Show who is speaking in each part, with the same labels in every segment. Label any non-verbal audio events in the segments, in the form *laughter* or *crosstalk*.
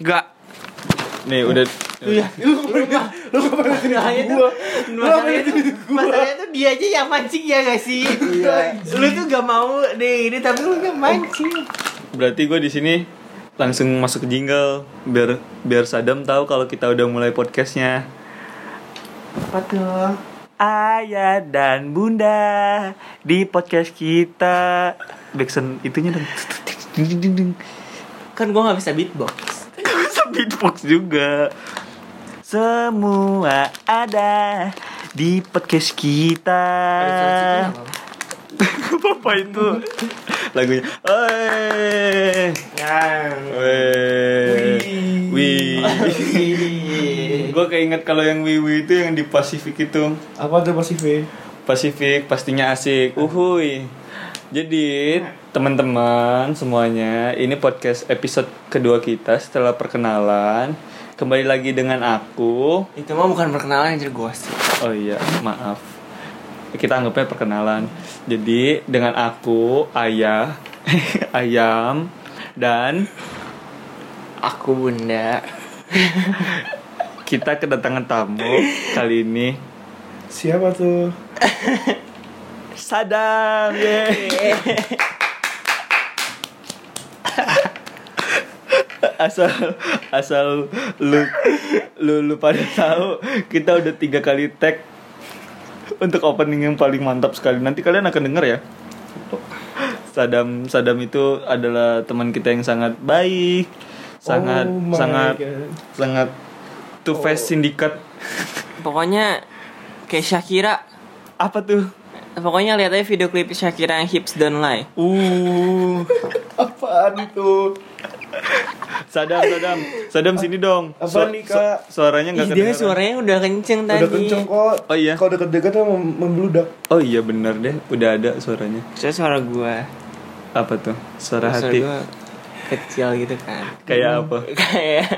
Speaker 1: Enggak.
Speaker 2: Nih udah
Speaker 3: Iya, lu pernah, lu pernah
Speaker 4: Masalahnya
Speaker 3: gua.
Speaker 4: tuh,
Speaker 3: Lu
Speaker 4: masalahnya
Speaker 3: pernah
Speaker 4: tuh, masalahnya tuh dia aja yang mancing ya gak sih? Lu tuh gak mau deh ini tapi lu yang mancing.
Speaker 2: berarti gue di sini langsung masuk ke jingle biar biar Sadam tahu kalau kita udah mulai podcastnya.
Speaker 4: Apa tuh?
Speaker 2: Ayah dan Bunda di podcast kita. Backsound itunya dong.
Speaker 4: Kan gua gak bisa beatbox.
Speaker 2: *laughs* Bisa beatbox juga. Semua ada di podcast kita. *laughs* Apa itu? Lagunya. Oi. Nah. Wih. Wih. Gue keinget kalau yang wiwi itu yang di Pasifik itu
Speaker 3: Apa tuh Pasifik?
Speaker 2: Pasifik pastinya asik Uhuy Jadi teman-teman semuanya Ini podcast episode kedua kita setelah perkenalan Kembali lagi dengan aku
Speaker 4: Itu mah bukan perkenalan anjir gosip.
Speaker 2: Oh iya maaf Kita anggapnya perkenalan Jadi dengan aku Ayah *laughs* Ayam Dan
Speaker 4: Aku bunda.
Speaker 2: kita kedatangan tamu kali ini
Speaker 3: Siapa tuh?
Speaker 2: Sadam ye. *laughs* asal asal lu lu lu pada tahu kita udah tiga kali tag untuk opening yang paling mantap sekali nanti kalian akan denger ya Sadam Sadam itu adalah teman kita yang sangat baik sangat
Speaker 3: Oh my
Speaker 2: sangat
Speaker 3: God. Oh.
Speaker 2: sangat two face sindikat
Speaker 4: Pokoknya kayak Shakira.
Speaker 2: apa tuh
Speaker 4: Pokoknya lihat aja video klip Shakira yang hips don't lie.
Speaker 2: uh
Speaker 3: *laughs* Apaan itu?
Speaker 2: Sadam, Sadam, Sadam sini dong.
Speaker 3: Apaan nih, Kak?
Speaker 2: suaranya nggak
Speaker 4: Ih, dia
Speaker 2: kedengeran.
Speaker 4: suaranya udah kenceng tadi.
Speaker 3: Udah kenceng kok.
Speaker 2: Oh iya.
Speaker 3: Kalau deket-deket tuh mem- membludak.
Speaker 2: Oh iya benar deh, udah ada suaranya.
Speaker 4: Terus suara gua.
Speaker 2: Apa tuh? Suara
Speaker 4: Suara
Speaker 2: hati.
Speaker 4: gua kecil gitu kan.
Speaker 2: Kayak apa?
Speaker 4: Kayak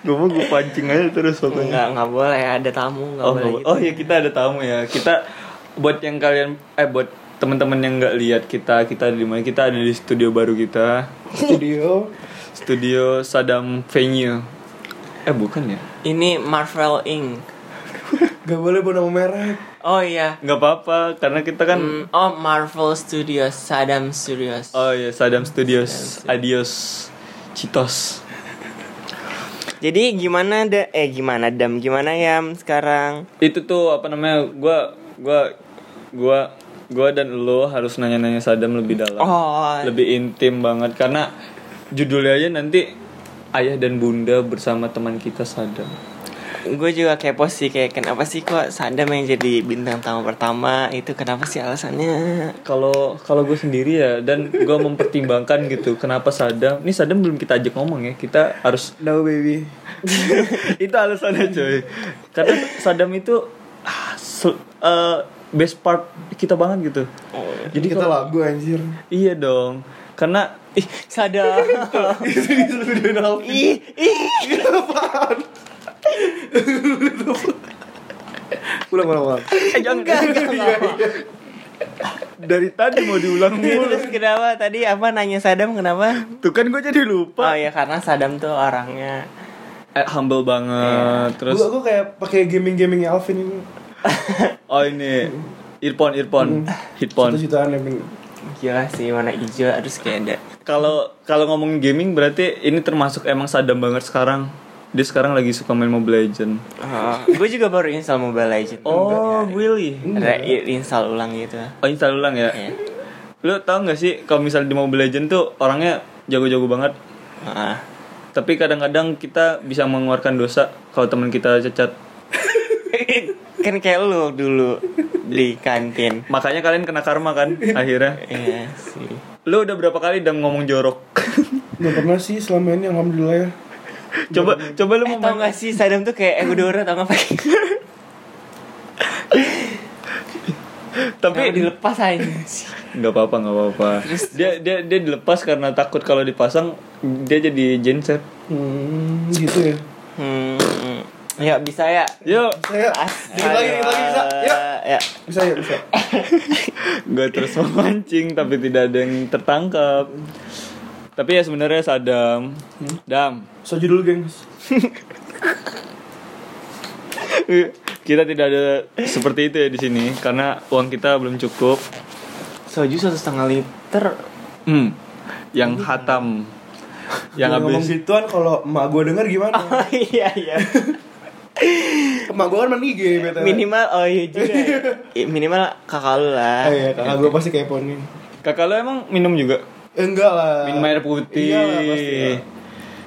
Speaker 2: Gue mau gue pancing aja terus fotonya.
Speaker 4: Enggak, enggak boleh ada tamu, enggak
Speaker 2: Oh,
Speaker 4: boleh.
Speaker 2: nggak
Speaker 4: gitu.
Speaker 2: bo- oh iya kita ada tamu ya. Kita buat yang kalian eh buat teman-teman yang nggak lihat kita kita ada di mana kita ada di studio baru kita
Speaker 3: Studio.
Speaker 2: studio Sadam Venue eh bukan ya
Speaker 4: Ini Marvel Inc.
Speaker 3: Gak boleh bawa nama merek.
Speaker 4: Oh iya.
Speaker 2: nggak apa-apa karena kita kan
Speaker 4: Hmm, oh Marvel Studios, Saddam Studios.
Speaker 2: oh iya Sadam Studios adios Citos
Speaker 4: Jadi gimana da eh gimana Dam? Gimana Yam sekarang?
Speaker 2: itu tuh apa namanya gua gua gua gua dan lo harus nanya-nanya Sadam lebih dalam
Speaker 4: Oh.
Speaker 2: lebih intim banget karena judulnya aja nanti ayah dan bunda bersama teman kita Sadam
Speaker 4: Gue juga kepo sih kayak kenapa sih kok Saddam yang jadi bintang tamu pertama itu kenapa sih alasannya?
Speaker 2: kalau kalau gue sendiri ya dan gua mempertimbangkan gitu kenapa Sadam ini Sadam belum kita ajak ngomong ya kita
Speaker 3: *laughs*
Speaker 2: harus
Speaker 3: No baby.
Speaker 2: itu alasannya coy karena Sadam itu ah, se- eh, best part kita banget gitu
Speaker 3: Jadi kita
Speaker 2: kalau-
Speaker 3: lagu *laughs* anjir.
Speaker 2: iya dong karena
Speaker 4: Ih, Saddam.
Speaker 2: *laughs*
Speaker 4: ih, ih,
Speaker 3: Ulang ulang ulang.
Speaker 2: Eh, jangan
Speaker 3: Iya,
Speaker 2: Dari tadi mau diulang mulu.
Speaker 4: terus kenapa tadi apa nanya Saddam kenapa?
Speaker 2: Tuh kan gue jadi lupa.
Speaker 4: Oh ya karena Saddam tuh orangnya
Speaker 2: Eh, humble banget. Terus
Speaker 3: Gua gua kayak pakai gaming-gaming Alvin ini.
Speaker 2: oh ini earphone earphone headphone.
Speaker 3: Hmm. Satu jutaan lebih.
Speaker 4: gila sih warna hijau harus kayak ada
Speaker 2: Kalau kalau ngomongin gaming berarti ini termasuk emang sadam banget sekarang. Dia sekarang lagi suka main Mobile Legend.
Speaker 4: oh. gue juga baru install Mobile Legends.
Speaker 2: Oh, Willy.
Speaker 4: Re- install ulang gitu.
Speaker 2: Oh, install ulang ya.
Speaker 4: Iya.
Speaker 2: Lu tau gak sih kalau misalnya di Mobile Legend tuh orangnya jago-jago banget.
Speaker 4: Heeh.
Speaker 2: Tapi kadang-kadang kita bisa mengeluarkan dosa kalau teman kita cacat.
Speaker 4: kan kayak lu dulu di kantin.
Speaker 2: Makanya kalian kena karma *laughs* kan akhirnya.
Speaker 4: Iya sih.
Speaker 2: Lu udah berapa kali dam ngomong jorok? *laughs*
Speaker 3: Gak pernah sih selama ini alhamdulillah ya.
Speaker 2: coba coba lu
Speaker 4: Eh,
Speaker 2: mau
Speaker 4: tau
Speaker 2: main-
Speaker 4: gak sih Sadam tuh kayak Egodora tau gak pakai
Speaker 2: tapi
Speaker 4: dilepas aja.
Speaker 2: nggak apa-apa nggak apa-apa. Dia dia dia dilepas karena takut kalau dipasang dia jadi genset.
Speaker 3: Hmm, gitu ya.
Speaker 4: Hmm. hmm. Ya bisa ya.
Speaker 2: Yuk,
Speaker 3: Saya dikit lagi, dikit lagi bisa. Ya.
Speaker 4: Ya.
Speaker 3: Bisa ya, bisa.
Speaker 2: gue terus memancing tapi tidak ada yang tertangkap. Tapi ya sebenarnya Sadam. Dam.
Speaker 3: So judul gengs.
Speaker 2: kita tidak ada seperti itu ya di sini karena uang kita belum cukup.
Speaker 4: Soju satu setengah liter
Speaker 2: Hmm. Yang hatam. Yang
Speaker 3: Jangan ngomong gitu.
Speaker 2: habis.
Speaker 3: gituan kalau emak gue denger gimana?
Speaker 4: Oh iya iya
Speaker 3: emak gue kan main IG btw.
Speaker 4: Minimal oh iya juga ya. Ya, Minimal kakak lu lah
Speaker 3: Ah, iya, kakak gue pasti kepo nih.
Speaker 2: Kakak lo emang minum juga?
Speaker 3: Eh, enggak lah.
Speaker 2: Minum air putih.
Speaker 3: Iya lah, pasti lah.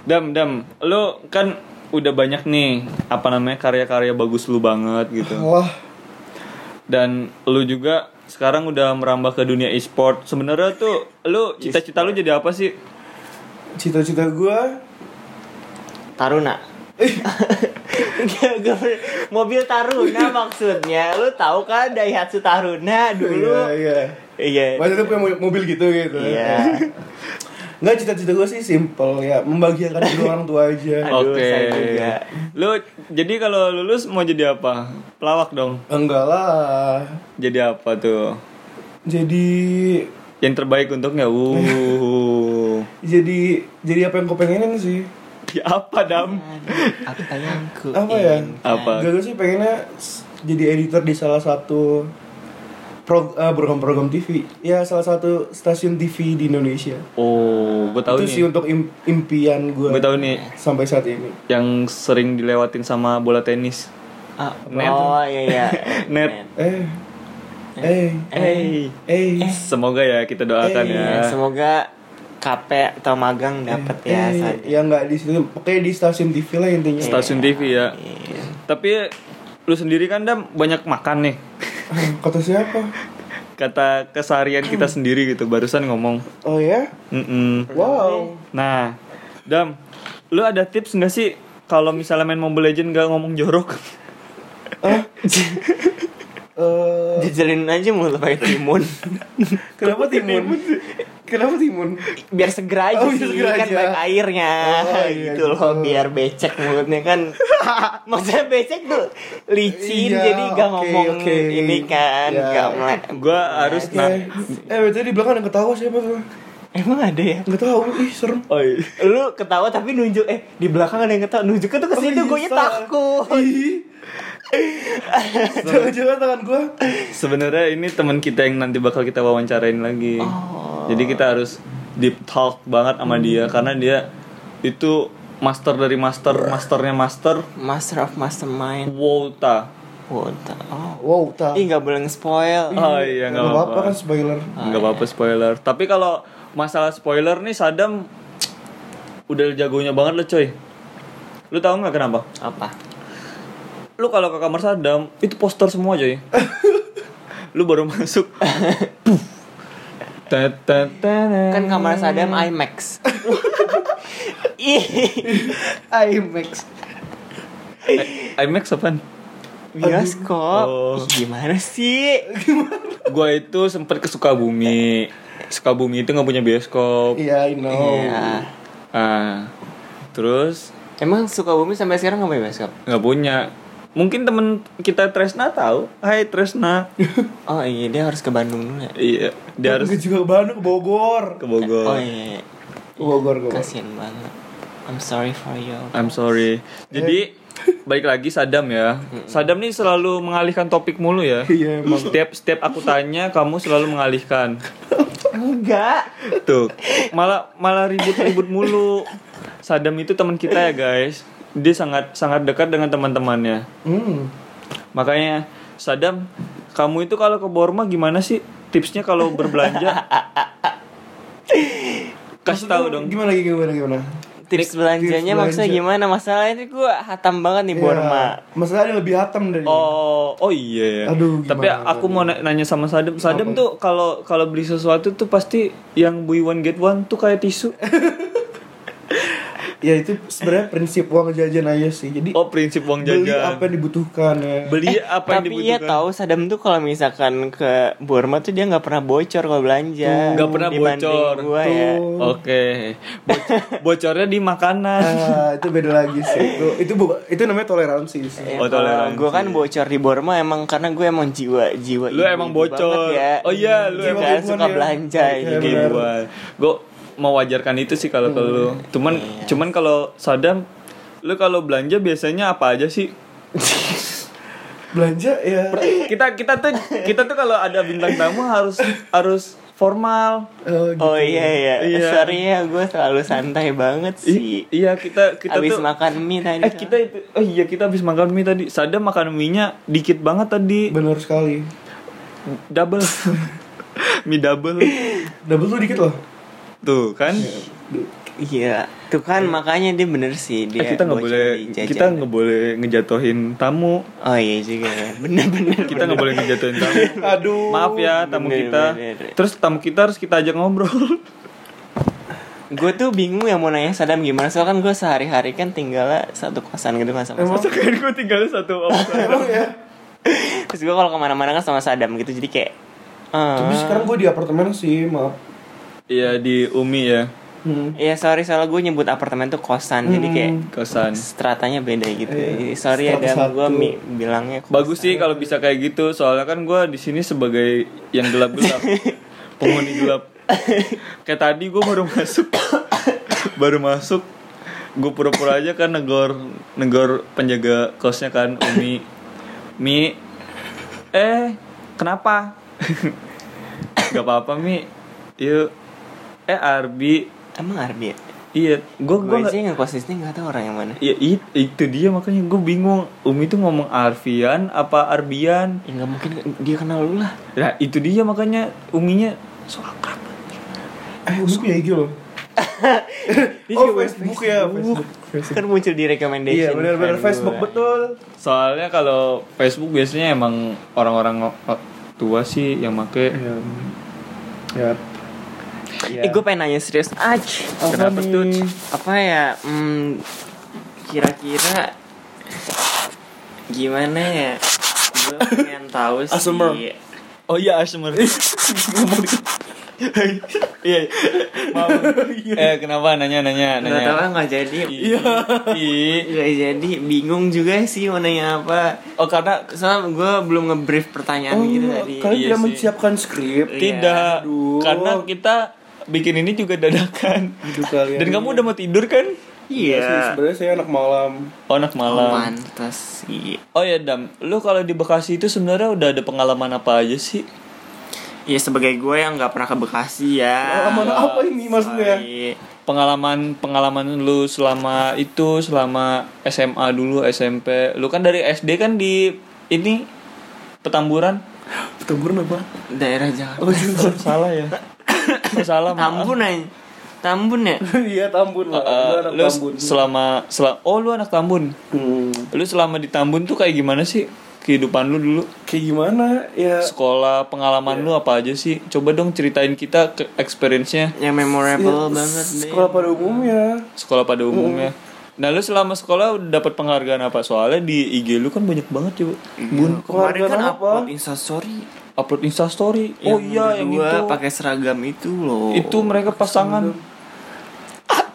Speaker 2: Dam, dam. Lo kan udah banyak nih apa namanya karya-karya bagus lu banget gitu.
Speaker 3: Wah,
Speaker 2: Dan lu juga sekarang udah merambah ke dunia e-sport. Sebenarnya tuh lu cita-cita lu jadi apa sih?
Speaker 3: cita-cita gue
Speaker 4: *laughs* Taruna Gak, gak bener. Mobil Taruna maksudnya Lu tahu kan Daihatsu Taruna
Speaker 3: Iya,
Speaker 4: dulu
Speaker 3: iya.
Speaker 4: Iya
Speaker 3: Waktu itu punya mo- mobil gitu gitu.
Speaker 4: Iya
Speaker 3: *laughs* Enggak cita-cita gue sih simple ya, membahagiakan kedua *laughs* orang tua aja.
Speaker 4: Aduh, saya juga.
Speaker 2: Lu jadi kalau lulus mau jadi apa? Pelawak dong.
Speaker 3: Enggak lah.
Speaker 2: Jadi apa tuh?
Speaker 3: Jadi
Speaker 2: Yang terbaik untuknya.
Speaker 3: *laughs*
Speaker 2: Wuh.
Speaker 3: jadi jadi apa yang kau pengenin sih?
Speaker 2: ya apa, Dam?
Speaker 3: Iya.
Speaker 4: Apa yang ku
Speaker 3: Apa ya?
Speaker 2: Apa?
Speaker 3: Gak gue sih pengennya s- jadi editor di salah satu prog- eh, program-program TV. Ya salah satu stasiun TV di Indonesia.
Speaker 2: Oh, gue
Speaker 3: Itu
Speaker 2: tahu
Speaker 3: sih
Speaker 2: nih.
Speaker 3: untuk im- impian gue.
Speaker 2: Gue tahu nih
Speaker 3: Sampai saat ini.
Speaker 2: yang sering dilewatin sama bola tenis.
Speaker 4: Ah,
Speaker 2: Net.
Speaker 4: Oh iya
Speaker 3: *laughs*
Speaker 4: iya
Speaker 2: Net.
Speaker 3: Eh. Eh.
Speaker 2: Hey.
Speaker 3: Eh.
Speaker 2: Semoga ya kita doakan
Speaker 3: Eh,
Speaker 2: ya.
Speaker 4: Ya, semoga KP atau magang dapat ya
Speaker 3: eh,
Speaker 4: saat-
Speaker 3: Ya nggak di situ, pokoknya di stasiun TV lah intinya. *laughs*
Speaker 2: Stasiun TV ya.
Speaker 4: Iya.
Speaker 2: Tapi lu sendiri kan Dam banyak makan nih.
Speaker 3: Ah, Kata siapa?
Speaker 2: Kata keseharian kita
Speaker 4: Hmm.
Speaker 2: sendiri gitu barusan ngomong.
Speaker 3: Oh ya?
Speaker 2: Mm-mm.
Speaker 3: Wow.
Speaker 2: Nah, Dam, lu ada tips nggak sih kalau misalnya main Mobile Legend gak ngomong jorok? *laughs*
Speaker 3: Eh,
Speaker 4: Jajalin aja mulu pakai timun.
Speaker 3: kenapa timun? Kenapa timun?
Speaker 4: biar segera aja
Speaker 3: Oh, biar
Speaker 4: sih
Speaker 3: segera
Speaker 4: kan
Speaker 3: aja.
Speaker 4: banyak airnya
Speaker 3: Oh, iya,
Speaker 4: gitu loh
Speaker 3: gitu.
Speaker 4: biar becek mulutnya
Speaker 3: *laughs*
Speaker 4: kan. Maksudnya becek tuh licin
Speaker 3: Iya,
Speaker 4: jadi gak
Speaker 3: oke,
Speaker 4: ngomong
Speaker 3: oke.
Speaker 4: ini kan
Speaker 3: Iya.
Speaker 4: gak melek.
Speaker 2: Gua harus
Speaker 3: Nah.
Speaker 2: nah.
Speaker 3: Eh, betul di belakang ada yang ketawa siapa tuh?
Speaker 4: Emang ada ya?
Speaker 3: Nggak tahu, ih serem.
Speaker 2: Oi.
Speaker 4: Lu ketawa tapi nunjuk eh di belakang ada yang ketawa nunjuknya tuh ke situ
Speaker 3: Oh, iya,
Speaker 4: gue
Speaker 3: salah.
Speaker 4: takut.
Speaker 3: Ih. Jangan-jangan tangan gua.
Speaker 2: Sebenarnya ini teman kita yang nanti bakal kita wawancarain lagi. Jadi kita harus deep talk banget sama dia karena dia itu master dari master, masternya master
Speaker 4: Master of Mastermind.
Speaker 2: Wota.
Speaker 4: Wota. Oh.
Speaker 3: Wow, tak.
Speaker 4: Ih gak boleh nge-spoil.
Speaker 2: Oh iya nggak
Speaker 3: kan
Speaker 2: apa-apa.
Speaker 3: spoiler.
Speaker 2: Nggak apa-apa spoiler. Tapi kalau masalah spoiler nih Sadam udah jagonya banget lo coy. Lu tahu nggak kenapa?
Speaker 4: Apa?
Speaker 2: lu kalau ke kamar Saddam itu poster semua coy lu baru masuk Puff. Ta ta ta na.
Speaker 4: Kan kamar Sadam IMAX. Ih. IMAX.
Speaker 2: I- Eh, IMAX apaan?
Speaker 4: Bioskop.
Speaker 2: Oh.
Speaker 4: Ih, gimana sih?
Speaker 2: Gua itu sempet ke Sukabumi. Sukabumi itu nggak punya bioskop.
Speaker 3: Iya, I know.
Speaker 4: Iya.
Speaker 2: Ah, terus
Speaker 4: Emang Sukabumi sampai sekarang nggak punya bioskop?
Speaker 2: nggak punya. Mungkin temen kita Tresna tahu. Hai Tresna.
Speaker 4: Oh iya dia harus ke Bandung dulu ya.
Speaker 2: iya, dia harus
Speaker 3: Gua juga ke Bandung, ke Bogor.
Speaker 2: ke
Speaker 4: Oh
Speaker 2: Bogor.
Speaker 4: iya, iya.
Speaker 3: Ke Bogor gua.
Speaker 4: kasihan banget. I'm sorry for you.
Speaker 2: I'm sorry. Jadi
Speaker 3: Eh.
Speaker 2: balik lagi Sadam ya. Sadam nih selalu mengalihkan topik mulu ya.
Speaker 3: *laughs* Iya, emang.
Speaker 2: Setiap setiap aku tanya kamu selalu mengalihkan.
Speaker 4: Enggak.
Speaker 2: Tuh. Malah malah ribut-ribut mulu. Sadam itu teman kita ya, guys. Dia sangat sangat dekat dengan teman-temannya.
Speaker 3: Hmm.
Speaker 2: Makanya Sadam, kamu itu kalau ke Borma gimana sih tipsnya kalau berbelanja? Kasih tahu dong.
Speaker 3: Gimana gimana gimana?
Speaker 4: Tips belanjanya
Speaker 3: belanja.
Speaker 4: maksudnya gimana? Masalahnya itu gue hatam banget nih Borma.
Speaker 3: Iya. Masalah ada lebih hatam dari.
Speaker 2: Oh, oh iya. ya.
Speaker 3: Aduh, gimana,
Speaker 2: Tapi aku mau na- nanya sama Sadem.
Speaker 3: Apa?
Speaker 2: Sadem tuh kalau kalau beli sesuatu tuh pasti yang buy one get one tuh kayak
Speaker 3: *laughs*
Speaker 2: tisu.
Speaker 3: Ya itu sebenarnya prinsip uang jajan aja sih. Jadi
Speaker 2: Oh, prinsip uang
Speaker 3: beli
Speaker 2: jajan.
Speaker 3: apa yang dibutuhkan ya.
Speaker 2: Beli apa yang
Speaker 4: Tapi
Speaker 2: dibutuhkan.
Speaker 4: iya tahu Sadam tuh kalau misalkan ke Burma tuh dia nggak pernah bocor kalau belanja.
Speaker 2: Nggak pernah
Speaker 4: Dibanding
Speaker 2: bocor.
Speaker 4: Gua ya.
Speaker 2: Oh,
Speaker 3: Tuh.
Speaker 2: Oke. Bo- bocornya di makanan.
Speaker 3: Ah, itu beda lagi sih. Itu itu, bu- itu namanya toleransi sih.
Speaker 2: Oh, toleransi.
Speaker 4: gue Iya, kan bocor di Borma emang karena gue emang jiwa jiwa
Speaker 2: Lu
Speaker 4: ibu-ibu
Speaker 2: emang bocor.
Speaker 4: banget ya.
Speaker 2: Oh iya, lu
Speaker 4: Jiwa
Speaker 3: emang
Speaker 4: suka
Speaker 3: ibuan ya.
Speaker 4: belanja
Speaker 3: Iya,
Speaker 4: ini
Speaker 3: benar. Hmm,
Speaker 2: Gue mewajarkan itu sih kalau kalau cuman
Speaker 4: Iya.
Speaker 2: cuman kalau Sadam lu kalau belanja biasanya apa aja sih
Speaker 3: belanja ya
Speaker 2: kita kita tuh kita tuh kalau ada bintang tamu harus harus formal
Speaker 3: eh, gitu.
Speaker 4: Oh iya iya,
Speaker 2: Iya.
Speaker 4: sorry ya gue terlalu santai
Speaker 2: I-
Speaker 4: banget sih.
Speaker 2: iya kita kita
Speaker 4: Abis
Speaker 2: tuh
Speaker 4: makan mie tadi.
Speaker 2: eh kita itu oh iya kita habis makan mie tadi Sadam makan mie nya dikit banget tadi
Speaker 3: benar sekali
Speaker 2: double *laughs* mie double
Speaker 3: double tuh dikit loh
Speaker 2: tuh kan
Speaker 4: Iya, tuh kan makanya dia bener
Speaker 2: Eh,
Speaker 4: sih dia.
Speaker 2: kita nggak
Speaker 4: Iya. bocor
Speaker 2: boleh
Speaker 4: di jajan.
Speaker 2: kita nggak boleh ngejatuhin tamu
Speaker 4: Oh iya juga ya, bener-bener.
Speaker 2: kita nggak boleh ngejatuhin
Speaker 4: *laughs*
Speaker 2: tamu
Speaker 3: *laughs* aduh
Speaker 2: maaf ya tamu
Speaker 4: Bener,
Speaker 2: kita
Speaker 4: bener.
Speaker 2: terus tamu kita harus kita ajak ngobrol *laughs*
Speaker 4: Gue tuh bingung ya mau nanya Sadam gimana soalnya kan gue sehari-hari kan tinggalnya satu kosan gitu kan sama Sadam.
Speaker 2: masa kan gue tinggal satu orang
Speaker 3: emang ya
Speaker 4: Terus gue kalau kemana-mana kan sama Sadam gitu jadi kayak. eh,
Speaker 3: tapi sekarang gue di apartemen sih maaf
Speaker 2: iya di Umi ya
Speaker 3: hmm.
Speaker 4: Iya sorry soalnya gue nyebut apartemen tuh kosan jadi kayak
Speaker 2: kosan
Speaker 4: stratanya beda gitu.
Speaker 3: Iya,
Speaker 4: Jadi, sorry ya
Speaker 3: strata
Speaker 4: Dam, gue
Speaker 3: satu.
Speaker 4: mi- bilangnya. kosan.
Speaker 2: bagus sih kalau bisa kayak gitu soalnya kan gue di sini sebagai yang gelap gelap penghuni gelap kayak tadi gue baru masuk baru masuk gue pura-pura aja kan negor negor penjaga kosnya kan Umi Mi eh kenapa *coughs* nggak apa-apa Mi yuk eh Arbi
Speaker 4: Emang Arbi ya?
Speaker 2: iya gue
Speaker 4: Gue
Speaker 2: gue
Speaker 4: aja yang ngekos di sini gak tau orang yang mana
Speaker 2: Ya it- itu dia makanya gue bingung Umi tuh ngomong Arfian apa Arbian
Speaker 4: Ya gak mungkin dia kenal lu lah
Speaker 2: Nah itu dia makanya Uminya so akrab
Speaker 3: eh gue punya *laughs* IG loh oh Facebook ya Facebook Facebook.
Speaker 4: Kan muncul di recommendation
Speaker 3: iya benar-benar
Speaker 4: friend
Speaker 3: Facebook
Speaker 4: gua.
Speaker 3: betul
Speaker 2: Soalnya kalau Facebook biasanya emang orang-orang tua sih yang
Speaker 3: ya
Speaker 2: make
Speaker 3: ya, Iya.
Speaker 4: Eh gue pengen nanya serius Aj
Speaker 2: Kenapa tuh?
Speaker 4: Apa ya hmm, Kira-kira Gimana ya Gue pengen tahu sih
Speaker 3: Assumer.
Speaker 2: Oh iya Asmer *laughs* Iya Maaf *laughs* Eh kenapa nanya-nanya
Speaker 4: Gak tau
Speaker 2: nanya.
Speaker 4: gak jadi
Speaker 2: Iya *laughs* Ih.
Speaker 4: Gak jadi Bingung juga sih mau nanya apa
Speaker 2: Oh karena
Speaker 4: Soalnya gue belum nge-brief
Speaker 3: Oh,
Speaker 4: pertanyaan gitu tadi
Speaker 3: kalian
Speaker 2: Iya
Speaker 3: tidak
Speaker 2: sih.
Speaker 3: menyiapkan skrip
Speaker 4: Iya.
Speaker 2: tidak
Speaker 3: Aduh.
Speaker 2: Karena kita bikin ini juga dadakan
Speaker 3: Hidup gitu kalian.
Speaker 2: Dan kamu udah mau tidur kan?
Speaker 3: Iya sih, sebenarnya saya anak malam.
Speaker 2: Oh anak
Speaker 4: Oh,
Speaker 2: malam
Speaker 4: Pantes sih
Speaker 2: Oh ya Dam, lu kalau di Bekasi itu sebenarnya udah ada pengalaman apa aja sih?
Speaker 4: Ya sebagai gue yang nggak pernah ke Bekasi ya.
Speaker 3: Pengalaman Ah, apa ini maksudnya?
Speaker 4: Sorry.
Speaker 2: Pengalaman pengalaman lu selama itu selama SMA dulu SMP. Lu kan dari SD kan di ini Petamburan.
Speaker 3: Petamburan apa?
Speaker 4: Daerah
Speaker 3: Oh,
Speaker 4: Jakarta. *laughs*
Speaker 2: salah ya. Oh, salah. maaf.
Speaker 4: Tambun aja. Tambun ya.
Speaker 3: Iya Tambun lah. Gua
Speaker 2: Eh,
Speaker 3: anak
Speaker 2: lu
Speaker 3: Tambun.
Speaker 2: selama sel- oh lu anak Tambun.
Speaker 3: Hmm.
Speaker 2: Lu selama di Tambun tuh kayak gimana sih kehidupan lu dulu?
Speaker 3: Kayak gimana ya?
Speaker 2: Sekolah, pengalaman lu apa aja sih? Coba dong ceritain kita ke experience-nya
Speaker 4: Yang Ya, memorable banget deh.
Speaker 3: Iya, Sekolah ya, pada ya. umumnya.
Speaker 2: sekolah pada umumnya. Nah lu selama sekolah udah dapat penghargaan apa? Soalnya di IG lu kan banyak banget coba. Bun
Speaker 4: Kemarin
Speaker 3: Keluarga
Speaker 4: kan
Speaker 3: apa?
Speaker 4: upload instastory.
Speaker 2: upload instastory. Oh iya yang itu.
Speaker 4: berdua pakai seragam itu loh.
Speaker 2: Itu mereka pasangan.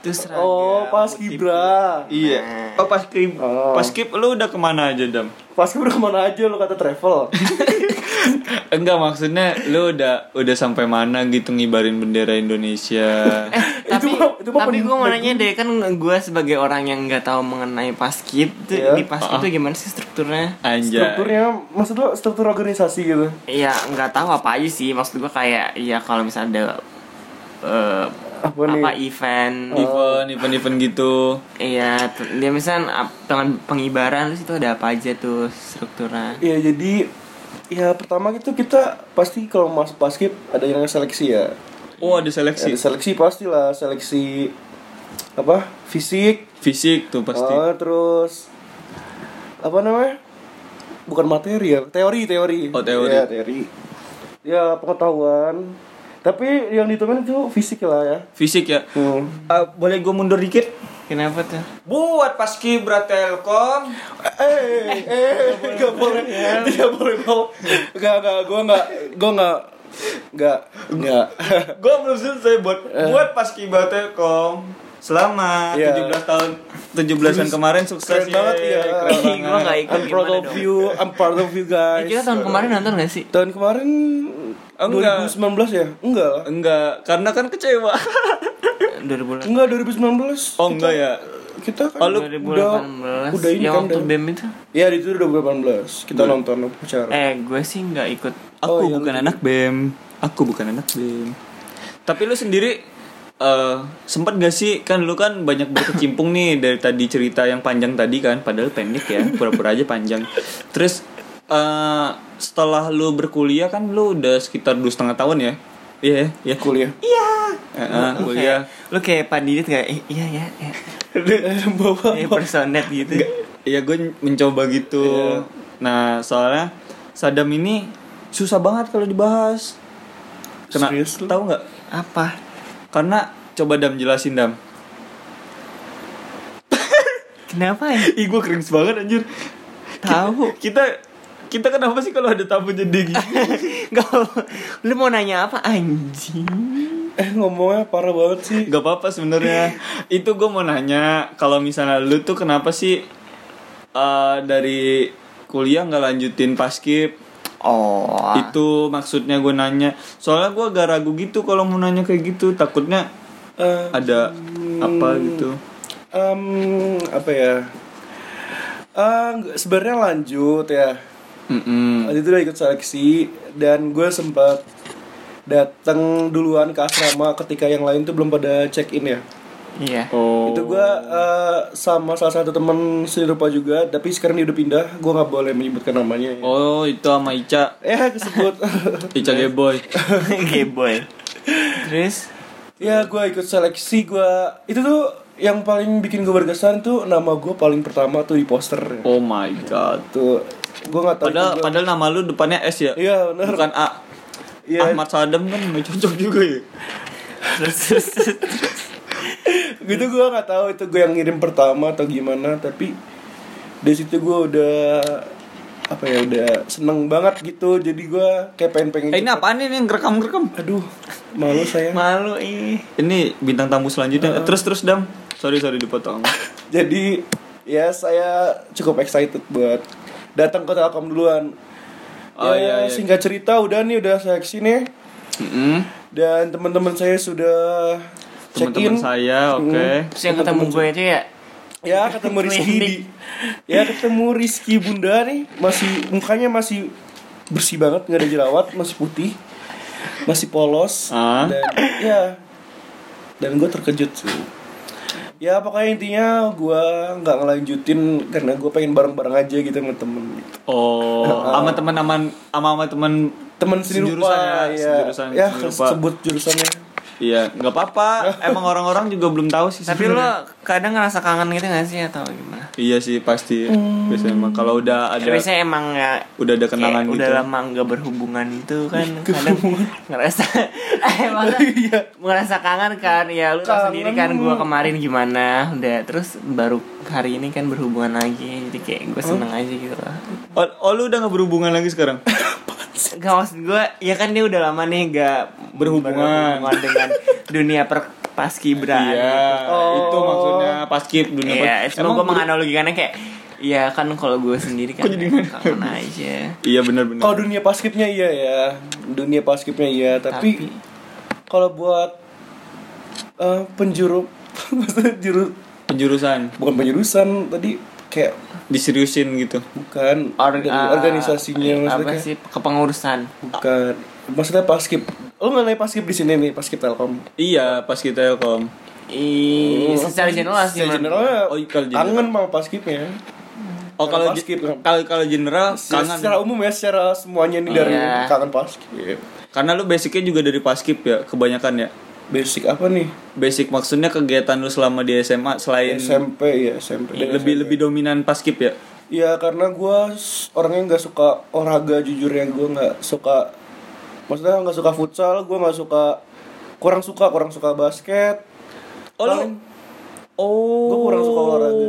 Speaker 4: itu seragam.
Speaker 3: Oh, pas Kibra.
Speaker 4: Nah.
Speaker 2: Iya. Oh pas skip,
Speaker 3: Oh.
Speaker 2: pas skip lu udah kemana aja dam?
Speaker 3: Pas Kibra kemana aja lo kata
Speaker 2: *laughs*
Speaker 3: travel?
Speaker 2: Enggak maksudnya lu udah udah sampai mana gitu ngibarin bendera Indonesia.
Speaker 4: Eh, Tapi,
Speaker 3: Itu mah- itu mah
Speaker 4: tapi
Speaker 3: pen-
Speaker 4: gue mau nanya deh kan gue sebagai orang yang nggak tahu mengenai paskib tuh
Speaker 3: Iya.
Speaker 4: di paskib tuh gimana sih strukturnya?
Speaker 2: Anjay.
Speaker 3: Strukturnya maksud lo struktur organisasi gitu.
Speaker 4: Iya nggak tahu apa aja sih maksud gue kayak ya kalau misalnya ada eh,
Speaker 3: Apa nih? Ah.
Speaker 4: apa event
Speaker 2: Event, event, event gitu.
Speaker 4: iya ter- dia misalnya ap- dengan pengibaran terus itu ada apa aja tuh strukturnya
Speaker 3: Ya jadi ya pertama gitu kita pasti kalau mas basket ada yang seleksi ya.
Speaker 2: Oh ada
Speaker 3: Ada
Speaker 2: seleksi.
Speaker 3: seleksi pastilah seleksi apa fisik
Speaker 2: Fisik tuh pasti.
Speaker 3: Oh, terus apa namanya? Bukan material, teori, teori.
Speaker 2: Oh, teori.
Speaker 3: Ya, teori. Ya, pengetahuan. Tapi yang ditemuin itu fisik lah ya.
Speaker 2: Fisik ya.
Speaker 3: Hmm.
Speaker 2: Eh, boleh gue mundur dikit?
Speaker 4: kenapa tuh
Speaker 2: Buat paskibra Telkom.
Speaker 3: Eh, eh, enggak boleh. Tidak boleh mau. Enggak, enggak, gua enggak, gua enggak enggak enggak.
Speaker 2: Gue belum selesai buat buat paskibra Telkom selama
Speaker 3: Iya.
Speaker 2: 17 tahun 17-an kemarin sukses
Speaker 3: Keren banget,
Speaker 2: yeay,
Speaker 3: iya.
Speaker 2: keren
Speaker 3: Ih, gua
Speaker 2: banget.
Speaker 4: gua nggak ikut.
Speaker 3: I'm proud
Speaker 4: Gimana
Speaker 3: of
Speaker 4: dong?
Speaker 3: you, I'm proud of you
Speaker 4: Eh, kita
Speaker 3: guys.
Speaker 4: tahun kemarin nonton gak sih
Speaker 3: Tahun kemarin
Speaker 2: Oh, Enggak.
Speaker 3: 2019 ya? Enggak lah. *laughs*
Speaker 2: Enggak, karena kan kecewa.
Speaker 3: Iya,
Speaker 4: 2018
Speaker 3: Enggak 2019.
Speaker 2: Oh enggak ya.
Speaker 3: Kita kan
Speaker 2: Oh, lu
Speaker 3: udah
Speaker 4: 2018
Speaker 3: udah ini
Speaker 4: yang
Speaker 3: kan.
Speaker 4: waktu
Speaker 3: Dan.
Speaker 4: BEM itu
Speaker 3: Iya itu 2018. Kita nonton upacara.
Speaker 4: eh gue sih nggak ikut
Speaker 2: Aku
Speaker 3: Oh, iya,
Speaker 2: bukan anak BEM. Aku bukan anak BEM. Tapi lu sendiri eh sempat gak sih kan lu kan banyak berkecimpung nih dari tadi cerita yang panjang tadi kan padahal pendek ya pura-pura aja panjang terus eh setelah lu berkuliah kan lu udah sekitar dua setengah tahun ya iya ya ya
Speaker 3: Kuliah. Iya.
Speaker 2: Eh, eh,
Speaker 4: Lu
Speaker 2: kuliah
Speaker 4: kayak- lu kayak Pak Didit nggak Eh, iya ya, ya.
Speaker 3: *laughs* Eh, Bawa.
Speaker 4: *laughs* kayak personet gitu
Speaker 2: Iya gue mencoba gitu.
Speaker 3: Iya.
Speaker 2: Nah soalnya Sadam ini susah banget kalau dibahas. Kena
Speaker 3: Serius lu?
Speaker 2: tahu nggak?
Speaker 4: apa
Speaker 2: Karena coba Dam jelasin Dam.
Speaker 4: kenapa ya
Speaker 2: Ih gue cringe banget anjir.
Speaker 4: *laughs* tahu
Speaker 2: Kita kita kenapa sih kalau ada tamu jadi
Speaker 3: *laughs*
Speaker 2: gini?
Speaker 4: nggak lu mau nanya apa anjing
Speaker 3: Eh ngomongnya parah banget sih.
Speaker 2: Gak apa-apa sebenarnya. Itu gue mau nanya kalau misalnya lu tuh kenapa sih eh, dari kuliah nggak lanjutin paskib?
Speaker 4: oh
Speaker 3: Ah.
Speaker 2: Itu maksudnya gue nanya. Soalnya gue agak ragu gitu kalau mau nanya kayak gitu. Takutnya
Speaker 3: Eh,
Speaker 2: ada apa gitu
Speaker 3: em, apa ya? Eh nggak- sebenarnya lanjut ya.
Speaker 4: Hmm.
Speaker 2: Mm-mm.
Speaker 3: Waktu itu udah ikut seleksi dan gue sempat datang duluan ke asrama ketika yang lain tuh belum pada check in ya.
Speaker 4: *laughs* iya
Speaker 2: oh
Speaker 3: Itu gue eh, sama salah satu temen seni rupa juga, tapi sekarang dia udah pindah, gue nggak boleh menyebutkan namanya. Ya.
Speaker 2: oh itu sama Ica
Speaker 3: Eh kesebut.
Speaker 2: Ica Geboy
Speaker 4: Geboy terus
Speaker 3: *laughs* ya gue ikut seleksi gue. Itu tuh yang paling bikin gue berkesan tuh nama gue paling pertama tuh di poster.
Speaker 2: oh my god
Speaker 3: Tuh gue nggak tahu.
Speaker 2: padahal padahal nama lu depannya S ya
Speaker 3: Iya benar.
Speaker 2: bukan A
Speaker 3: Iya.
Speaker 2: Ahmad Sadam kan nggak cocok juga ya
Speaker 4: terus terus, terus.
Speaker 3: *laughs* gitu gue nggak tahu itu gue yang ngirim pertama atau gimana tapi dari situ gue udah apa ya udah seneng banget gitu jadi gue kayak pengen pengen
Speaker 2: Eh, ini apaan ini yang rekam rekam
Speaker 3: aduh malu saya
Speaker 4: malu ih
Speaker 2: ini bintang tamu selanjutnya terus terus dam sorry sorry dipotong
Speaker 3: jadi ya saya cukup excited buat datang ke Telkom duluan ya,
Speaker 2: Oh, iya, iya.
Speaker 3: singkat cerita udah nih udah seleksi nih
Speaker 2: Mm-mm.
Speaker 3: dan teman-teman saya sudah check in
Speaker 2: teman-teman saya oke
Speaker 4: terus yang ketemu gue itu ya
Speaker 3: Ya ketemu Rizky di, ya ketemu Rizky Bunda nih masih mukanya masih bersih banget nggak ada jerawat masih putih masih polos
Speaker 2: Ah.
Speaker 3: dan ya dan gue terkejut sih ya pokoknya intinya gue nggak ngelanjutin karena gue pengen bareng bareng aja gitu sama temen
Speaker 2: oh sama teman aman sama sama teman
Speaker 3: temen sendiri rupa
Speaker 2: Sejurusan ya,
Speaker 3: ya
Speaker 2: sejurusan,
Speaker 3: ya
Speaker 2: sendiri rupa.
Speaker 3: sebut jurusannya
Speaker 2: iya nggak *laughs* apa-apa emang orang-orang juga belum tahu sih
Speaker 4: tapi lo kadang ngerasa kangen gitu gak sih atau gimana
Speaker 2: Iya sih pasti biasanya emang kalau udah ada
Speaker 4: biasanya emang ya
Speaker 2: udah ada kenangan
Speaker 4: kayak
Speaker 2: gitu.
Speaker 4: udah lama nggak berhubungan itu
Speaker 2: *laughs*
Speaker 4: kan kadang ngerasa emang
Speaker 2: Oh, iya.
Speaker 4: ngerasa kangen kan ya lu tau sendiri kan gua kemarin gimana udah terus baru hari ini kan berhubungan lagi jadi kayak gue seneng aja gitu loh
Speaker 2: Oh, oh, lu udah gak berhubungan lagi sekarang?
Speaker 4: gak maksud gue ya kan dia udah lama nih gak
Speaker 2: Berhubungan. *laughs*
Speaker 4: dengan dunia per paskibraan
Speaker 2: iya, itu maksudnya paskib dunia
Speaker 4: Oh. Iya,
Speaker 2: pas-
Speaker 4: cuma gue
Speaker 2: ber-
Speaker 4: menganalogikannya kayak Iya kan kalau gue sendiri kan emang kangen aja
Speaker 2: Iya benar-benar.
Speaker 3: kalau dunia paskibnya iya ya dunia paskibnya iya tapi,
Speaker 4: Tapi-
Speaker 3: kalau buat eh, penjuru *laughs* maksudnya juru
Speaker 2: Penjurusan
Speaker 3: bukan penjurusan tadi kayak
Speaker 2: diseriusin gitu.
Speaker 3: bukan
Speaker 4: Or-
Speaker 3: dari
Speaker 4: ah,
Speaker 3: organisasinya maksudnya
Speaker 4: apa
Speaker 3: kayak,
Speaker 4: sih kepengurusan
Speaker 3: bukan maksudnya paskib lo nggak naik paskib di sini nih paskib telkom
Speaker 2: Iya, pas kita telkom.
Speaker 4: Ih, secara general
Speaker 3: Oh, Secara ya?
Speaker 4: sih menurut-
Speaker 3: generalnya
Speaker 2: Oh, kalau general.
Speaker 3: kangen mau paskibnya
Speaker 2: Oh kalau
Speaker 3: Paskib,
Speaker 2: ge-
Speaker 3: kan?
Speaker 2: kalau kalau general
Speaker 3: kangen.
Speaker 2: kangen.
Speaker 3: secara umum ya secara semuanya nih dari
Speaker 4: Iya.
Speaker 3: kangen paskib
Speaker 2: Karena lu basicnya juga dari paskib ya, kebanyakan ya.
Speaker 3: basic apa nih
Speaker 2: Basic maksudnya kegiatan lu selama di SMA selain
Speaker 3: SMP ya SMP Dan
Speaker 2: Iya, lebih lebih dominan paskib ya.
Speaker 3: Ya karena gue orangnya nggak suka olahraga jujur ya gue nggak suka maksudnya nggak suka futsal gue nggak suka kurang suka kurang suka basket
Speaker 2: Oh, lu-
Speaker 3: Paling-
Speaker 2: Oh.
Speaker 3: gue kurang suka olahraga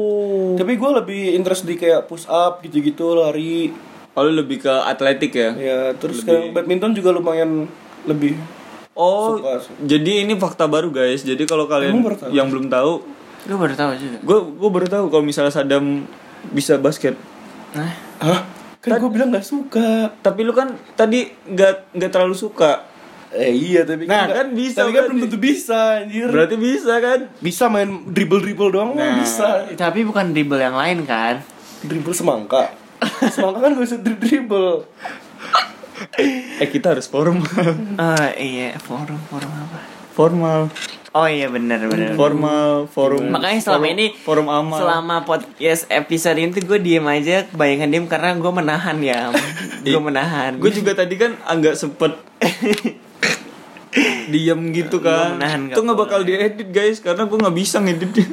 Speaker 3: tapi gue lebih interest di kayak push up gitu-gitu lari
Speaker 2: Oh, lu lebih ke atletik ya?
Speaker 3: ya terus sekarang badminton juga lumayan lebih
Speaker 2: Oh,
Speaker 3: Suka, suka.
Speaker 2: jadi ini fakta baru guys. Jadi kalau kalian
Speaker 3: Emang baru tahu?
Speaker 2: yang belum tahu,
Speaker 4: gue baru tahu juga
Speaker 2: gue gue baru tahu kalau misalnya Sadam bisa basket.
Speaker 4: nah
Speaker 3: hah kan gue bilang nggak suka
Speaker 2: Tapi lu kan tadi nggak nggak terlalu suka.
Speaker 3: Eh iya tapi
Speaker 2: Nah,
Speaker 3: nggak-
Speaker 2: kan bisa
Speaker 3: Tapi kan
Speaker 2: berarti.
Speaker 3: belum tentu bisa anjir.
Speaker 2: Berarti bisa kan?
Speaker 3: bisa main dribble-dribble doang mah bisa.
Speaker 4: Tapi bukan dribble yang lain kan?
Speaker 3: Dribble semangka. semangka kan gak bisa dri- dribble.
Speaker 2: Eh kita harus formal.
Speaker 4: Ah iya, forum forum apa?
Speaker 2: Formal.
Speaker 4: Oh iya benar benar.
Speaker 2: Formal forum.
Speaker 4: Makanya selama
Speaker 2: forum-
Speaker 4: ini
Speaker 2: forum amal.
Speaker 4: Selama podcast episode ini tuh gue diem aja kebanyakan diem karena gue menahan ya. gue menahan.
Speaker 2: Gue juga tadi kan agak sempet
Speaker 4: *laughs*
Speaker 2: diam gitu kan.
Speaker 4: Gua menahan, nggak
Speaker 2: Itu nggak bakal diedit guys karena gue nggak bisa ngeditnya.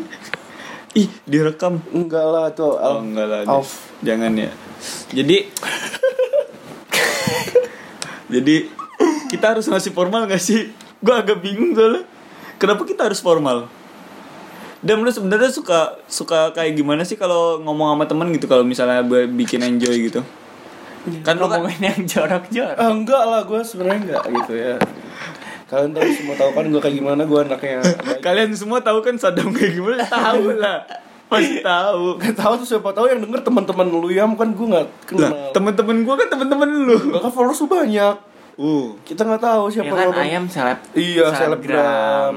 Speaker 2: *laughs* Ih direkam.
Speaker 3: Enggak lah tuh.
Speaker 2: Oh enggak lah.
Speaker 3: Off.
Speaker 2: Jangan ya. *laughs* Jadi Jadi kita harus ngasih formal gak sih? Gue agak bingung soalnya. Kenapa kita harus formal? Dan lu sebenarnya suka suka kayak gimana sih kalau ngomong sama temen gitu kalau misalnya bu- bikin enjoy gitu?
Speaker 4: Iya.
Speaker 2: Kan lu kan
Speaker 4: ngomongin yang jorok-jorok.
Speaker 3: Ah, enggak lah gue sebenarnya enggak gitu ya. Kalian tahu semua tahu kan gue kayak gimana gue anaknya.
Speaker 2: *laughs* kalian semua tahu kan Saddam kayak gimana? *laughs* Tahu lah. Pasti tahu.
Speaker 3: Gak tahu tuh siapa tahu yang denger teman-teman lu ya kan gue nggak kenal.
Speaker 2: Lah, temen-temen gua kan temen-temen lu.
Speaker 3: Gak kan followers lu banyak.
Speaker 2: Uh,
Speaker 3: Kita nggak tahu
Speaker 4: Ya
Speaker 3: siapa
Speaker 4: kan
Speaker 3: orang.
Speaker 4: ayam seleb.
Speaker 3: Iya, selebgram.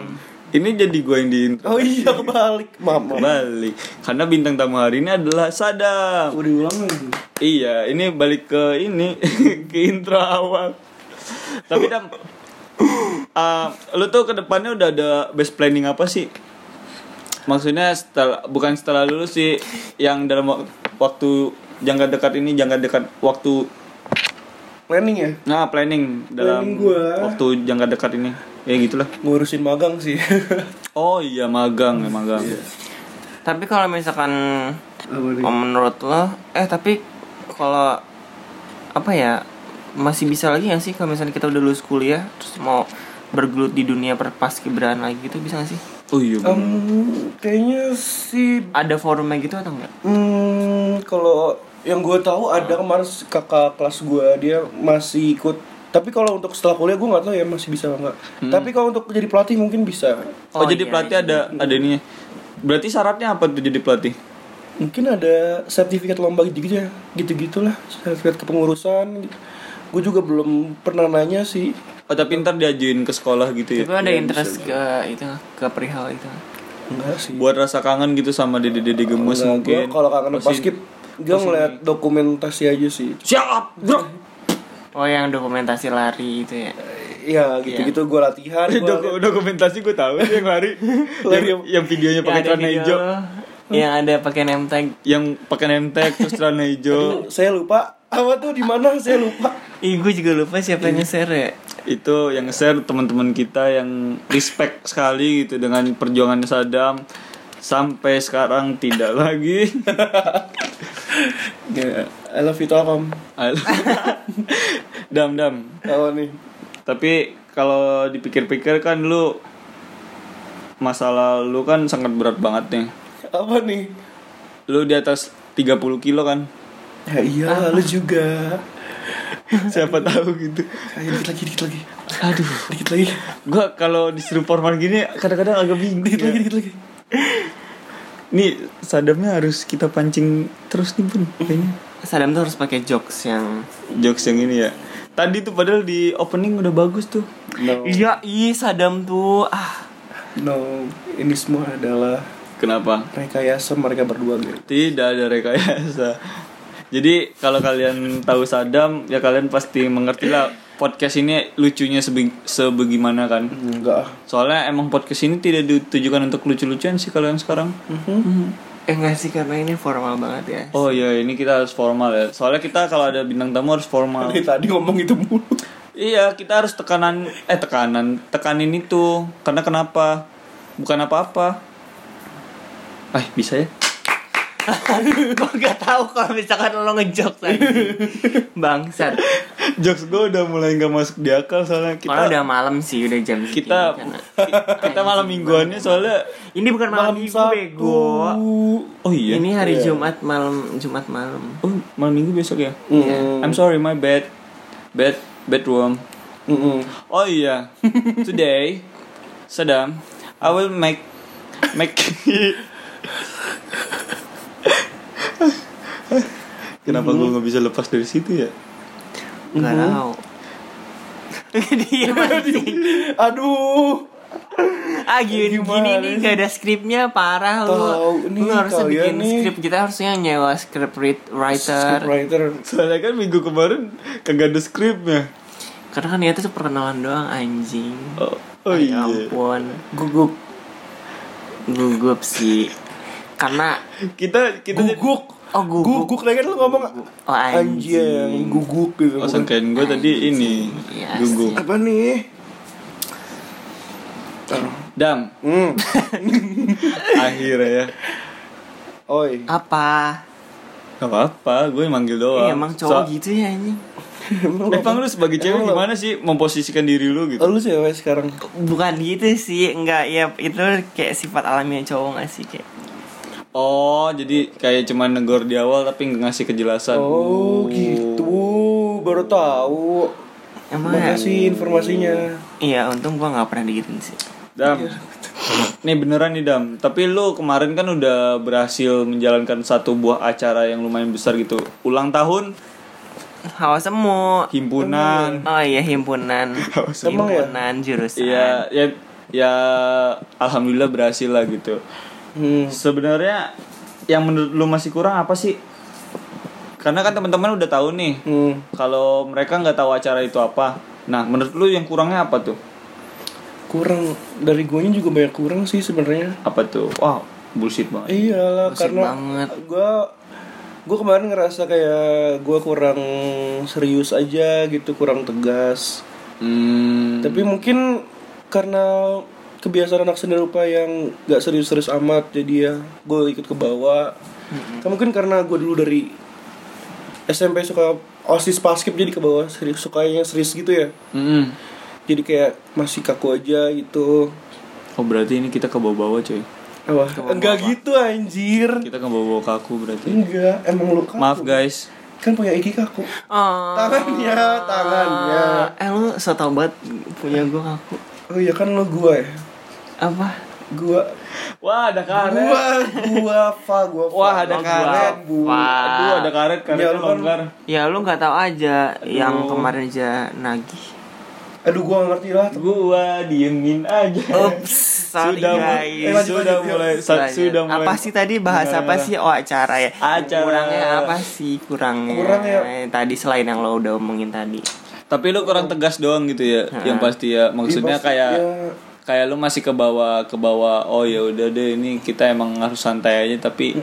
Speaker 2: ini jadi gua yang di
Speaker 3: Oh iya kebalik.
Speaker 2: *laughs*
Speaker 3: Mama.
Speaker 2: kembali karena bintang tamu hari ini adalah Sadam
Speaker 3: Udah ulang lagi.
Speaker 2: iya ini balik ke ini *laughs* ke intro awal tapi dam eh, lu tuh kedepannya udah ada best planning apa sih maksudnya setelah bukan setelah lulus sih yang dalam wak- waktu jangka dekat ini jangka dekat waktu
Speaker 3: Planning ya.
Speaker 2: nah planning dalam
Speaker 3: Planning gua.
Speaker 2: waktu jangka dekat ini ya gitulah
Speaker 3: Ngurusin magang sih.
Speaker 2: oh iya magang ya magang
Speaker 3: Iya.
Speaker 4: Tapi kalau misalkan
Speaker 3: Apa nih?
Speaker 4: oh, menurut lo, eh tapi kalau apa ya masih bisa lagi nggak sih kalau misalnya kita udah lulus kuliah terus mau bergelut di dunia perpaskibraan lagi gitu bisa gak sih?
Speaker 2: oh iya bener.
Speaker 3: Em, Hmm, kayaknya sih
Speaker 4: Ada forumnya gitu atau enggak?
Speaker 3: Hmm, kalau yang gue tahu ada kemarin s- kakak kelas gue dia masih ikut. Tapi kalau untuk setelah kuliah gue nggak tahu ya masih bisa apa nggak.
Speaker 2: Hmm.
Speaker 3: Tapi kalau untuk jadi pelatih mungkin bisa.
Speaker 2: Oh,
Speaker 4: Oh,
Speaker 2: jadi
Speaker 4: iya,
Speaker 2: pelatih ada ada ininya. Berarti syaratnya apa tuh jadi pelatih?
Speaker 3: Mungkin ada sertifikat lomba gitu gitu ya, gitu gitulah. Sertifikat kepengurusan. Gitu. Gue juga belum pernah nanya sih.
Speaker 2: Oh tapi ntar diajuin ke sekolah gitu ya.
Speaker 4: Tapi ada interest ke itu ke perihal itu.
Speaker 3: Enggak sih.
Speaker 2: Buat rasa kangen gitu sama dede-dede
Speaker 3: Enggak,
Speaker 2: gemes
Speaker 3: gue
Speaker 2: mungkin.
Speaker 3: kalau kangen
Speaker 2: Pasti-
Speaker 3: basket gue ngeliat dokumentasi aja sih.
Speaker 2: Siap, bro.
Speaker 4: Oh yang dokumentasi lari itu ya.
Speaker 3: Ya gitu-gitu gue latihan.
Speaker 2: *laughs*
Speaker 3: gua-
Speaker 2: Dok- dokumentasi gue tahu sih yang
Speaker 3: *laughs*
Speaker 2: lari. yang, yang videonya pakai
Speaker 4: Yang Iya, ada
Speaker 2: celana
Speaker 4: video
Speaker 2: hijau,
Speaker 4: lo, Yang ada pakai name tag.
Speaker 2: yang pakai name tag terus celana hijau.
Speaker 3: saya lupa. Apa tuh di mana? Saya lupa.
Speaker 4: Ih gue juga lupa
Speaker 2: Iya.
Speaker 4: siapa yang nge-share ya.
Speaker 2: itu yang share teman-teman kita yang respect sekali gitu dengan perjuangan Sadam sampai sekarang tidak *laughs* lagi
Speaker 3: Ya, I love you Telkom.
Speaker 2: dam dam
Speaker 3: Tahu nih.
Speaker 2: Tapi kalau dipikir-pikir kan lu masalah lu kan sangat berat banget nih.
Speaker 3: Apa nih?
Speaker 2: Lu di atas 30 kilo kan. *laughs*
Speaker 3: Ya iya, lu juga.
Speaker 2: Siapa tahu gitu.
Speaker 3: Ayo dikit lagi, dikit lagi.
Speaker 2: Aduh,
Speaker 3: Dikit lagi,
Speaker 2: gua kalau disuruh formal gini kadang-kadang agak bingung.
Speaker 3: dikit
Speaker 4: Iya.
Speaker 3: lagi, dikit lagi.
Speaker 2: Nih, sadamnya harus kita pancing terus nih, Bun. Kayaknya
Speaker 4: Sadam tuh harus pakai jokes yang
Speaker 2: jokes yang ini ya. Tadi tuh padahal di opening udah bagus tuh.
Speaker 3: No.
Speaker 4: Iya, ih Sadam tuh ah
Speaker 3: No, ini semua adalah
Speaker 2: Kenapa?
Speaker 3: rekayasa mereka berdua, guys.
Speaker 2: Tidak ada rekayasa. Jadi kalau kalian tahu Sadam, ya kalian pasti mengerti lah podcast ini lucunya sebe- sebagaimana kan.
Speaker 3: Enggak. ah.
Speaker 2: Soalnya emang podcast ini tidak ditujukan untuk lucu-lucuan sih kalau yang sekarang.
Speaker 4: eh enggak sih karena ini formal banget ya.
Speaker 2: Oh iya, ini kita harus formal ya. Soalnya kita kalau ada bintang tamu harus
Speaker 4: Oh.
Speaker 2: formal.
Speaker 3: Dari tadi ngomong itu mulu.
Speaker 2: iya, kita harus tekanan eh tekanan, tekanin itu. Karena kenapa? Bukan apa-apa. Ah, bisa ya?
Speaker 4: *laughs* gue gak tahu kalau misalkan lo ngejokes lagi. Bangsat.
Speaker 2: Jokes gue udah mulai nggak masuk di akal soalnya kita
Speaker 4: Malah udah malam sih, udah jam segini
Speaker 2: kita
Speaker 4: karena-
Speaker 2: *laughs* kita malam mingguannya soalnya
Speaker 4: Ini bukan malam, minggu bego.
Speaker 2: oh iya
Speaker 4: Ini hari Jumat malam, Jumat malam.
Speaker 2: oh malam minggu besok ya
Speaker 4: Iya.
Speaker 3: Mm.
Speaker 2: I'm sorry my bed bed bedroom
Speaker 3: Mm-mm.
Speaker 2: oh
Speaker 4: *laughs*
Speaker 2: iya today Saddam I will make make *laughs* kenapa gue nggak bisa lepas dari situ ya
Speaker 4: Gak tahu. *laughs* Dia anjing.
Speaker 3: Aduh.
Speaker 4: Ah gini, gini
Speaker 3: Gimana sih?
Speaker 4: nih gak ada skripnya parah lu.
Speaker 3: Tahu nih
Speaker 4: lu harusnya
Speaker 3: kalian
Speaker 4: bikin
Speaker 3: nih.
Speaker 4: skrip. Kita harusnya nyewa skrip read- writer.
Speaker 3: Scriptwriter.
Speaker 2: Soalnya kan minggu kemarin kagak ada skripnya.
Speaker 4: Karena kan niatnya tuh perkenalan doang anjing.
Speaker 2: Oh, oh iya.
Speaker 4: Ya ampun.
Speaker 3: Gugup.
Speaker 4: Gugup sih. Karena
Speaker 2: Kita kita
Speaker 3: Guguk.
Speaker 4: Oh, guguk.
Speaker 3: Guguk lagi lu ngomong
Speaker 4: Oh, anjing.
Speaker 3: anjing guguk gitu.
Speaker 2: Oh, sangkain gue tadi ini
Speaker 4: Iya
Speaker 2: gugup.
Speaker 3: Apa nih? Taruh.
Speaker 2: Dam,
Speaker 3: Hmm.
Speaker 2: akhirnya ya.
Speaker 3: Oi.
Speaker 4: *laughs* apa?
Speaker 2: Gak apa-apa, gue manggil doang.
Speaker 4: Eh, emang
Speaker 2: So-
Speaker 4: cowok gitu ya anjing.
Speaker 3: Emang
Speaker 2: Emang lu sebagai cewek
Speaker 3: Emang lu-
Speaker 2: gimana sih memposisikan diri lu gitu?
Speaker 3: Oh, lu cewek sekarang.
Speaker 4: Bukan gitu sih, enggak ya itu kayak sifat alamiah cowok gak sih kayak.
Speaker 2: Oh, jadi kayak cuman negor di awal tapi nggak ngasih kejelasan.
Speaker 3: Oh, gitu. Baru tahu.
Speaker 4: Emang ya?
Speaker 3: Makasih informasinya.
Speaker 4: Iya, untung gua nggak pernah digituin sih.
Speaker 2: Dam.
Speaker 4: Iya.
Speaker 2: Nih beneran nih Dam, tapi lu kemarin kan udah berhasil menjalankan satu buah acara yang lumayan besar gitu. Ulang tahun,
Speaker 4: Hawa semu.
Speaker 2: himpunan.
Speaker 4: Oh iya himpunan.
Speaker 2: *laughs* Hawa
Speaker 3: semu ya?
Speaker 4: himpunan jurusan.
Speaker 2: Iya, ya ya alhamdulillah berhasil lah gitu.
Speaker 3: Hmm.
Speaker 2: Sebenarnya yang menurut lu masih kurang apa sih? Karena kan teman-teman udah tahu nih
Speaker 3: Hmm.
Speaker 2: kalau mereka nggak tahu acara itu apa. Nah, menurut lu yang kurangnya apa tuh?
Speaker 3: Kurang dari guanya juga banyak kurang sih sebenarnya.
Speaker 2: Apa tuh? Wah, bullshit banget.
Speaker 3: Iyalah
Speaker 4: Pusing
Speaker 3: karena
Speaker 4: banget.
Speaker 3: gua gua kemarin ngerasa kayak gua kurang serius aja gitu, kurang tegas.
Speaker 2: Hmm.
Speaker 3: Tapi mungkin karena kebiasaan anak seni rupa yang gak serius-serius amat jadi ya gue ikut ke bawah.
Speaker 2: Hmm.
Speaker 3: Kan mungkin karena gue dulu dari SMP suka osis paskip jadi ke bawah serius sukanya serius gitu ya.
Speaker 2: Mm-mm.
Speaker 3: Jadi kayak masih kaku aja gitu.
Speaker 2: Oh, berarti ini kita ke bawah-bawah, coy.
Speaker 3: Apa? Enggak gitu anjir.
Speaker 2: Kita ke bawah-bawah kaku berarti.
Speaker 3: Enggak, emang lu kaku.
Speaker 2: Maaf, guys.
Speaker 3: Kan punya Iki kaku.
Speaker 4: Oh.
Speaker 3: Tangannya, tangannya.
Speaker 4: Eh lu so tau banget punya gua ngaku.
Speaker 3: Oh iya kan lu gua ya.
Speaker 4: Apa?
Speaker 3: Gua
Speaker 2: Wah, ada
Speaker 3: gua gua fa gua fa.
Speaker 2: Wah, ada
Speaker 4: Oh, gua
Speaker 2: karet, Bu.
Speaker 4: apa?
Speaker 2: Aduh, ada karet,
Speaker 3: Ya,
Speaker 2: karetnya
Speaker 3: lu kan-
Speaker 2: longgar.
Speaker 4: Ya lu nggak tahu aja yang
Speaker 2: Aduh.
Speaker 4: kemarin aja nagih.
Speaker 3: Aduh gua nggak ngerti lah.
Speaker 2: Gua diemin aja.
Speaker 4: Ups,
Speaker 2: Eh,
Speaker 4: sorry
Speaker 2: sudah mu-
Speaker 4: guys.
Speaker 2: eh,
Speaker 3: lanjut,
Speaker 2: sudah
Speaker 3: lanjut,
Speaker 2: mulai
Speaker 3: yuk.
Speaker 2: sa-
Speaker 4: Lanjut.
Speaker 2: sudah mulai.
Speaker 4: iya. apa sih tadi bahas apa
Speaker 2: Benar.
Speaker 4: sih oh acara ya
Speaker 2: Acara.
Speaker 4: kurangnya apa sih kurangnya Eh,
Speaker 3: Kurang ya.
Speaker 4: tadi selain yang lo udah omongin tadi
Speaker 2: Tapi lu kurang tegas doang gitu ya. Yang pasti ya maksudnya
Speaker 3: Iya, pasti,
Speaker 2: kayak
Speaker 3: ya.
Speaker 2: kayak lu masih ke bawah ke bawah. Oh ya udah deh ini kita emang harus santai aja tapi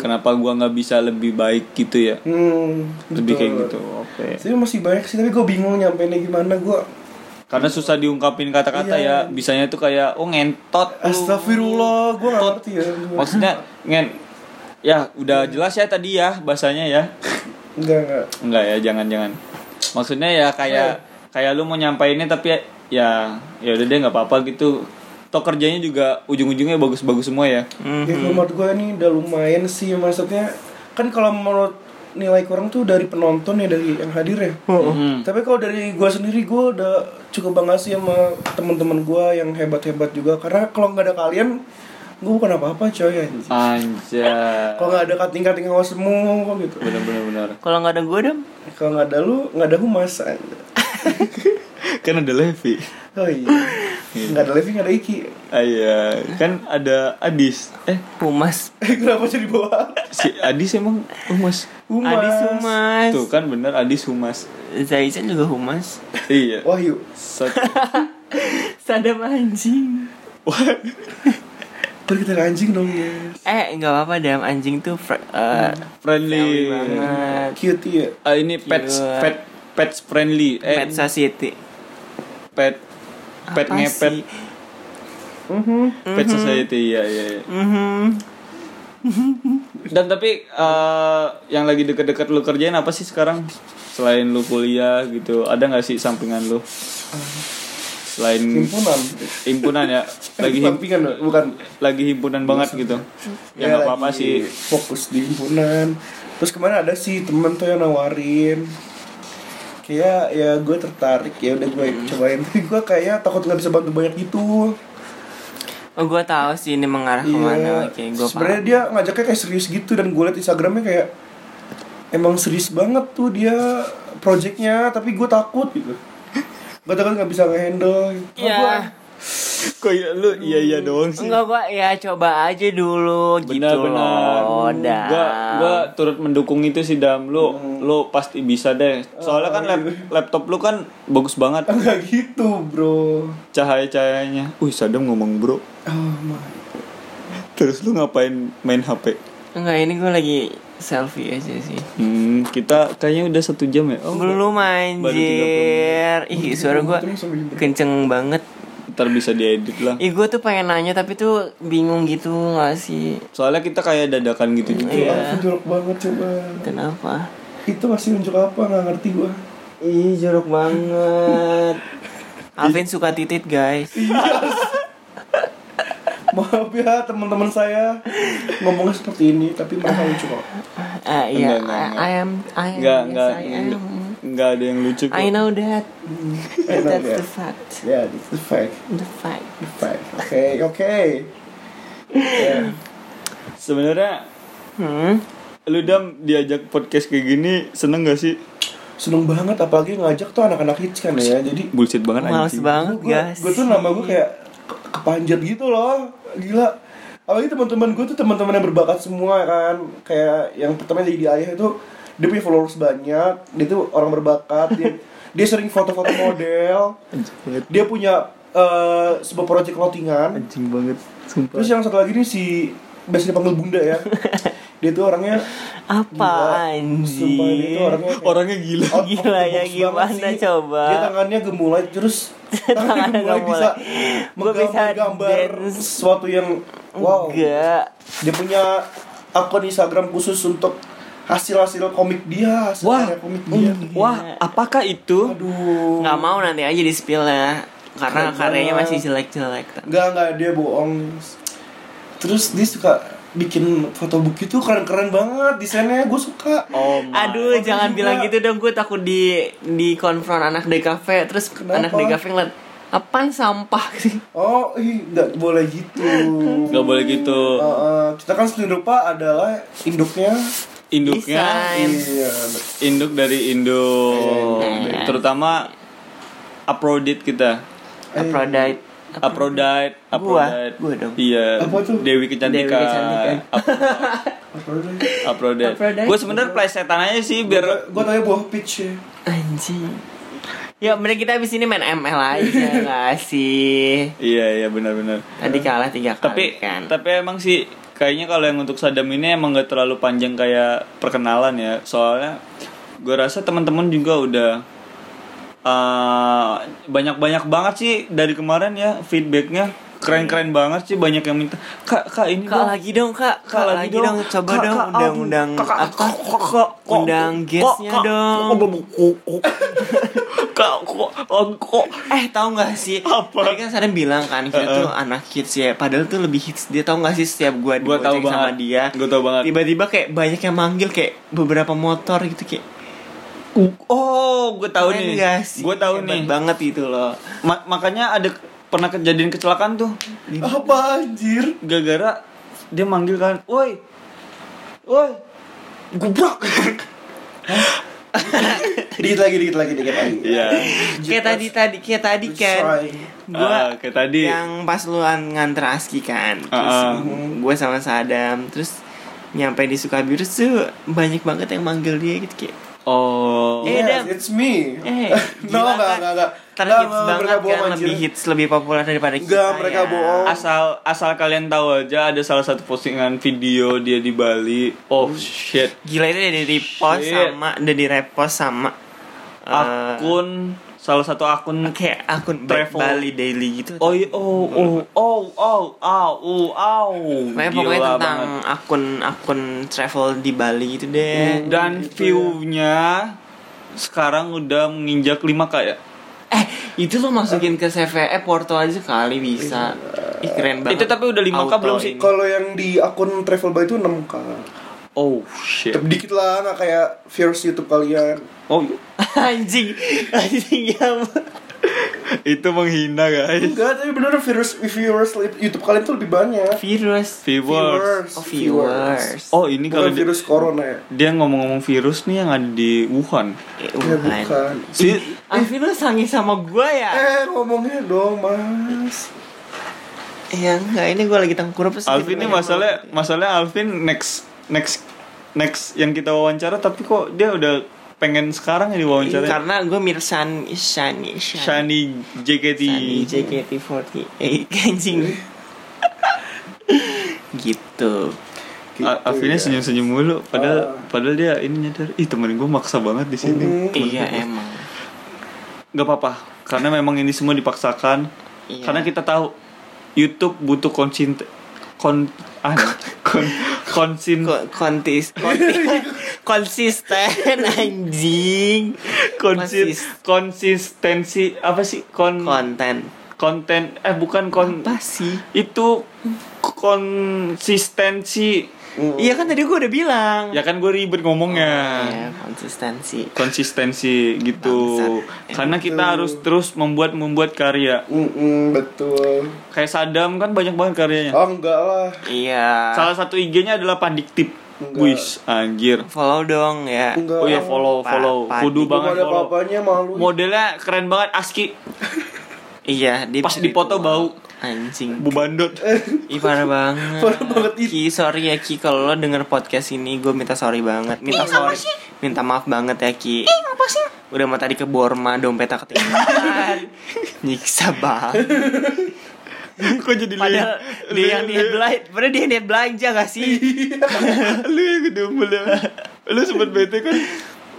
Speaker 2: kenapa gua nggak bisa lebih baik gitu ya?
Speaker 3: Hmm.
Speaker 2: Lebih
Speaker 3: betul.
Speaker 2: kayak gitu. Oke.
Speaker 3: Tapi masih banyak sih, tapi gua bingung nyampeinnya gimana gua.
Speaker 2: Karena susah diungkapin kata-kata
Speaker 3: Iya.
Speaker 2: ya. Bisanya tuh kayak oh ngentot. lu.
Speaker 3: Astagfirullah, gua nggak ngerti ya. Gua.
Speaker 2: Maksudnya ngen ya udah jelas ya tadi ya bahasanya ya.
Speaker 3: Enggak, enggak.
Speaker 2: Enggak ya, jangan-jangan. Maksudnya ya kayak kayak lu mau nyampainnya tapi ya- ya ya udah deh nggak apa-apa gitu. Toh kerjanya juga ujung-ujungnya bagus-bagus semua ya.
Speaker 3: Ya, menurut gua ini udah lumayan sih maksudnya. Kan kalau menurut nilai kurang tuh dari penonton ya dari yang hadir ya.
Speaker 2: Mhm.
Speaker 3: Tapi kalau dari gua sendiri gua udah cukup bangga sih sama teman-teman gua yang hebat-hebat juga karena kalau nggak ada kalian gua bukan apa-apa coy anjing.
Speaker 2: Anjay.
Speaker 3: Kalau nggak ada kating-kating awas semu gitu.
Speaker 2: Bener-bener bener.
Speaker 4: kalau nggak ada gue dong
Speaker 3: Kalau nggak ada lu nggak ada humas. anjing.
Speaker 2: Kan ada Levi.
Speaker 3: Oh iya. Nggak ada Levi nggak ada Iki. *laughs*
Speaker 2: Iya, kan ada Adis. Eh,
Speaker 4: humas
Speaker 3: Kenapa jadi bawa?
Speaker 2: si Adis emang humas.
Speaker 3: Humas.
Speaker 4: Adis humas
Speaker 2: Tuh kan bener Adis humas.
Speaker 4: Zaizan juga
Speaker 2: *laughs*
Speaker 4: humas
Speaker 2: Iya.
Speaker 3: Wahyu.
Speaker 2: Sat-
Speaker 4: sadam anjing
Speaker 2: Wah.
Speaker 3: Berarti anjing dong ya.
Speaker 4: eh nggak apa-apa dam anjing tuh fr- eh,
Speaker 2: Hmm. friendly.
Speaker 4: banget
Speaker 3: Cute ya.
Speaker 2: Ah, ini pets
Speaker 4: Gila.
Speaker 2: pet pets friendly. Eh,
Speaker 4: pet society
Speaker 2: pet pet
Speaker 4: Apa
Speaker 2: ngepet.
Speaker 4: sih? Mm-hmm.
Speaker 2: Pet society iya iya. iya.
Speaker 4: Mhm. Mm-hmm.
Speaker 2: Dan tapi eh, yang lagi deket-deket lu kerjain apa sih sekarang? Selain lu kuliah gitu, ada nggak sih sampingan lu? Selain
Speaker 3: Himpunan.
Speaker 2: himpunan ya, lagi him-
Speaker 3: Sampingan, bukan.
Speaker 2: lagi himpunan banget gitu. Ya nggak apa-apa
Speaker 3: lagi
Speaker 2: sih.
Speaker 3: Fokus di himpunan. Terus kemarin ada sih temen tuh yang nawarin. Kayak ya gue tertarik ya udah gue
Speaker 2: Hmm.
Speaker 3: cobain. Tapi gue kayak takut nggak bisa bantu banyak gitu.
Speaker 4: oh gue tahu sih ini mengarah Ah, kemana
Speaker 3: Iya.
Speaker 4: oke gue
Speaker 3: Sebenarnya dia ngajaknya kayak serius gitu dan gue liat Instagramnya kayak emang serius banget tuh dia projectnya tapi gue takut gitu. gue takut nggak bisa ngehandle
Speaker 4: Iya.
Speaker 2: Kok iya lu iya iya doang sih.
Speaker 4: Enggak gua ya coba aja dulu gitu
Speaker 2: Benar-benar.
Speaker 4: loh. Dah.
Speaker 2: Hmm, Gua gua turut mendukung itu sih Dam. Lu
Speaker 4: Hmm.
Speaker 2: lu pasti bisa deh. Soalnya kan
Speaker 4: Oh,
Speaker 2: lap-
Speaker 4: iya.
Speaker 2: laptop lu kan bagus banget
Speaker 3: nggak gitu bro
Speaker 2: cahaya-cahayanya. Wih, Sadam ngomong,
Speaker 3: oh
Speaker 2: Bro.
Speaker 3: my
Speaker 2: Terus lu ngapain main HP?
Speaker 4: Enggak ini gua lagi selfie aja sih.
Speaker 2: Hmm, kita kayaknya udah satu jam ya. Oh,
Speaker 4: Belum
Speaker 2: Baru 30
Speaker 4: anjir. Ih, suara gua
Speaker 3: Untung sampai jam-
Speaker 4: kenceng banget.
Speaker 2: ntar bisa diedit lah.
Speaker 4: Ih, gua tuh pengen nanya tapi tuh bingung gitu gak sih?
Speaker 2: Soalnya kita kayak dadakan gitu juga.
Speaker 3: Jorok,
Speaker 4: Iya.
Speaker 3: jorok banget coba
Speaker 4: Kenapa?
Speaker 3: itu masih unjuk apa nggak ngerti gue
Speaker 4: Ih, jorok banget. *laughs* Alvin suka titit, guys.
Speaker 3: *laughs* maaf ya teman-teman saya ngomongnya seperti ini tapi mereka lucu kok
Speaker 4: Ah, iya.
Speaker 2: Enggak, enggak,
Speaker 4: I, I am I am.
Speaker 2: Enggak,
Speaker 4: yes,
Speaker 2: enggak,
Speaker 4: I
Speaker 2: enggak,
Speaker 4: am.
Speaker 2: enggak ada yang lucu kok.
Speaker 4: I know that.
Speaker 3: I know
Speaker 4: That's
Speaker 3: that.
Speaker 4: the fact.
Speaker 3: ya it's the fact
Speaker 4: The fact.
Speaker 3: the fact oke oke Ya.
Speaker 2: Sebenarnya
Speaker 4: Hmm.
Speaker 2: lu Dam diajak podcast kayak gini seneng gak sih?
Speaker 3: seneng banget apalagi ngajak tuh anak-anak hits kan ya jadi
Speaker 2: Bullshit banget
Speaker 4: Males
Speaker 2: anjing.
Speaker 4: banget, guys.
Speaker 3: gue tuh nama gue kayak ke- kepanjat gitu loh gila apalagi teman-teman gue tuh teman-teman yang berbakat semua kan kayak yang pertama jadi ayah itu dia punya followers banyak dia tuh orang berbakat
Speaker 2: *laughs*
Speaker 3: dia, dia sering foto-foto model
Speaker 2: Anjing banget.
Speaker 3: dia punya eh, sebuah proyek clothingan
Speaker 2: Anjing banget. Sumpah.
Speaker 3: terus yang satu lagi nih si biasanya dipanggil bunda
Speaker 2: *laughs*
Speaker 3: ya dia tuh orangnya
Speaker 4: Apa
Speaker 3: Gila. Sumpah, dia tuh
Speaker 4: anjir?
Speaker 3: orangnya kayak-
Speaker 2: Orangnya gila.
Speaker 3: out of the
Speaker 4: Gila,
Speaker 3: box
Speaker 4: ya
Speaker 3: banget
Speaker 4: gimana
Speaker 3: sih.
Speaker 4: coba?
Speaker 3: Dia tangannya gemulai terus tangannya
Speaker 4: *laughs* Tangannya
Speaker 3: gemulai bisa
Speaker 4: gemulai. Gua bisa
Speaker 3: menggambar
Speaker 4: dance.
Speaker 3: sesuatu yang wow.
Speaker 4: Enggak.
Speaker 3: Dia punya akun Instagram khusus untuk hasil-hasil komik dia, hasil
Speaker 2: Wah.
Speaker 3: karya komik dia.
Speaker 4: um,
Speaker 2: Wah, apakah itu?
Speaker 3: Aduh.
Speaker 4: Enggak mau nanti aja di spill ya. Karena
Speaker 3: Keren
Speaker 4: karyanya
Speaker 3: banget.
Speaker 4: masih jelek-jelek.
Speaker 3: Enggak, enggak dia bohong. Terus dia suka bikin fotobook itu keren-keren banget desainnya gue suka
Speaker 2: Oh, my.
Speaker 4: Aduh,
Speaker 3: Makanya
Speaker 4: jangan
Speaker 3: juga-
Speaker 4: bilang gitu dong. Gue takut di di konfront anak DKV terus
Speaker 3: Kenapa?
Speaker 4: anak DKV ngeliat apaan sampah sih.
Speaker 3: oh ih nggak boleh gitu
Speaker 2: Gak boleh gitu.
Speaker 3: Uh,
Speaker 4: Oh.
Speaker 3: uh, kita kan seni rupa adalah induknya
Speaker 2: Induknya
Speaker 4: Desain.
Speaker 3: iya
Speaker 2: induk dari induk.
Speaker 4: Eh.
Speaker 2: Terutama Aphrodite kita.
Speaker 4: Eh. Aphrodite.
Speaker 2: Aphrodite,
Speaker 4: Gua,
Speaker 2: Aphrodite.
Speaker 4: gua dong.
Speaker 2: Iya.
Speaker 3: Apa tuh?
Speaker 2: Dewi kecantikan.
Speaker 4: Dewi kecantikan.
Speaker 2: Aphrodite. Aphrodite.
Speaker 4: *laughs* Aphrodite.
Speaker 2: Gue sebenernya plesetan aja sih
Speaker 3: gue
Speaker 2: biar
Speaker 3: Eh, tanya buah peach ya
Speaker 4: Anjing. Ya bener kita abis ini main ML aja gak sih
Speaker 2: Iya iya benar-benar.
Speaker 4: Tadi kalah tiga kali
Speaker 2: Tapi
Speaker 4: kan
Speaker 2: tapi emang sih kayaknya kalau yang untuk Sadam ini emang gak terlalu panjang kayak perkenalan ya. Soalnya gue rasa teman-teman juga udah eh, banyak-banyak banget sih dari kemarin ya feedbacknya
Speaker 4: Iya.
Speaker 2: keren-keren banget sih banyak yang minta kak kak ini
Speaker 4: Kak
Speaker 2: dong.
Speaker 4: lagi dong kak
Speaker 2: Kak lagi dong,
Speaker 4: Coba
Speaker 2: Kak,
Speaker 4: dong
Speaker 2: Kak,
Speaker 4: undang-undang
Speaker 2: Kak, Kak,
Speaker 4: apa
Speaker 2: Kak, Kak, Kak, Kak,
Speaker 4: Undang
Speaker 2: Kak,
Speaker 4: guestnya
Speaker 2: Kak,
Speaker 4: dong
Speaker 2: Kak, kok kok
Speaker 4: Eh tau gak sih
Speaker 2: Apa?
Speaker 4: Tadi kan Sadam bilang kan Kita tuh anak hits ya Padahal tuh lebih hits Dia tau gak sih setiap gua
Speaker 2: gue tahu
Speaker 4: diboceng
Speaker 2: banget
Speaker 4: sama dia
Speaker 2: gue tahu banget
Speaker 4: Tiba-tiba kayak banyak yang manggil Kayak beberapa motor gitu kayak
Speaker 2: oh gue tahu nih gue tahu nih
Speaker 4: banget itu loh
Speaker 2: Ma- makanya ada pernah kejadian kecelakaan tuh
Speaker 3: apa anjir
Speaker 4: *laughs*
Speaker 2: gara-gara dia manggil kan woi woi gubrak
Speaker 3: dikit lagi dikit lagi dikit lagi
Speaker 2: iya
Speaker 4: Kayak tadi tadi Kayak tadi kan
Speaker 2: Ah,
Speaker 4: Gua
Speaker 2: kayak tadi
Speaker 4: yang pas lu an- nganter Aski kan terus
Speaker 2: Ah, ah.
Speaker 4: gue sama Sadam terus nyampe di Sukabirus tuh banyak banget yang manggil dia gitu kayak
Speaker 2: oh
Speaker 4: Eh, Dam.
Speaker 3: Yes, it's me.
Speaker 2: *laughs*
Speaker 4: eh
Speaker 3: *laughs* no, enggak,
Speaker 4: gila kan?
Speaker 3: enggak, enggak.
Speaker 4: karena
Speaker 3: Enggak, mereka
Speaker 4: hits banget kan
Speaker 3: bohong, anjir.
Speaker 4: lebih hits lebih populer daripada kita
Speaker 3: Enggak, mereka
Speaker 4: ya.
Speaker 3: bohong.
Speaker 2: asal asal kalian tahu aja ada salah satu postingan video dia di Bali oh shit
Speaker 4: gila itu dari repost
Speaker 2: Shit.
Speaker 4: sama dari repost sama eh,
Speaker 2: Iya. Ah. akun salah satu akun
Speaker 4: kayak akun Back
Speaker 2: Travel.
Speaker 4: Bali Daily gitu
Speaker 2: oh iya, oh oh oh oh oh oh oh
Speaker 4: Pokoknya, pokoknya tentang akun-akun travel di Bali
Speaker 2: ya,
Speaker 4: gitu deh
Speaker 2: dan view-nya sekarang udah menginjak 5k ya
Speaker 4: Eh, itu lo masukin ke CV eh Porto aja kali bisa. Ih, keren banget.
Speaker 2: Itu tapi udah 5K belum
Speaker 4: Auto
Speaker 2: sih?
Speaker 4: *laughs* ini.
Speaker 3: Kalau yang di akun travel by itu 6 k.
Speaker 2: oh shit iya.
Speaker 3: Tapi dikit lah, nggak kayak viewers YouTube kalian.
Speaker 2: oh
Speaker 4: Anjing. Anjing ya.
Speaker 2: *laughs* itu menghina guys
Speaker 3: Enggak, tapi bener viewers, viewers YouTube kalian tuh lebih banyak.
Speaker 4: Virus.
Speaker 2: viewers
Speaker 4: Oh, viewers.
Speaker 2: oh ini
Speaker 3: Bukan
Speaker 2: kalau di-
Speaker 3: virus corona ya.
Speaker 2: dia ngomong-ngomong virus nih yang ada di Wuhan
Speaker 4: Eh,
Speaker 2: Iya,
Speaker 3: Ya
Speaker 4: Wuhan.
Speaker 3: bukan.
Speaker 2: si
Speaker 4: Alvin lu sangi sama gua ya?
Speaker 3: Eh, ngomongnya dong, Mas.
Speaker 4: Ya enggak, ini gua lagi tengkurap terus
Speaker 2: Alvin ini
Speaker 4: tiba-tiba
Speaker 2: masalah masalah Alvin next next next yang kita wawancara tapi kok dia udah pengen sekarang yang
Speaker 4: ngomong.
Speaker 2: diwawancara
Speaker 4: Iya, Karena gua mirip Shani Shani Shani
Speaker 2: Shani JKT
Speaker 4: Shani JKT48 Kencing Gitu
Speaker 3: Gitu
Speaker 2: A- Alvinnya
Speaker 3: ya.
Speaker 2: senyum-senyum mulu
Speaker 3: Ah.
Speaker 2: padahal padahal dia ini nyadar ih temen gue maksa banget di sini
Speaker 3: Mm-mm.
Speaker 2: Temen
Speaker 4: Iya
Speaker 2: gua-
Speaker 4: emang
Speaker 2: nggak apa-apa karena memang ini semua dipaksakan
Speaker 4: Iya.
Speaker 2: karena kita tahu YouTube butuh konsin kon
Speaker 4: *laughs*
Speaker 2: ah, kon konsin
Speaker 4: Ko- kontis
Speaker 2: *laughs*
Speaker 4: konti- konsisten anjing
Speaker 2: konsin
Speaker 4: konsis-
Speaker 2: konsistensi apa sih kon
Speaker 4: konten
Speaker 2: konten eh bukan kon
Speaker 4: apa sih
Speaker 2: itu konsistensi
Speaker 3: Mm.
Speaker 4: iya kan tadi gua udah bilang
Speaker 2: Oh. ya kan gue ribet ngomongnya
Speaker 4: Iya, konsistensi
Speaker 2: konsistensi gitu
Speaker 4: Bangsat.
Speaker 2: karena kita harus terus membuat membuat karya
Speaker 3: Mm-mm, betul.
Speaker 2: kayak Sadam kan banyak banget karyanya
Speaker 3: Oh, enggak lah.
Speaker 4: iya
Speaker 2: salah satu IG-nya adalah Pandiktip
Speaker 3: Enggak.
Speaker 2: Wis anjir
Speaker 4: follow dong ya
Speaker 3: Enggak.
Speaker 2: oh ya follow
Speaker 4: Pa-
Speaker 2: follow
Speaker 4: Pandik.
Speaker 2: kudu
Speaker 3: Belum
Speaker 2: banget
Speaker 3: ada
Speaker 2: follow
Speaker 3: apa-apanya malu.
Speaker 2: modelnya keren banget ASCII
Speaker 4: Iya, di
Speaker 2: Pas dipoto bau.
Speaker 4: Anjing.
Speaker 2: bu bandot
Speaker 4: *laughs* Ih parah banget.
Speaker 3: Parah banget itu.
Speaker 4: Ki, sorry ya Ki kalau lo denger podcast ini gue minta sorry banget. Minta sorry. Minta maaf banget ya Ki. Udah mau tadi ke Borma dompetnya ketinggalan. Nyiksa banget.
Speaker 2: kok jadi lu
Speaker 4: Padahal dia yang niat belanja, padahal dia yang niat belanja gak sih?
Speaker 2: lu yang kedumel ya lu sempet bete kan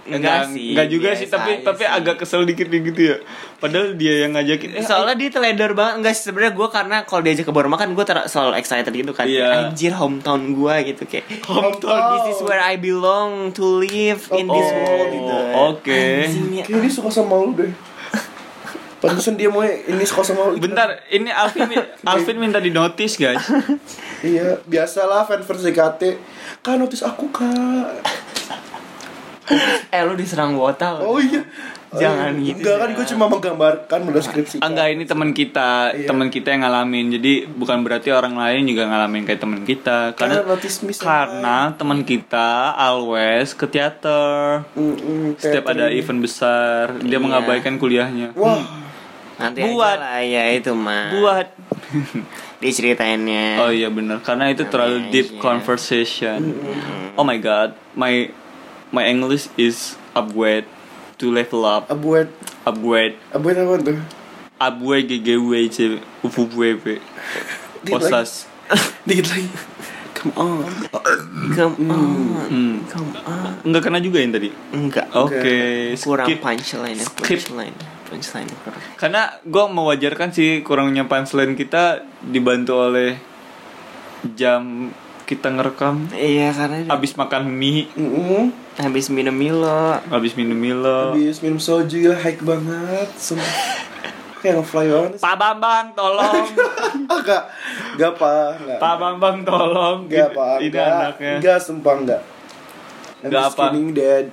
Speaker 4: Enggak sih,
Speaker 2: enggak juga sih
Speaker 4: biasa
Speaker 2: tapi
Speaker 4: aja
Speaker 2: tapi
Speaker 4: sih.
Speaker 2: agak kesel dikit gitu ya padahal dia yang ngajakin eh,
Speaker 4: Soalnya dia teledor banget Enggak sih sebenernya gue karena kalau diajak ke Borma kan gue ter- selalu excited gitu kan
Speaker 2: Iya.
Speaker 4: Anjir hometown gue gitu kayak
Speaker 2: hometown
Speaker 4: This is where I belong to live in this
Speaker 3: Oh,
Speaker 4: world gitu
Speaker 2: oke.
Speaker 4: Anjing ya.
Speaker 3: Kayaknya dia suka sama lu deh. Pantesan dia mau ini suka sama lu.
Speaker 2: bentar ini Alvin Alvin minta di notice guys
Speaker 3: Iya, biasalah fan fans DKT. Kak notice aku, Kak.
Speaker 4: *laughs* Eh lu diserang wota
Speaker 3: Oh
Speaker 4: lu.
Speaker 3: iya.
Speaker 4: Jangan
Speaker 3: Oh,
Speaker 4: gitu,
Speaker 3: Enggak kan
Speaker 4: ya.
Speaker 3: gue cuma menggambarkan mendeskripsikan.
Speaker 2: Ah, enggak ini teman kita
Speaker 3: Iya.
Speaker 2: teman kita yang ngalamin jadi bukan berarti orang lain juga ngalamin kayak teman kita karena
Speaker 3: Karena notice miss
Speaker 2: karena teman kita always ke teater
Speaker 3: Mm-mm,
Speaker 2: setiap
Speaker 3: teater
Speaker 2: ada
Speaker 3: ini.
Speaker 2: event besar dia
Speaker 4: Iya.
Speaker 2: mengabaikan kuliahnya
Speaker 3: Wah,
Speaker 4: Nanti
Speaker 2: Buat.
Speaker 4: Buat. aja lah ya itu mah.
Speaker 2: buat
Speaker 4: Diceritainnya.
Speaker 2: oh iya benar karena itu terlalu
Speaker 4: Namanya
Speaker 2: deep
Speaker 4: aja.
Speaker 2: conversation oh my god my my English is upgrade to level up
Speaker 3: abuet,
Speaker 2: upgrade
Speaker 3: abuet apa tuh?
Speaker 2: upgrade ggw
Speaker 3: *laughs*
Speaker 2: upgrade osas
Speaker 3: Dikit lagi. Come on.
Speaker 4: Come on.
Speaker 2: Hmm.
Speaker 4: Come on.
Speaker 2: Enggak kena juga yang tadi.
Speaker 4: Enggak.
Speaker 2: Oke,
Speaker 4: Kurang
Speaker 2: skip.
Speaker 4: punchline
Speaker 2: Skip.
Speaker 4: punchline. Punchline kurang.
Speaker 2: Karena gue mewajarkan sih kurangnya punchline kita dibantu oleh jam kita ngerekam
Speaker 4: Iya karena habis,
Speaker 2: habis makan mie,
Speaker 3: Mm-mm.
Speaker 4: habis minum Milo.
Speaker 2: habis minum Milo.
Speaker 3: Habis minum soju gila high banget. Sumpah. Kayak nge-fly banget.
Speaker 2: Pak Bambang
Speaker 3: *laughs*
Speaker 2: tolong,
Speaker 3: Enggak. Enggak apa, enggak.
Speaker 2: Pak Bambang tolong.
Speaker 3: Enggak apa,
Speaker 2: Ini
Speaker 3: enggak.
Speaker 2: anaknya.
Speaker 3: Enggak sumpah enggak. I'm
Speaker 2: Enggak
Speaker 3: just
Speaker 2: apa.
Speaker 3: kidding, Dad.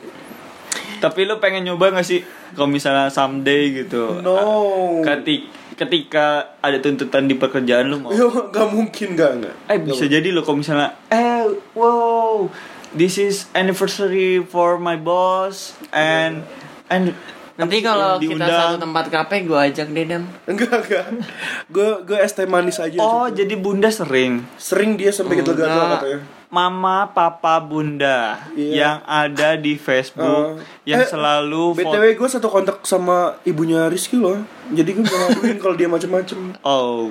Speaker 2: Tapi lu pengen nyoba gak sih kalau misalnya someday gitu?
Speaker 3: No.
Speaker 2: Ketik ketika ada tuntutan di pekerjaan lu mau
Speaker 3: Yo, enggak mungkin enggak enggak.
Speaker 2: Eh bisa jadi loh kalau misalnya Eh wow This is anniversary for my boss And And
Speaker 4: Nanti kalau kita satu
Speaker 2: diundang.
Speaker 4: tempat kafe gue ajak deh Dam.
Speaker 3: Enggak enggak. Gue gue es teh manis aja.
Speaker 2: Oh nah.
Speaker 3: cukup.
Speaker 2: jadi bunda sering
Speaker 3: sering dia sampai gitu gagal
Speaker 4: Enggak.
Speaker 3: katanya.
Speaker 2: Mama papa bunda
Speaker 3: Iya.
Speaker 2: Yang ada di Facebook
Speaker 3: Eh,
Speaker 2: Yang
Speaker 3: eh,
Speaker 2: selalu
Speaker 3: BTW gue satu kontak sama ibunya Rizky loh. Jadi gue bisa ngakuin kalau dia macem-macem.
Speaker 2: Oh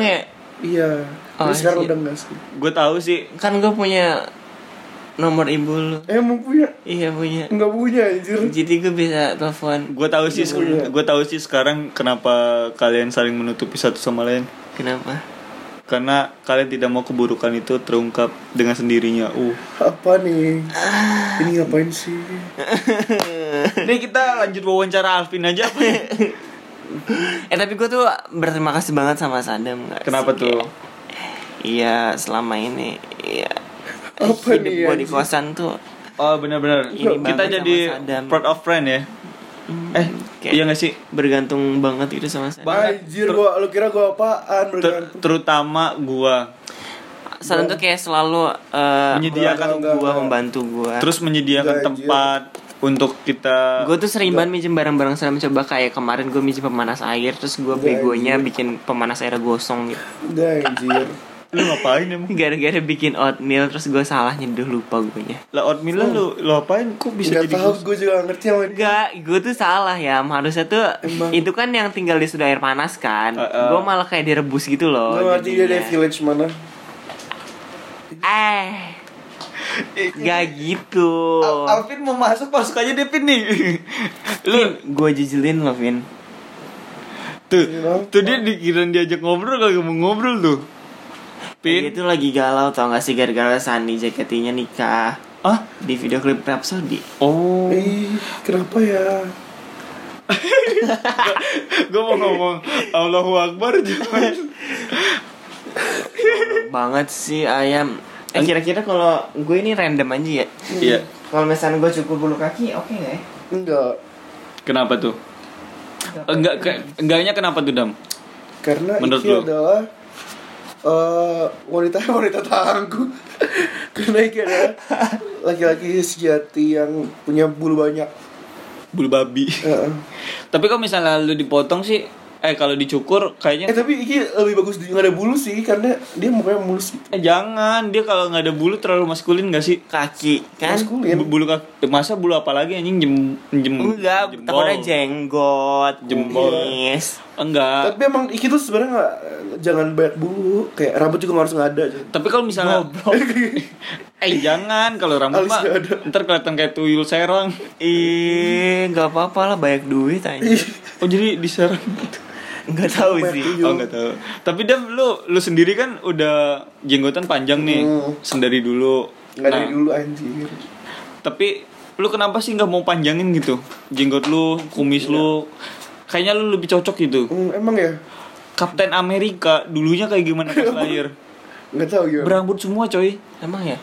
Speaker 2: Emang
Speaker 4: ya
Speaker 3: Iya.
Speaker 2: Ah,
Speaker 4: Oh,
Speaker 3: Tapi sekarang
Speaker 4: iya.
Speaker 3: udah enggak sih.
Speaker 2: Gue tahu sih
Speaker 4: kan gue punya nomor ibu lu.
Speaker 3: Eh mau punya?
Speaker 4: Iya punya.
Speaker 3: Enggak punya anjir.
Speaker 4: Jadi gue bisa telepon.
Speaker 2: Gue tahu sih
Speaker 3: Iya.
Speaker 2: Gue tahu sih sekarang Kenapa kalian saling menutupi satu sama lain
Speaker 4: Kenapa?
Speaker 2: Karena kalian tidak mau keburukan itu terungkap dengan sendirinya Uh
Speaker 3: Apa nih? Ini ngapain sih?
Speaker 2: Nih kita lanjut wawancara Alvin aja apa ya?
Speaker 4: Eh tapi gue tuh berterima kasih banget sama Sadam nggak sih?
Speaker 2: *laughs* Kenapa tuh?
Speaker 4: Iya selama ini Iya
Speaker 3: Apa
Speaker 4: Hidup
Speaker 3: nih,
Speaker 4: gue di
Speaker 3: anjing?
Speaker 4: kosan tuh
Speaker 2: Oh benar-benar kita
Speaker 4: Ini banget sama
Speaker 2: jadi
Speaker 4: Sadam.
Speaker 2: proud of friend ya. Eh
Speaker 4: kayak
Speaker 2: Iya gak sih?
Speaker 4: bergantung banget gitu sama Sanento
Speaker 3: Banjir gua, lu kira gua apaan
Speaker 2: Ter-
Speaker 3: bergantung?
Speaker 2: terutama gua
Speaker 4: Sanento kayak selalu eh,
Speaker 2: menyediakan
Speaker 3: Enggak, enggak,
Speaker 4: gua
Speaker 3: enggak.
Speaker 4: membantu gua
Speaker 2: terus eh, menyediakan
Speaker 3: Enggak,
Speaker 2: tempat untuk kita
Speaker 4: gue tuh sering banget minjem barang-barang saya mencoba kayak kemarin gue minjem pemanas air terus gue begonya bikin pemanas air gosong gitu *laughs*
Speaker 3: Enggak anjir.
Speaker 2: lu ngapain emang?
Speaker 4: gara-gara bikin oatmeal terus gue salah nyeduh lupa gue nya
Speaker 2: Lah oatmeal lu lu apain kok *laughs* bisa
Speaker 3: Enggak
Speaker 2: jadi
Speaker 3: tahu
Speaker 2: gua- Oh,
Speaker 3: gua juga nggak ngerti sama dia.
Speaker 4: Enggak, gue tuh salah ya. Harusnya tuh
Speaker 3: Emang.
Speaker 4: itu kan yang tinggal di sudut air panas kan.
Speaker 2: Heeh.
Speaker 4: Gue malah kayak direbus gitu loh.
Speaker 3: Gua ngerti dia
Speaker 4: jadinya.
Speaker 3: dari village mana.
Speaker 4: Eh. Gak gitu.
Speaker 2: Al- Alvin mau masuk masuk aja deh Pin nih. lu
Speaker 4: Gue jijilin loh, Vin.
Speaker 2: tuh tuh dia dikira diajak ngobrol kagak mau ngobrol tuh.
Speaker 4: Dia
Speaker 2: Pin.
Speaker 4: Iya, tuh lagi galau tau gak sih gara-gara Sani JKT-nya nikah.
Speaker 2: Ah,
Speaker 4: Di video klip Rhapsody.
Speaker 2: oh. *laughs*
Speaker 3: Ih, kenapa ya?
Speaker 2: Gue mau ngomong Allahu Akbar cuman
Speaker 4: Banget sih ayam. Eh kira-kira kalau gue ini random aja ya.
Speaker 2: Iya.
Speaker 4: Kalau misalnya gue cukur bulu kaki, oke gak ya?
Speaker 3: Enggak.
Speaker 2: Kenapa tuh? Eh, Enggak ke, enggaknya kenapa tuh Dam?
Speaker 3: Karena
Speaker 2: Menurut
Speaker 3: Iki
Speaker 2: lu?
Speaker 3: adalah eh wanita *laughs* wanita tangguh. Karena Iki adalah laki-laki sejati yang punya bulu banyak.
Speaker 2: Bulu babi.
Speaker 3: Heeh.
Speaker 2: Tapi kalau misalnya lu dipotong sih eh kalau
Speaker 3: Eh
Speaker 2: dicukur kayaknya
Speaker 3: tapi Iki lebih bagus di nggak ada bulu sih karena dia mukanya mulus gitu.
Speaker 2: eh, jangan dia kalau nggak ada bulu terlalu maskulin gak sih?
Speaker 4: Kaki kan?
Speaker 3: Mulus kulit.
Speaker 2: Bu- Bulu kaki eh, masa bulu apa lagi anjing jem jem
Speaker 4: Enggak,
Speaker 2: jempol.
Speaker 4: takutnya jenggot,
Speaker 2: Jempol.
Speaker 4: kumis.
Speaker 2: Enggak.
Speaker 3: Tapi emang Iki tuh sebenarnya nggak jangan banyak bulu, kayak rambut juga nggak harus nggak
Speaker 2: *laughs*
Speaker 3: ada.
Speaker 2: Tapi kalau misalnya *laughs* Eh jangan kalau rambut
Speaker 3: Alisnya
Speaker 2: mah
Speaker 3: ada.
Speaker 2: ntar kelihatan kayak tuyul serang.
Speaker 4: Iya. Ih, nggak apa-apa lah banyak duit aja.
Speaker 2: Oh jadi diserang gitu.
Speaker 4: Nggak tahu sih.
Speaker 3: Tuyul.
Speaker 2: Oh enggak tahu. Tapi Dam lu lu sendiri kan udah jenggotan panjang nih
Speaker 3: Hmm.
Speaker 2: sendiri dulu.
Speaker 3: Nggak dari
Speaker 2: Nah,
Speaker 3: dulu anjir.
Speaker 2: Tapi lu kenapa sih nggak mau panjangin gitu? Jenggot lu, kumis lu. Kayaknya lu lebih cocok gitu.
Speaker 3: Hmm, emang ya?
Speaker 2: Kapten Amerika dulunya kayak gimana pas lahir?
Speaker 3: Nggak tahu gimana.
Speaker 2: Berambut semua coy.
Speaker 4: Emang ya?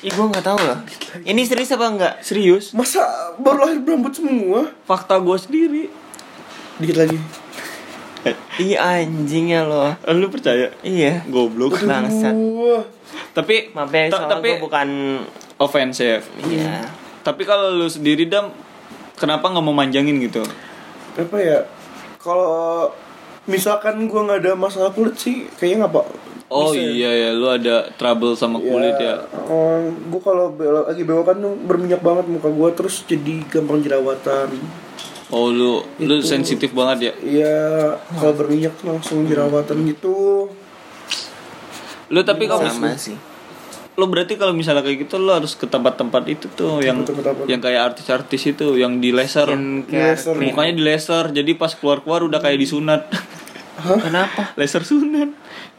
Speaker 4: Ih, gue nggak tahu loh. Ini serius apa enggak?
Speaker 2: Serius,
Speaker 3: Masa baru lahir berambut semua?
Speaker 2: fakta gue sendiri.
Speaker 3: Dikit lagi.
Speaker 4: Iya anjing ya lo.
Speaker 2: Eh, Lu percaya?
Speaker 4: Iya.
Speaker 2: Goblok. Nah,
Speaker 4: Bangsat.
Speaker 3: Wah.
Speaker 2: Tapi
Speaker 4: Maaf ya,
Speaker 2: ta-
Speaker 4: soalnya
Speaker 2: tapi Hmm.
Speaker 4: gua bukan
Speaker 2: offensive.
Speaker 4: Iya.
Speaker 2: Tapi kalau lu sendiri Dam kenapa nggak mau manjangin gitu?
Speaker 3: apa ya kalau misalkan gua nggak ada masalah kulit sih kayaknya nggak pak
Speaker 2: Oh
Speaker 3: Bisa Iya. ya.
Speaker 2: iya ya, lu ada trouble sama kulit ya.
Speaker 3: eh, gua kalau belok- lagi belokan tuh berminyak banget muka gua terus jadi gampang jerawatan
Speaker 2: Oh lu lu
Speaker 3: Itu.
Speaker 2: sensitif banget ya.
Speaker 3: Iya,
Speaker 4: Nah.
Speaker 3: kalau berminyak tuh
Speaker 4: Hmm.
Speaker 3: langsung jerawatan gitu.
Speaker 2: Lu tapi kalau
Speaker 4: sama sih.
Speaker 2: lu berarti kalau misalnya kayak gitu lu harus ke tempat-tempat itu tuh yang
Speaker 3: tempat apa?
Speaker 2: yang kayak artis-artis itu yang di laser.
Speaker 4: Skincare.
Speaker 3: Laser.
Speaker 2: Mukanya di laser. Jadi pas keluar-keluar udah kayak disunat. *laughs*
Speaker 4: Kenapa?
Speaker 2: laser sunat.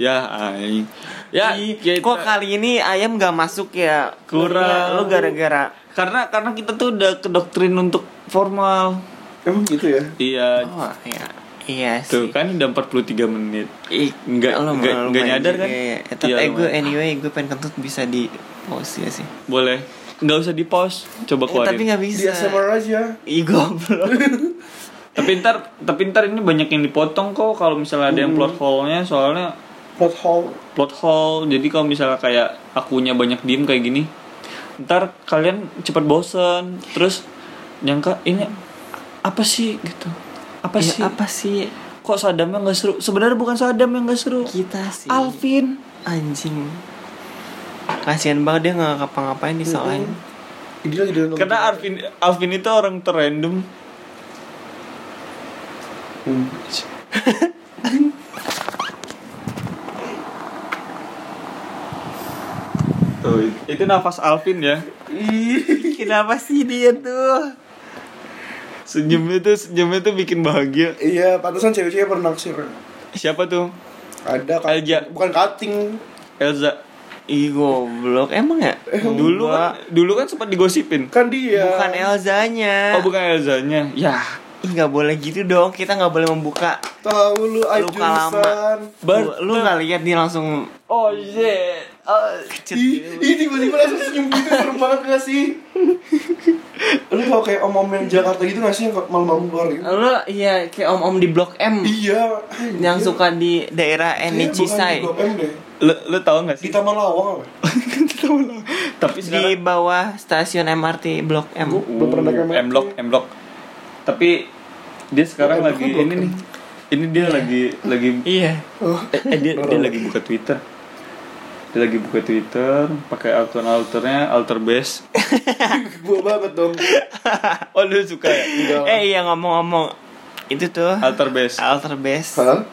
Speaker 2: Ya aing. Ya,
Speaker 4: Ih,
Speaker 2: kita-
Speaker 4: kok kali ini ayam nggak masuk ya?
Speaker 2: Kurang.
Speaker 4: Lo gara-gara
Speaker 2: karena karena kita tuh udah kedoktrin untuk formal.
Speaker 3: Emang gitu ya?
Speaker 2: Iya,
Speaker 4: Oh iya. Iya sih.
Speaker 2: Tuh kan udah 43 menit.
Speaker 4: Ih,
Speaker 2: Nggak-
Speaker 4: lu
Speaker 2: nggak-
Speaker 4: malu
Speaker 2: nggak
Speaker 4: main
Speaker 2: nyadar
Speaker 4: juga
Speaker 2: kan?
Speaker 4: ya. Eh, Tapi
Speaker 2: Iya,
Speaker 4: eh,
Speaker 2: lu
Speaker 4: gue
Speaker 2: main.
Speaker 4: anyway gue pengen kentut bisa di pause ya sih.
Speaker 2: Boleh. Nggak usah di pause. Coba
Speaker 4: Eh,
Speaker 2: keluarin.
Speaker 4: tapi nggak
Speaker 3: Di
Speaker 4: bisa.
Speaker 3: ASMR aja.
Speaker 4: Ih goblok.
Speaker 2: Tapi ntar, tapi ntar ini banyak yang dipotong kok kalau misalnya ada yang plot
Speaker 4: Hmm.
Speaker 2: hole-nya soalnya
Speaker 3: Plot hole.
Speaker 2: plot hole. Jadi kalau misalnya kayak akunya banyak diem kayak gini, ntar kalian cepet bosen. Terus nyangka ini apa sih gitu? *laughs* Apa
Speaker 4: Ya,
Speaker 2: sih?
Speaker 4: apa sih
Speaker 2: Kok Sadamnya nggak seru? Sebenarnya bukan Sadam yang nggak seru.
Speaker 4: kita Gitu sih?
Speaker 2: Alvin.
Speaker 4: Anjing. Kasihan banget dia nggak ngapa-ngapain disalahin.
Speaker 3: Ini lagi dalam *laughs*
Speaker 2: Karena Alvin Alvin itu orang terrandom.
Speaker 3: Hmm.
Speaker 2: Tuh, itu nafas Alvin ya.
Speaker 4: Ih, kenapa sih dia tuh?
Speaker 2: Senyumnya tuh senyumnya tuh bikin bahagia.
Speaker 3: Iya, pantesan cewek-cewek pernah naksir.
Speaker 2: Siapa tuh?
Speaker 3: Ada kan?
Speaker 2: Elja.
Speaker 3: Bukan cutting.
Speaker 2: Elza.
Speaker 4: Ih goblok emang ya?
Speaker 2: dulu kan dulu kan sempat digosipin.
Speaker 3: Kan dia.
Speaker 4: bukan Elzanya.
Speaker 2: Oh bukan Elzanya. Ya,
Speaker 4: Ih nggak boleh gitu dong. Kita nggak boleh membuka.
Speaker 3: Tahu lu
Speaker 4: Luka lama.
Speaker 3: ajurusan.
Speaker 4: Lu- lu nggak lihat dia langsung
Speaker 2: Oh shit.
Speaker 4: oh, kecut
Speaker 3: Ih, ih, tiba-tiba langsung senyum gitu serem banget gak sih? *laughs* Lu tau kayak om-om yang Jakarta gitu gak sih yang malam-malam keluar gitu?
Speaker 4: Lu iya kayak om-om di Blok M
Speaker 3: Iya.
Speaker 4: yang
Speaker 3: anjir.
Speaker 4: suka di daerah
Speaker 3: Kayaknya bukan
Speaker 4: Enicisai
Speaker 3: Di Blok M deh.
Speaker 2: Lu lu tahu enggak
Speaker 3: Di
Speaker 2: sih?
Speaker 3: Taman *laughs* Lawang apa?
Speaker 2: Tahu lah. Tapi
Speaker 4: di
Speaker 2: sekarang Uh,
Speaker 4: bawah stasiun MRT Blok M.
Speaker 3: Belum pernah ke
Speaker 2: M Block, M Block. Tapi dia sekarang
Speaker 3: Oh, M Block
Speaker 2: lagi
Speaker 3: kan Blok
Speaker 2: ini
Speaker 3: M.
Speaker 2: nih. Ini dia lagi lagi
Speaker 4: Iya.
Speaker 2: eh, eh, dia, dia lagi buka Twitter. Dia lagi buka Twitter pakai akun alternya alter base. *laughs*
Speaker 3: Gue banget dong.
Speaker 2: Oh lu suka ya?
Speaker 3: Enggak.
Speaker 4: Eh iya ngomong-ngomong itu tuh
Speaker 2: Alter base.
Speaker 4: alter base
Speaker 3: Hah?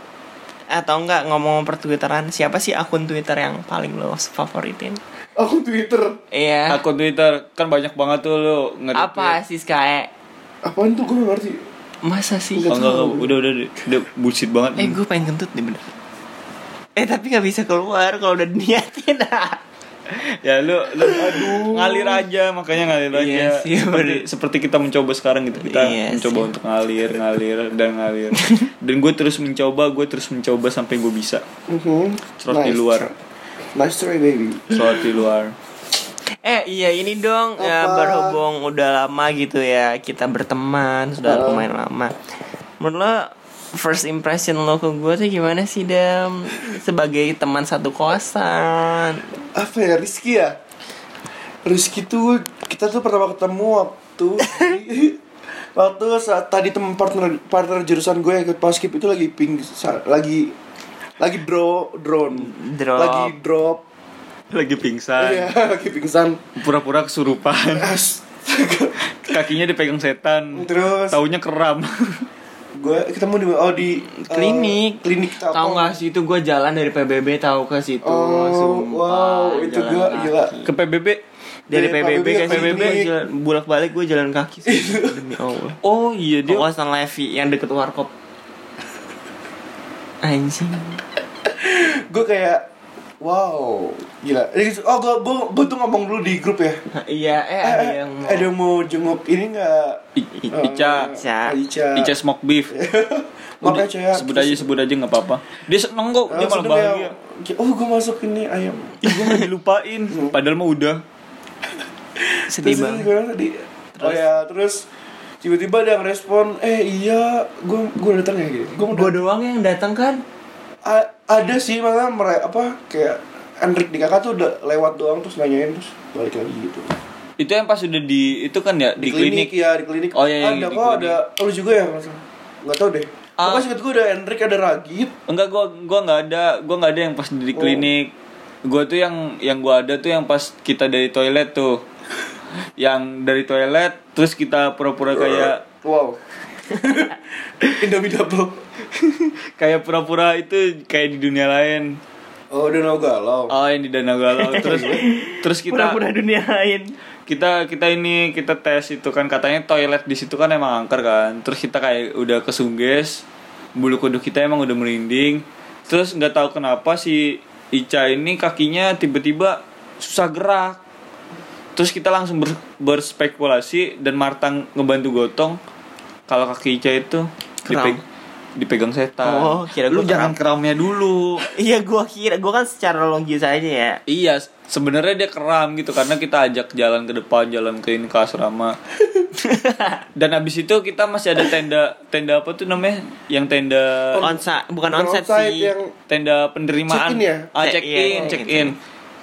Speaker 4: atau enggak ngomong pertwitteran siapa sih akun Twitter yang paling lo favoritin?
Speaker 3: Aku Twitter.
Speaker 4: Iya.
Speaker 2: Akun Twitter kan banyak banget tuh lu ya. nge-retweet.
Speaker 4: Apa sih kayak
Speaker 3: Apaan tuh gue gak ngerti.
Speaker 4: masa sih?
Speaker 2: Oh, enggak, enggak, udah, udah, udah, udah bullshit banget.
Speaker 4: Eh gue pengen kentut nih bener Eh tapi gak bisa keluar kalau udah diniatin *laughs* ah.
Speaker 2: ya lu, lu ngalir aja makanya ngalir aja
Speaker 4: Iya sih,
Speaker 2: seperti,
Speaker 4: bener.
Speaker 2: seperti kita mencoba sekarang gitu kita
Speaker 4: Iya
Speaker 2: mencoba
Speaker 4: sih.
Speaker 2: untuk ngalir ngalir dan ngalir dan gue terus mencoba gue terus mencoba sampai gue bisa Cerot di luar.
Speaker 3: Mhm. Nice try baby.
Speaker 2: sholat di luar
Speaker 4: Eh iya ini dong ya,
Speaker 3: Apa?
Speaker 4: Berhubung udah lama gitu ya Kita berteman Sudah lumayan lama Menurut lo First impression lo ke gue tuh gimana sih Dam? Sebagai teman satu kosan
Speaker 3: Apa ya Rizky ya? Rizky tuh kita tuh pertama ketemu waktu
Speaker 4: *laughs*
Speaker 3: waktu saat tadi teman partner partner jurusan gue yang ikut paskib itu lagi ping sa- lagi lagi draw drone
Speaker 4: Drop. Kan.
Speaker 3: lagi drop
Speaker 2: lagi
Speaker 3: iya *laughs*
Speaker 2: pingsan
Speaker 3: lagi pingsan
Speaker 2: pura-pura kesurupan
Speaker 3: Astaga.
Speaker 2: kakinya dipegang setan
Speaker 3: terus
Speaker 2: taunya keram
Speaker 3: gue ketemu di oh di eh,
Speaker 4: Klinik
Speaker 3: klinik
Speaker 4: Tahu
Speaker 3: Tapang.
Speaker 4: gak sih itu gue jalan dari PBB tahu ke situ
Speaker 3: Oh,
Speaker 4: Sumpah,
Speaker 3: wow, itu
Speaker 4: jalan
Speaker 3: gua
Speaker 4: kaki.
Speaker 3: gila.
Speaker 2: ke PBB
Speaker 4: dari
Speaker 3: Dari
Speaker 4: PBB
Speaker 3: PBB
Speaker 4: ke
Speaker 3: ke
Speaker 4: PBB
Speaker 3: klinik.
Speaker 4: jalan bolak balik gue jalan kaki sih. demi Allah
Speaker 2: oh iya
Speaker 4: dia
Speaker 2: dia
Speaker 4: kawasan Levi yang deket warkop anjing
Speaker 3: gue kayak wow gila Ini- oh gue gue gue tuh ngomong dulu di grup ya
Speaker 4: Nah, iya
Speaker 3: Eh,
Speaker 4: eh ada
Speaker 3: eh,
Speaker 4: yang mau-
Speaker 3: ada yang mau jenguk ini nggak
Speaker 2: I- I- Ica
Speaker 4: Ica.
Speaker 3: Eh, Ica
Speaker 2: Ica smoke beef
Speaker 3: *laughs* Maaf ya, Coy, ya.
Speaker 2: sebut aja sebut aja nggak apa-apa dia seneng kok dia malah
Speaker 3: Langsung dia
Speaker 2: bahagia
Speaker 3: kayak, oh gue masuk ini ayam
Speaker 2: Ih, gue mau dilupain Padahal mah udah
Speaker 4: sedih
Speaker 3: terus
Speaker 4: banget
Speaker 3: gue bilang tadi oh ya terus tiba-tiba ada yang respon eh iya gue gue datang ya gitu gue
Speaker 4: gue doang yang datang kan
Speaker 3: ada sih malah mere- apa kayak Andrik di kakak tuh udah lewat doang terus nanyain terus balik lagi gitu
Speaker 2: Itu yang pas udah di Itu kan ya Di, klinik,
Speaker 3: ya di klinik
Speaker 2: Oh, iya, iya,
Speaker 3: ada
Speaker 2: di
Speaker 3: kok
Speaker 2: klinik.
Speaker 3: ada oh, lu juga ya nggak salah. nggak tau deh
Speaker 2: Ah.
Speaker 3: pokoknya singkat gue ada Hendrik ada Ragib
Speaker 2: Enggak gua gua nggak ada Gua nggak ada yang pas di klinik Gua tuh yang Yang gua ada tuh yang pas Kita dari toilet tuh Yang dari toilet Terus kita pura-pura kayak
Speaker 3: wow Indomie double
Speaker 2: Kayak pura-pura itu Kayak di dunia lain
Speaker 3: oh udah no galau
Speaker 2: Oh yang di Danau Galau *laughs* Terus Terus kita
Speaker 4: pura-pura dunia lain
Speaker 2: kita kita ini kita tes itu kan katanya toilet di situ kan emang angker kan terus kita kayak udah kesungges bulu kuduk kita emang udah merinding terus nggak tahu kenapa si Ica ini kakinya tiba-tiba susah gerak terus kita langsung ber- berspekulasi dan Martang ngebantu gotong kalau kaki Ica itu
Speaker 4: Kram.
Speaker 2: dipe- dipegang setan
Speaker 4: Oh, kira
Speaker 2: lu
Speaker 4: gua
Speaker 2: jangan keramnya dulu
Speaker 4: iya gue kira gue kan secara logis aja ya
Speaker 2: Iya, sebenarnya dia keram gitu karena kita ajak jalan ke depan, jalan ke ini ke
Speaker 4: *laughs*
Speaker 2: asrama. Dan abis itu kita masih ada tenda tenda apa tuh namanya? Yang tenda
Speaker 4: onsa
Speaker 3: Bukan
Speaker 4: bukan onset
Speaker 3: outside Oh,
Speaker 4: sih
Speaker 3: yang
Speaker 2: tenda penerimaan.
Speaker 3: Check-in ya?
Speaker 2: Ah, check
Speaker 4: Iya,
Speaker 2: in,
Speaker 4: iya,
Speaker 2: check
Speaker 4: iya.
Speaker 2: in.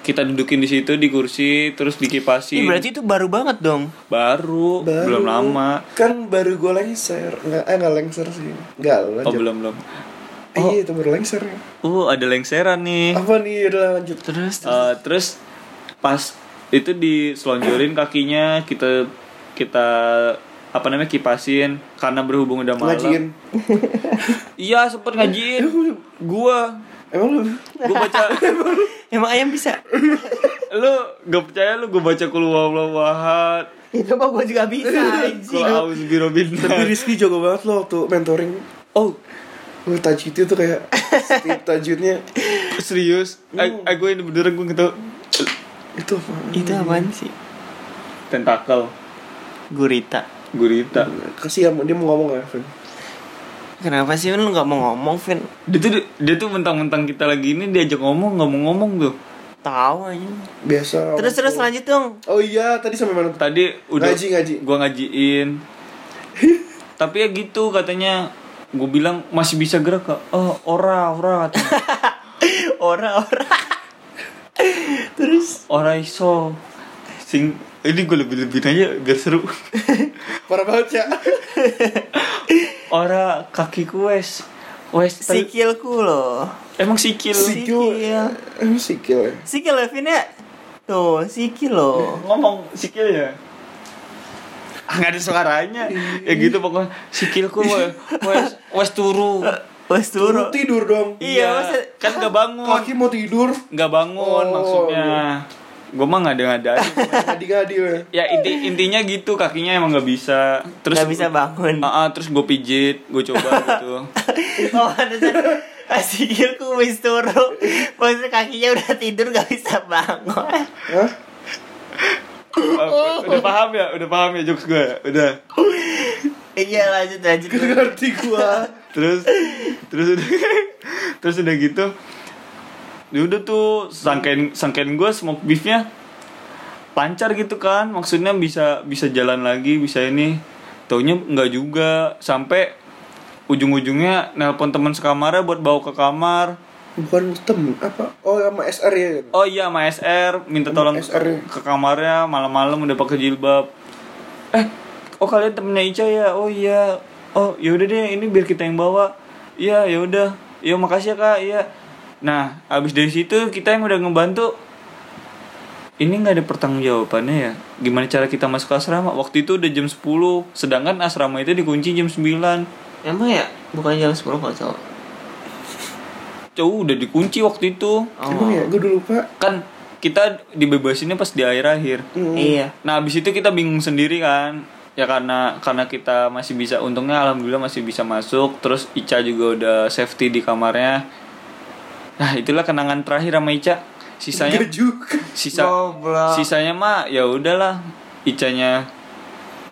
Speaker 2: Kita dudukin di situ di kursi, terus
Speaker 4: Ih,
Speaker 2: dikipasin.
Speaker 4: berarti itu baru banget dong
Speaker 2: baru,
Speaker 3: Baru.
Speaker 2: belum lama.
Speaker 3: kan baru gue lengser nggak eh nggak lengser sih nggak lanjut
Speaker 2: Oh, belum belum.
Speaker 3: iya itu baru lengser ya.
Speaker 2: Uh, ada lengseran nih.
Speaker 3: apa nih udah lanjut
Speaker 4: terus
Speaker 2: Eh, terus pas itu diselonjorin kakinya kita kita apa namanya kipasin karena berhubung udah malam.
Speaker 3: ngajiin
Speaker 2: Iya sempet ngajiin. gua
Speaker 3: emang lu
Speaker 2: gua baca *laughs*
Speaker 4: emang ayam bisa
Speaker 2: lu gak percaya lu gua baca kul huwallahu ahad.
Speaker 4: itu mah gue juga *laughs* bisa
Speaker 2: Kul
Speaker 4: anjing
Speaker 2: auzubillahi
Speaker 3: tapi Rizky jago banget lo waktu mentoring
Speaker 2: Oh,
Speaker 3: Gue tajwidnya tuh kayak Setiap tajwidnya
Speaker 2: serius? Aku gue ini beneran gue gitu
Speaker 3: Itu apa?
Speaker 4: itu apaan sih
Speaker 2: tentakel
Speaker 4: gurita
Speaker 2: gurita.
Speaker 3: Kasih ya, dia mau ngomong ya Vin?
Speaker 4: Kenapa sih Vin? lu nggak mau ngomong Vin?
Speaker 2: Dia tuh dia tuh mentang-mentang kita lagi ini diajak ngomong nggak mau ngomong tuh.
Speaker 4: Tahu aja.
Speaker 3: biasa
Speaker 4: Terus terus lanjut dong.
Speaker 3: oh iya tadi sampai mana
Speaker 2: Tadi udah
Speaker 3: Ngaji, ngaji.
Speaker 2: Gua
Speaker 3: *laughs*
Speaker 2: ngajiin. Tapi ya gitu katanya gue bilang masih bisa gerak gak? Oh, ora, ora
Speaker 3: *laughs*
Speaker 2: katanya.
Speaker 4: Ora ora. terus
Speaker 2: Ora iso. Sing ini gue lebih-lebihin aja biar
Speaker 3: *laughs*
Speaker 2: seru.
Speaker 3: parah banget ya
Speaker 2: Ora kakiku wes wes ter-
Speaker 4: *laughs* sikilku loh.
Speaker 2: emang sikil.
Speaker 3: sikil
Speaker 2: Iya.
Speaker 4: Sikil.
Speaker 3: Emang sikil ya
Speaker 4: Sikil Levin ya. Tuh, sikil loh.
Speaker 2: Ngomong sikil ya. Ah, nggak ada suaranya ya gitu pokoknya sikilku wes wes, wes turu
Speaker 4: Wes
Speaker 3: Turun
Speaker 4: turu.
Speaker 3: tidur dong
Speaker 4: Iya,
Speaker 2: Iya,
Speaker 4: maksud-
Speaker 2: kan gak bangun
Speaker 3: kaki mau tidur
Speaker 2: nggak bangun
Speaker 3: Oh,
Speaker 2: maksudnya gue mah nggak ada ada
Speaker 3: adik-adik ya
Speaker 2: ya inti intinya gitu kakinya emang nggak bisa terus
Speaker 4: Nggak bisa bangun.
Speaker 2: Ah, ah, terus gue pijit gue coba gitu
Speaker 4: *laughs* oh, pantesan. Ah, Sikilku wes turu. Maksudnya kakinya udah tidur gak bisa bangun. *laughs*
Speaker 3: Hah?
Speaker 2: Ah, udah paham ya udah paham ya jokes gue udah
Speaker 4: Iya lanjut lanjut.
Speaker 3: Gak ngerti gua
Speaker 2: terus terus udah *laughs* terus udah gitu ya udah tuh sangkain sangkain gue smoke beefnya lancar gitu kan maksudnya bisa bisa jalan lagi bisa ini taunya nggak juga sampai ujung-ujungnya nelpon teman sekamarnya buat bawa ke kamar
Speaker 3: Bukan temen apa? Oh sama SR ya
Speaker 2: oh iya sama SR minta
Speaker 3: Sama
Speaker 2: tolong
Speaker 3: SR.
Speaker 2: ke kamarnya malam-malam udah pakai jilbab eh oh kalian temennya Ica ya oh iya oh yaudah deh ini biar kita yang bawa iya yaudah iya makasih ya kak iya nah abis dari situ kita yang udah ngebantu ini nggak ada pertanggungjawabannya ya gimana cara kita masuk ke asrama waktu itu udah jam 10 sedangkan asrama itu dikunci jam 9
Speaker 4: Emang ya bukan jam 10 kocok.
Speaker 2: jauh udah dikunci waktu itu
Speaker 3: Emang ya? Gua udah lupa
Speaker 2: kan kita dibebasinnya pas di akhir-akhir
Speaker 4: Iya.
Speaker 2: Nah, abis itu kita bingung sendiri kan. Ya karena karena kita masih bisa untungnya alhamdulillah masih bisa masuk. Terus Ica juga udah safety di kamarnya. Nah, itulah kenangan terakhir sama Ica. Sisanya
Speaker 3: Gak juga
Speaker 2: sisa
Speaker 4: Goblok.
Speaker 2: sisanya mah ya udahlah. Icanya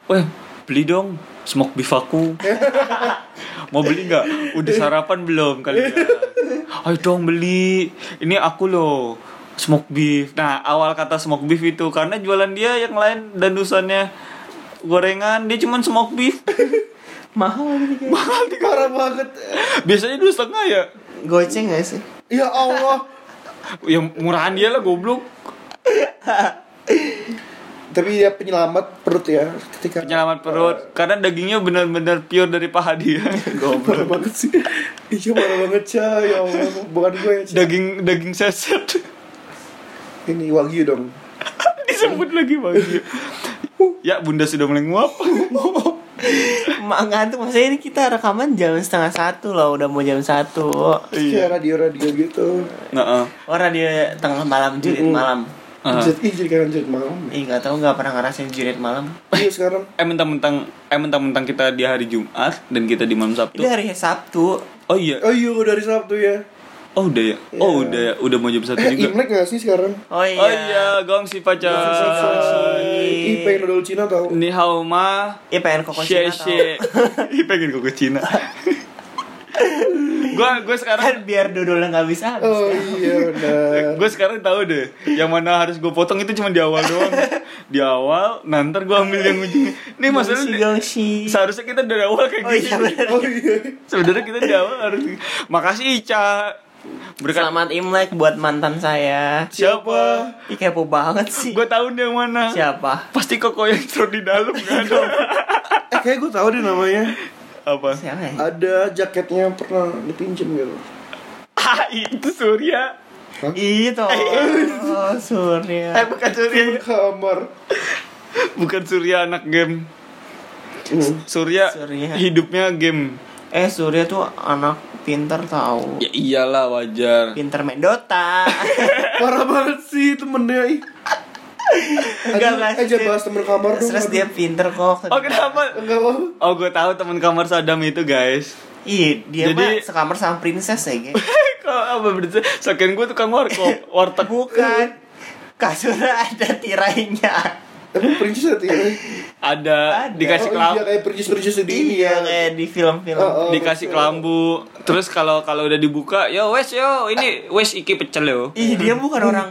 Speaker 2: Weh, beli dong smoke beef aku. Mau beli nggak? Udah sarapan belum kalian? Ayo dong beli. Ini aku loh smoke beef. Nah awal kata smoke beef itu karena jualan dia yang lain danusannya gorengan dia cuman smoke beef. *laughs*
Speaker 4: Mahal lagi kayaknya.
Speaker 2: Mahal tiga.
Speaker 3: Parah banget
Speaker 2: Biasanya dua setengah ya.
Speaker 4: Goceng gak sih?
Speaker 3: Ya Allah
Speaker 2: Ya murahan dia lah goblok.
Speaker 3: Tapi dia penyelamat perut ya Ketika
Speaker 2: Penyelamat perut karena dagingnya benar-benar pure dari paha dia. *laughs* Goblok.
Speaker 3: Parah banget sih Iya parah banget Ca Ya Allah Bukan gue ya Ca.
Speaker 2: Daging daging seset.
Speaker 3: Ini wagyu dong
Speaker 2: *laughs* Disebut lagi *laughs* bagi. Ya bunda sudah mulai nguap.
Speaker 4: *laughs* Mak ngantuk Maksudnya ini kita rekaman jam setengah satu loh Udah mau jam satu
Speaker 3: Iya radio-radio gitu
Speaker 2: Nah,
Speaker 4: Orang dia tengah malam jurit
Speaker 3: Mm-mm.
Speaker 4: malam
Speaker 2: Ah.
Speaker 3: Jadi Ih jadi kayak lanjut malam
Speaker 4: Ih gak tau gak pernah ngerasain jurit malam
Speaker 3: Iya sekarang
Speaker 2: eh mentang-mentang eh mentang-mentang kita di hari Jumat dan kita di malam Sabtu.
Speaker 4: Itu hari Sabtu
Speaker 2: Oh iya.
Speaker 3: Oh iya gua dari Sabtu ya
Speaker 2: Oh udah ya. Oh udah ya. Udah mau jam satu
Speaker 3: Eh
Speaker 2: juga.
Speaker 3: Imlek gak sih sekarang?
Speaker 4: Oh
Speaker 2: Oh *laughs* iya,
Speaker 4: iya
Speaker 2: gong si
Speaker 4: Ah,
Speaker 2: pacar.
Speaker 3: Ih pengen dodol Cina tau
Speaker 2: Ni hao ma.
Speaker 4: Iya pengen koko
Speaker 2: She
Speaker 4: Cina tau
Speaker 2: she. *laughs* Ih, pengen kok ke Cina. Eh, Gua gua sekarang
Speaker 4: Kan *laughs* biar dodolnya gak bisa habis
Speaker 3: Oh iya benar.
Speaker 4: *laughs*
Speaker 2: gue sekarang tahu deh yang mana harus gue potong itu cuma di awal doang di awal nanti gue ambil yang ujungnya nih maksudnya
Speaker 4: Gongsi
Speaker 2: di-
Speaker 4: gongsi
Speaker 2: seharusnya kita dari awal kayak
Speaker 4: Oh
Speaker 2: gini
Speaker 4: iya bener
Speaker 3: Oh iya.
Speaker 2: sebenarnya kita dari awal harus makasih Ica berkat
Speaker 4: Selamat Imlek buat mantan saya
Speaker 2: siapa
Speaker 4: Ih kepo banget sih
Speaker 2: gue tahu dia yang mana
Speaker 4: Siapa?
Speaker 2: pasti koko yang taruh di dalam kan
Speaker 3: Eh kayak gue tahu deh namanya.
Speaker 2: apa
Speaker 4: Siapa ya?
Speaker 3: Ada jaketnya yang pernah dipinjem gitu.
Speaker 2: ah itu Surya
Speaker 4: Itu Oh Surya
Speaker 2: eh bukan Surya
Speaker 3: Di kamar.
Speaker 2: bukan Surya anak game
Speaker 3: Hmm.
Speaker 2: Surya,
Speaker 4: Surya.
Speaker 2: hidupnya game
Speaker 4: Eh Surya tuh anak pinter tau
Speaker 2: ya iyalah wajar
Speaker 4: Pinter main
Speaker 3: *laughs*
Speaker 4: Dota
Speaker 3: Parah banget sih temennya. ih.
Speaker 4: Enggak,
Speaker 3: Aduh,
Speaker 4: enggak,
Speaker 3: Eh jangan
Speaker 4: serius.
Speaker 3: bahas temen kamar dong.
Speaker 4: Terus
Speaker 3: aduh.
Speaker 4: dia pinter kok
Speaker 2: oh kenapa
Speaker 3: Enggak mau.
Speaker 2: Oh gue tahu teman kamar Saddam itu guys *laughs*
Speaker 4: Iya dia
Speaker 2: Jadi-
Speaker 4: mah sekamar sama princess ya guys
Speaker 2: Kok apa berarti
Speaker 4: Kan,
Speaker 2: Saking gue tukang warkop Warteg
Speaker 4: Bukan Kasurnya ada tirainya
Speaker 3: Emang perincis ada tiga kali?
Speaker 2: Ada,
Speaker 4: Ada.
Speaker 2: dikasih
Speaker 3: ya, Oh,
Speaker 2: kelam
Speaker 3: iya, kayak perincis-perincis di ini
Speaker 4: Iya
Speaker 3: ya
Speaker 4: kayak di film-film.
Speaker 3: Oh, oh.
Speaker 2: dikasih kelambu. Terus kalau kalau udah dibuka, yo wes yo ini wes iki pecel yo.
Speaker 4: Ih dia bukan orang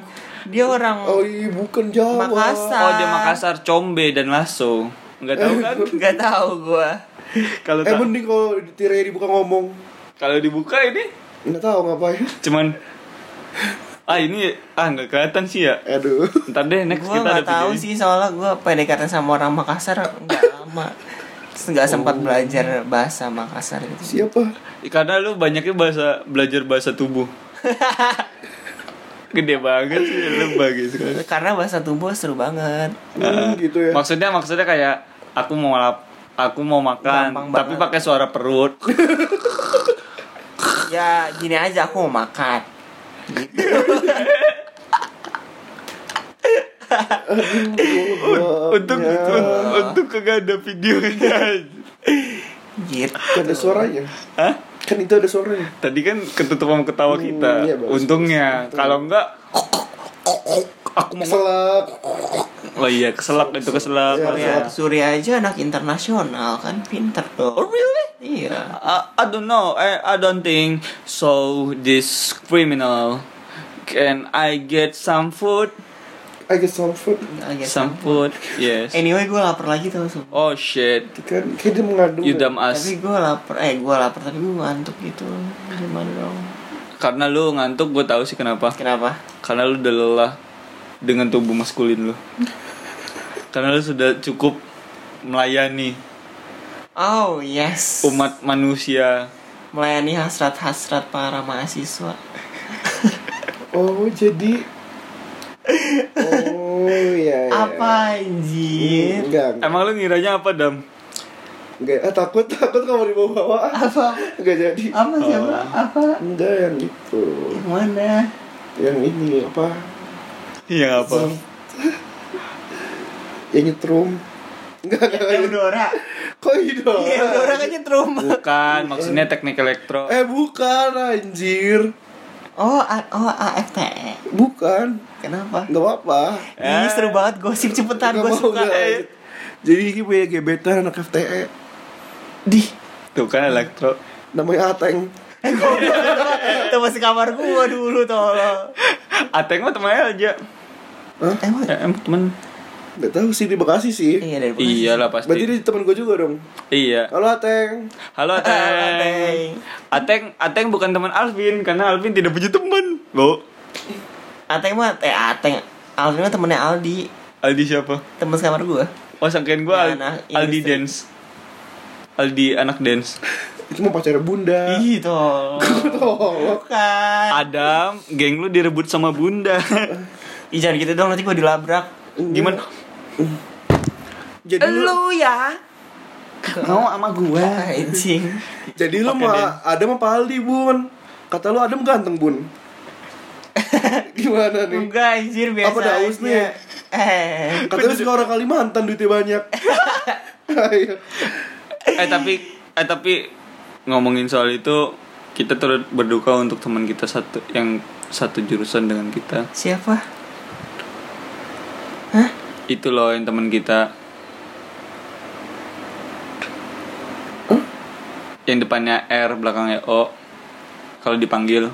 Speaker 4: dia orang
Speaker 3: Hmm. Oh iya bukan Jawa
Speaker 4: Makassar.
Speaker 2: Oh, dia Makassar, Combe dan Lasso. Enggak tahu kan?
Speaker 4: nggak tahu gua.
Speaker 2: Kalau
Speaker 3: Eh
Speaker 2: tak-
Speaker 3: mending kalau tirai dibuka ngomong
Speaker 2: kalau dibuka ini
Speaker 3: Nggak tahu ngapain
Speaker 2: cuman ah ini ah nggak kelihatan sih ya.
Speaker 3: Aduh
Speaker 2: Ntar deh next kita
Speaker 4: gua
Speaker 2: ada
Speaker 4: nggak tahu
Speaker 2: videonya.
Speaker 4: sih soalnya gua PDKT sama orang Makassar nggak lama. Terus nggak
Speaker 2: Oh.
Speaker 4: sempat belajar bahasa Makassar gitu.
Speaker 3: Siapa?
Speaker 2: Ya, Karena lu banyaknya bahasa belajar bahasa tubuh. Gede banget sih lu bagus sekali.
Speaker 4: Karena bahasa tubuh seru banget.
Speaker 3: Hmm, gitu ya
Speaker 2: Maksudnya maksudnya kayak aku mau lap, aku mau makan
Speaker 4: Gampang
Speaker 2: tapi
Speaker 4: banget.
Speaker 2: pakai suara perut.
Speaker 4: Ya gini aja aku mau makan.
Speaker 2: untuk untuk kagak ada videonya.
Speaker 4: Gitu.
Speaker 3: Kan ada suaranya
Speaker 2: Hah?
Speaker 3: Kan itu ada suaranya
Speaker 2: Tadi kan ketutup sama ketawa
Speaker 3: Hmm,
Speaker 2: kita.
Speaker 3: iya, bagus,
Speaker 2: Untungnya kalau enggak aku mau
Speaker 3: Selak
Speaker 2: Oh iya, keselak itu keselak.
Speaker 3: Iya,
Speaker 2: Iya.
Speaker 4: Ya, Surya aja anak internasional kan pinter dong.
Speaker 2: Oh really?
Speaker 4: Iya.
Speaker 2: I, I don't know. I, I don't think so this criminal can I get some food?
Speaker 3: I get some food
Speaker 4: Agak
Speaker 2: Some food. Yes.
Speaker 4: gitu. Anyway, gue lapar lagi tuh langsung.
Speaker 2: Oh shit.
Speaker 3: Kan kayak dia mengadu
Speaker 2: You dumb ass.
Speaker 4: Tapi gue lapar, eh gue lapar tapi gue ngantuk gitu. Gimana dong?
Speaker 2: Karena lu ngantuk, gue tahu sih kenapa.
Speaker 4: Kenapa?
Speaker 2: Karena lu udah lelah dengan tubuh maskulin lu. Karena lu sudah cukup melayani
Speaker 4: Oh yes.
Speaker 2: umat manusia.
Speaker 4: melayani hasrat-hasrat para mahasiswa.
Speaker 3: Oh jadi Oh iya, iya.
Speaker 4: Apa
Speaker 3: Hmm,
Speaker 4: anjir?
Speaker 3: Enggak enggak.
Speaker 2: Emang lu ngiranya apa, Dam?
Speaker 3: Enggak ah, takut takut kamu dibawa
Speaker 4: Apa?
Speaker 3: Enggak jadi
Speaker 4: Apa
Speaker 2: Oh.
Speaker 4: siapa? Apa?
Speaker 3: Enggak yang itu
Speaker 4: Yang Mana?
Speaker 2: *laughs*
Speaker 3: Yang ini apa
Speaker 2: Iya apa?
Speaker 3: Yang nyetrum Enggak enggak
Speaker 4: Yang
Speaker 3: enggak.
Speaker 4: Dora.
Speaker 3: Kok itu
Speaker 4: Iya, Dora kan nyetrum.
Speaker 2: Bukan, maksudnya teknik elektro.
Speaker 3: Eh bukan anjir
Speaker 4: Oh, A- oh AFTE.
Speaker 3: Bukan
Speaker 4: Kenapa?
Speaker 3: Enggak apa-apa
Speaker 4: Ih, seru banget gosip cepetan
Speaker 3: Enggak
Speaker 4: gue
Speaker 3: Eh. mau,
Speaker 4: suka. eh.
Speaker 3: enggak. Jadi ini punya gebetan anak E. FTE
Speaker 4: Dih,
Speaker 2: Tuh kan elektro.
Speaker 3: Namanya Ateng
Speaker 4: teman sekamar gue dulu tolong.
Speaker 2: Ateng mah temennya aja.
Speaker 4: Emang
Speaker 2: Eh, em, temen.
Speaker 3: Enggak tahu sih di Bekasi sih
Speaker 4: Iya dari Bekasi.
Speaker 2: Iya lah pasti.
Speaker 3: Berarti dia temen gue juga dong
Speaker 2: Iya.
Speaker 3: Halo Ateng
Speaker 2: Halo
Speaker 4: Halo,
Speaker 2: Ateng.
Speaker 4: Ateng.
Speaker 2: Ateng, Ateng bukan teman Alvin karena Alvin tidak punya teman. Lo,
Speaker 4: Ateng mah eh Ateng Alvin mah temennya Aldi
Speaker 2: Aldi siapa?
Speaker 4: temen sekamar gua
Speaker 2: Oh, sangkain gua
Speaker 4: Ya, anak
Speaker 2: Al- Aldi
Speaker 4: industri.
Speaker 2: dance. Aldi anak dance.
Speaker 3: Itu mau pacar bunda
Speaker 4: Ih tolong
Speaker 3: Tolong
Speaker 4: Bukan
Speaker 2: Adam, geng lu direbut sama
Speaker 4: *laughs*
Speaker 2: Bunda.
Speaker 4: Ih jangan gitu dong nanti gua dilabrak
Speaker 2: Gimana?
Speaker 3: Jadi lu
Speaker 4: Lu ya Ah,
Speaker 2: Mau sama gua.
Speaker 4: Anjing
Speaker 3: Jadi lu
Speaker 2: Oke, Den.
Speaker 3: mah Adam apa Aldi bun? Kata lu Adam ganteng bun Gimana nih?
Speaker 4: Enggak anjir biasa
Speaker 3: Apa daus
Speaker 4: aja.
Speaker 3: nih?
Speaker 4: Eh
Speaker 3: Kata lu suka orang Kalimantan duitnya banyak Iya. Ayo.
Speaker 2: Eh tapi eh tapi ngomongin soal itu kita turut berduka untuk teman kita satu yang satu jurusan dengan kita.
Speaker 4: Siapa?
Speaker 2: Itu loh yang teman kita. Yang depannya R, belakangnya O. Kalau dipanggil,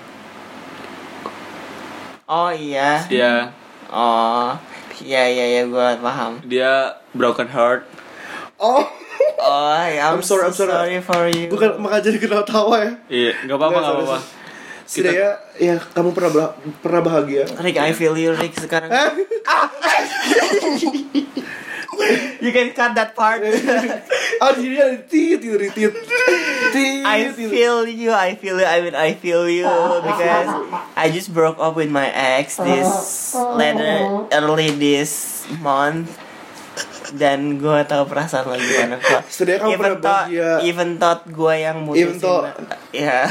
Speaker 4: Oh iya
Speaker 2: dia
Speaker 4: Oh Iya iya iya gua paham
Speaker 2: dia broken heart.
Speaker 3: Oh
Speaker 4: Oh ya,
Speaker 3: I'm
Speaker 4: I'm,
Speaker 3: sorry, kan I'm
Speaker 4: so
Speaker 3: sorry.
Speaker 4: for you
Speaker 3: Bukan maka jadi kena tawa ya
Speaker 2: Iya, nggak apa-apa,
Speaker 3: Nggak,
Speaker 2: nggak
Speaker 3: sorry,
Speaker 2: apa-apa. Kita-
Speaker 3: Setidaknya ya kamu pernah bah- pernah bahagia
Speaker 4: Rick, I feel you, Rick, sekarang
Speaker 3: Eh,
Speaker 4: You can cut that
Speaker 3: *laughs*
Speaker 4: part
Speaker 3: ah di sini ada tit tit tit tit tit,
Speaker 4: *laughs* I
Speaker 3: tit.
Speaker 4: feel you, I feel you, I mean I feel you because I just broke up with my ex this later early this month dan gue tahu perasaan lagi anak gue.
Speaker 3: Setidaknya kamu pernah bahagia.
Speaker 4: even thought gue yang
Speaker 3: Even
Speaker 4: mutusin.
Speaker 3: thought.
Speaker 4: *laughs* Ya.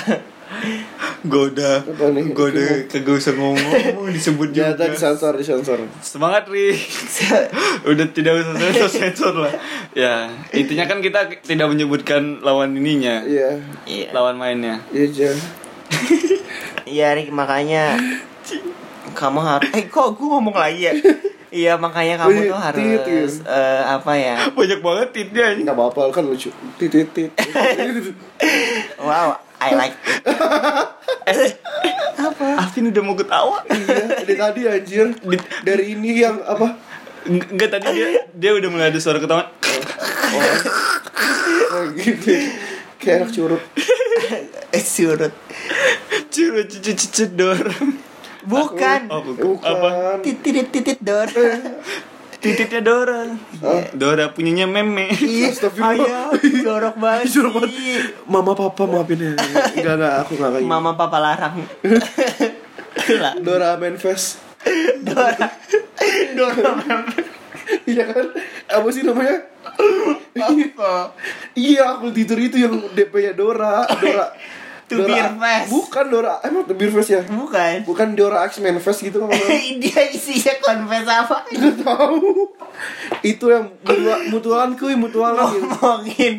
Speaker 2: Gua udah,
Speaker 3: Apa nih? Ya,
Speaker 2: gua udah kagak
Speaker 3: *laughs*
Speaker 2: usah ngomong, disebut juga.
Speaker 3: Ternyata disensor disensor
Speaker 2: Semangat
Speaker 3: *laughs*
Speaker 2: Ri Udah tidak usah sensor-sensor lah Ya Intinya kan kita tidak menyebutkan lawan ininya
Speaker 3: Iya
Speaker 4: Iya.
Speaker 2: Lawan mainnya
Speaker 3: Iya jangan
Speaker 4: Iya Rick makanya kamu harus eh kok gue ngomong lagi ya Iya makanya
Speaker 3: Wih,
Speaker 4: kamu tuh harus
Speaker 3: tit, iya.
Speaker 4: eh, apa ya?
Speaker 2: Banyak banget titnya anjing.
Speaker 3: nggak apa-apa kan lucu titit titit
Speaker 4: Wow, I like it.
Speaker 2: Alvin udah mau ketawa.
Speaker 3: iya dari tadi anjir dari ini yang apa
Speaker 2: Eng- Enggak tadi dia dia udah mulai ada suara ketawa.
Speaker 3: oh, gitu kayak anak curut
Speaker 4: Eh, Surut.
Speaker 2: Curu cucu cucu dor.
Speaker 4: Bukan.
Speaker 2: Oh, bukan.
Speaker 3: Eh, bukan
Speaker 2: Apa?
Speaker 4: Titit titit dor.
Speaker 3: Eh,
Speaker 2: Tititnya Dora.
Speaker 3: Oh.
Speaker 2: Dora punyanya
Speaker 3: *laughs*
Speaker 2: meme.
Speaker 3: Iya,
Speaker 4: Ayo, jorok banget.
Speaker 3: *laughs* Jorok banget.
Speaker 4: sih.
Speaker 3: Mama papa maafin ya Enggak enggak aku enggak kayak
Speaker 4: Mama papa larang. Lah,
Speaker 3: gitu. Dora Manfest
Speaker 4: Dora. Dora
Speaker 3: Iya kan Apa sih namanya
Speaker 4: apa?
Speaker 3: Iya aku tidur itu yang DP nya Dora Dora
Speaker 4: To
Speaker 3: Dora-
Speaker 4: Beer Fest.
Speaker 3: Bukan Dora Emang The Beer Fest ya
Speaker 4: Bukan.
Speaker 3: Bukan Dora X Manfest gitu kan
Speaker 4: *laughs*
Speaker 3: *laughs*
Speaker 4: Dia isinya konfes apa?
Speaker 3: Gak tahu Itu yang mutua- mutualan kuy Mutualan gitu
Speaker 4: Ngomongin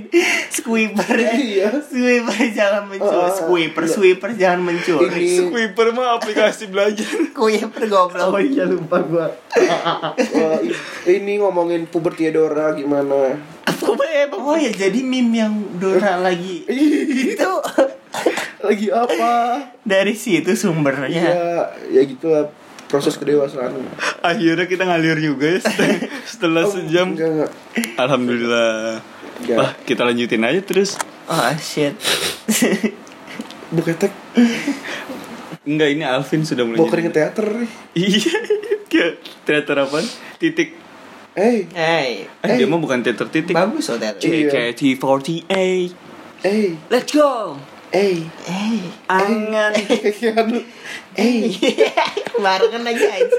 Speaker 4: squeeper.
Speaker 3: Iya.
Speaker 4: Squeeper jangan mencuri.
Speaker 3: Ah, ah.
Speaker 4: Squeeper, sweeper jangan mencuri.
Speaker 3: Ini
Speaker 2: Sweeper mah aplikasi belajar.
Speaker 4: Squeeper goblok.
Speaker 3: iya lupa gua Wah, eh, i- Ini ngomongin puberti Dora gimana
Speaker 4: Apa ya? Oh ya jadi meme yang
Speaker 3: Eh.
Speaker 4: Dora lagi. Itu
Speaker 3: Lagi apa
Speaker 4: dari situ sumbernya.
Speaker 3: Iya, ya gitulah proses kedewasaan.
Speaker 2: Akhirnya Ya kita ngalir juga ya setelah- setelah sejam.
Speaker 3: Oh, Enggak, enggak.
Speaker 2: Alhamdulillah.
Speaker 3: Enggak.
Speaker 2: Wah, kita lanjutin aja terus.
Speaker 4: Oh shit.
Speaker 3: Buketek,
Speaker 2: Enggak, ini Alvin sudah mulai.
Speaker 3: mau
Speaker 2: jadi-
Speaker 3: kering ke teater nih.
Speaker 2: *laughs* Iya. Kayak teater apa? Titik.
Speaker 3: Eh,
Speaker 4: hey,
Speaker 2: Eh, dia mah bukan teater titik.
Speaker 4: bagus hotel.
Speaker 3: Iya.
Speaker 2: JKT48.
Speaker 3: eh,
Speaker 4: Let's go.
Speaker 3: eh.
Speaker 4: Hey,
Speaker 2: Angan.
Speaker 3: *laughs* Aduh. Eh,
Speaker 4: barengan lagi aja.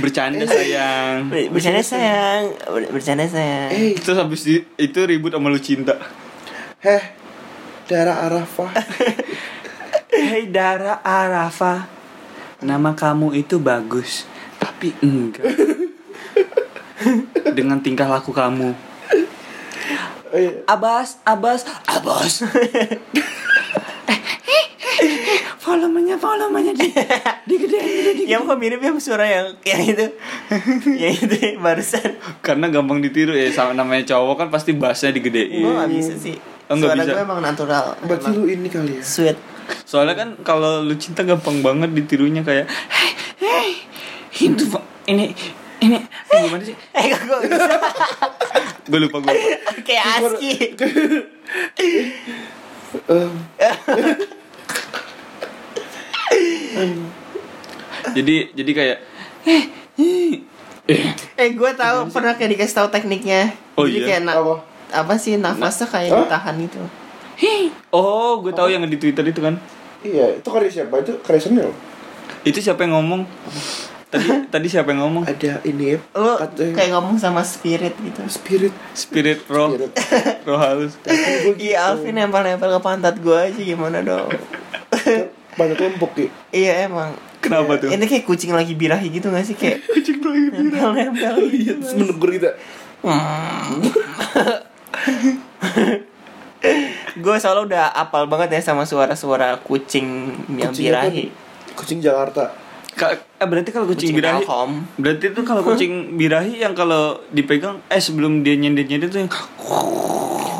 Speaker 2: Bercanda sayang.
Speaker 4: Ber- Bercanda sayang, Ber- bercanda sayang.
Speaker 3: eh,
Speaker 2: Terus habis di- itu ribut sama lu cinta.
Speaker 3: heh. Darah Arafah. *laughs*
Speaker 2: Hei Dara Arafa, nama kamu itu bagus, tapi enggak. *laughs* Dengan tingkah laku kamu.
Speaker 3: Eh,
Speaker 4: Abas, abas,
Speaker 2: *laughs*
Speaker 4: abas.
Speaker 2: Eh, Volumenya, volumenya di, digedein.
Speaker 4: yang Iya, kok mirip yang suara yang yang itu,
Speaker 2: *laughs*
Speaker 4: yang itu barusan.
Speaker 2: Karena gampang ditiru ya, sama namanya cowok kan pasti bassnya
Speaker 4: Gue
Speaker 2: digedein.
Speaker 4: gak bisa sih.
Speaker 2: Oh, nggak
Speaker 4: suara
Speaker 2: bisa.
Speaker 4: gue emang natural.
Speaker 3: berarti
Speaker 4: emang
Speaker 3: lu ini kali ya.
Speaker 4: sweet. *laughs*
Speaker 2: Soalnya kan kalau lu cinta gampang banget ditirunya kayak, hei, hei, Hindu, Pak. ini, ini, eh, gimana sih?
Speaker 4: Eh kok gue bisa *laughs*
Speaker 2: Gue lupa gue.
Speaker 4: kayak
Speaker 2: *laughs*
Speaker 4: aski.
Speaker 3: Eh,
Speaker 2: Jadi, jadi kayak, "Eh, eh." eh,
Speaker 4: Eh gue tahu pernah kayak dikasih tahu tekniknya.
Speaker 2: Oh, iya?
Speaker 4: Jadi kayak na-
Speaker 3: Apa?
Speaker 4: apa sih nafasnya kayak
Speaker 3: Hah?
Speaker 4: ditahan gitu.
Speaker 2: oh, gue tahu yang di Twitter itu kan.
Speaker 3: iya, itu karya siapa? Itu karya Senil.
Speaker 2: Itu siapa yang ngomong? Tadi tadi siapa yang ngomong?
Speaker 3: Ada ini ya.
Speaker 4: Lu
Speaker 3: katanya
Speaker 4: kayak ngomong sama spirit gitu.
Speaker 3: spirit.
Speaker 2: Spirit roh.
Speaker 4: *laughs*
Speaker 3: Spirit. gitu.
Speaker 2: Roh halus. Gitu.
Speaker 4: Iya Alvin nempel-nempel ke pantat gue aja gimana
Speaker 2: *laughs*
Speaker 4: dong.
Speaker 3: Pada kelompok ya.
Speaker 4: iya emang.
Speaker 2: Kenapa tuh?
Speaker 4: Ini kayak kucing lagi birahi gitu gak sih kayak
Speaker 2: *laughs* Kucing Oh, roh ini.
Speaker 4: nempel-nempel
Speaker 3: Iya,
Speaker 4: gitu.
Speaker 3: terus menegur kita.
Speaker 4: gue selalu udah apal banget ya sama suara-suara kucing yang
Speaker 3: Kucing apa nih?
Speaker 4: birahi.
Speaker 3: Kucing Jakarta.
Speaker 2: Ka- eh, berarti kalau kucing,
Speaker 4: Kucing
Speaker 2: birahi
Speaker 4: Malcolm.
Speaker 2: Berarti itu kalau kucing birahi yang kalau dipegang eh sebelum dia nyender-nyender tuh yang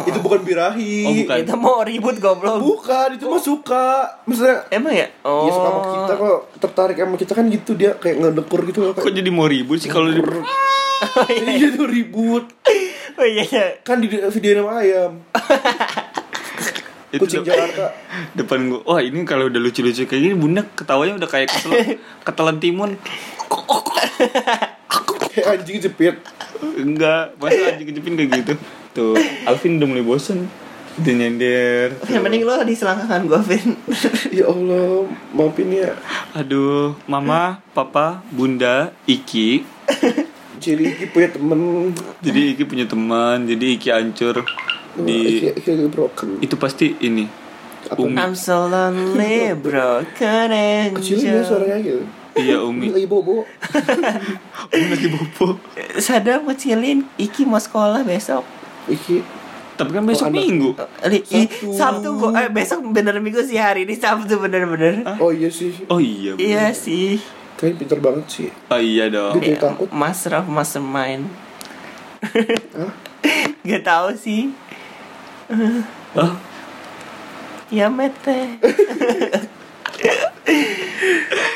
Speaker 3: Itu bukan birahi. Oh,
Speaker 2: Oh, bukan.
Speaker 4: Kita mau ribut goblok.
Speaker 3: Bukan, itu mah suka. Maksudnya
Speaker 4: Emang ya?
Speaker 3: dia Iya,
Speaker 4: Oh.
Speaker 3: suka sama kita kok tertarik sama kita kan gitu dia kayak ngedekur gitu loh
Speaker 2: kok
Speaker 3: kayak
Speaker 2: jadi mau ribut sih kalau di
Speaker 3: Iya tuh ribut.
Speaker 4: Oh iya. iya.
Speaker 3: Kan di video nama ayam.
Speaker 2: Itu
Speaker 3: Kucing
Speaker 2: dep-
Speaker 3: Jakarta.
Speaker 2: *laughs* depan gua. Wah, ini kalau udah lucu-lucu kayak gini bunda ketawanya udah kayak ketelan, ketelan timun.
Speaker 3: Kayak anjing jepit.
Speaker 2: Enggak, masa anjing kejepin kayak gitu. Tuh, Alvin udah mulai bosen. Dia nyender.
Speaker 4: Yang penting lo Ya, di selangkangan gue, Vin.
Speaker 3: Ya Allah, maafin ya.
Speaker 2: Aduh, mama, papa, bunda, Iki.
Speaker 3: Jadi Iki punya temen
Speaker 2: Jadi Iki punya teman, jadi Iki hancur
Speaker 3: di
Speaker 2: Oh, di
Speaker 3: Iki lagi broken.
Speaker 2: itu pasti ini.
Speaker 3: Apa?
Speaker 2: Umi,
Speaker 4: I'm so lonely, broken
Speaker 3: Kecilnya
Speaker 4: angel.
Speaker 3: suaranya gitu.
Speaker 2: iya
Speaker 3: Ini
Speaker 2: Umi.
Speaker 3: lagi bobo.
Speaker 2: Umi lagi bobo.
Speaker 4: Sadam kecilin, Iki mau sekolah besok.
Speaker 3: Iki
Speaker 2: Tapi kan
Speaker 3: Oh,
Speaker 2: besok
Speaker 3: anak.
Speaker 2: Minggu.
Speaker 4: Li- i-
Speaker 3: Sabtu.
Speaker 4: Sabtu gua, eh, besok bener minggu sih hari ini Sabtu bener-bener.
Speaker 2: Ah.
Speaker 3: Oh iya sih.
Speaker 2: Oh iya. bener.
Speaker 4: Iya sih.
Speaker 3: Kayaknya pinter banget sih.
Speaker 2: Oh iya dong.
Speaker 3: Dia jadi takut.
Speaker 4: Mas Raf mastermind.
Speaker 3: Hah?
Speaker 4: *laughs* Gak tau sih.
Speaker 2: Hah?
Speaker 4: Ya mete.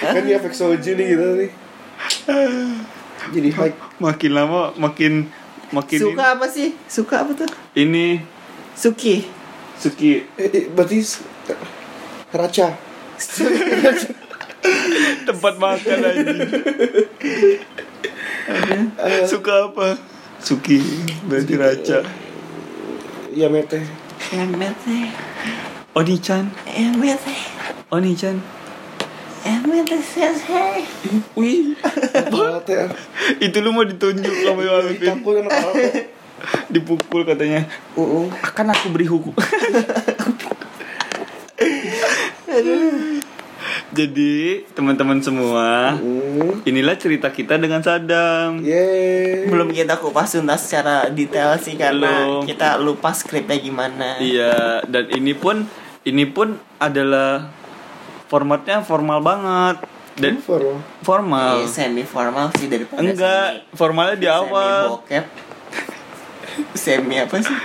Speaker 3: Kan dia efek soju nih gitu nih. Jadi hype.
Speaker 2: Makin lama makin makin
Speaker 4: Suka apa sih? Suka apa tuh?
Speaker 2: ini
Speaker 4: Suki.
Speaker 2: Suki
Speaker 3: Eh, eh, berarti s- raca.
Speaker 2: tempat makan aja. *laughs* Suka apa? Suki berarti raca.
Speaker 3: Ya mete.
Speaker 4: Ya mete.
Speaker 2: Oni-chan,
Speaker 4: Ya mete.
Speaker 2: Oni-chan.
Speaker 4: Ya mete sensei.
Speaker 3: Wih. Apa teh?
Speaker 2: *laughs* Itu lu mau ditunjuk sama
Speaker 3: Jadi
Speaker 2: Alvin.
Speaker 3: takut anak *laughs* apa?
Speaker 2: Dipukul katanya.
Speaker 3: kan, Uh,
Speaker 2: Akan aku beri
Speaker 4: *laughs*
Speaker 2: hukum. Jadi teman-teman semua,
Speaker 3: uh.
Speaker 2: inilah cerita kita dengan Sadam.
Speaker 3: Yeay.
Speaker 4: Belum kita kupas tuntas secara detail sih karena
Speaker 2: Belum.
Speaker 4: kita lupa skripnya gimana.
Speaker 2: Iya, dan ini pun ini pun adalah formatnya formal banget dan
Speaker 3: Over loh.
Speaker 2: formal.
Speaker 4: Hmm? Iya, semi formal sih daripada
Speaker 2: Enggak, formalnya
Speaker 4: semi,
Speaker 2: di
Speaker 4: Semi
Speaker 2: awal.
Speaker 4: bokep. semi apa sih?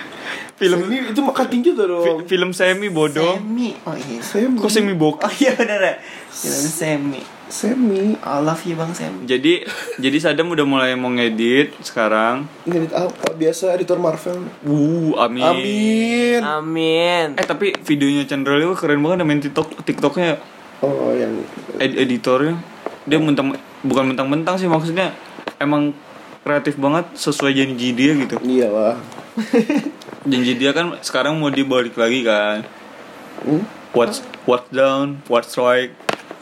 Speaker 2: Film
Speaker 3: Ini itu makating juga
Speaker 2: fi-
Speaker 3: dong.
Speaker 2: film semi bodoh.
Speaker 4: Semi. Oh iya.
Speaker 3: Semi.
Speaker 2: Kok semi bokep?
Speaker 4: Oh iya benar ya. Film semi.
Speaker 3: Semi.
Speaker 4: I love you Bang Semi.
Speaker 2: Jadi jadi Sadam udah mulai mau ngedit sekarang.
Speaker 3: Ngedit apa? ah, Biasa editor Marvel.
Speaker 2: Uh, amin.
Speaker 3: Iya. Amin.
Speaker 4: Amin.
Speaker 2: Eh tapi videonya Chandra Leo keren banget main TikTok TikToknya
Speaker 3: Oh, yang
Speaker 2: ed- editornya dia mentang bukan mentang-mentang sih maksudnya emang kreatif banget sesuai janji dia gitu.
Speaker 3: iyalah.
Speaker 2: janji dia kan sekarang mau dibalik lagi kan
Speaker 3: Hmm?
Speaker 2: what's what's down what's right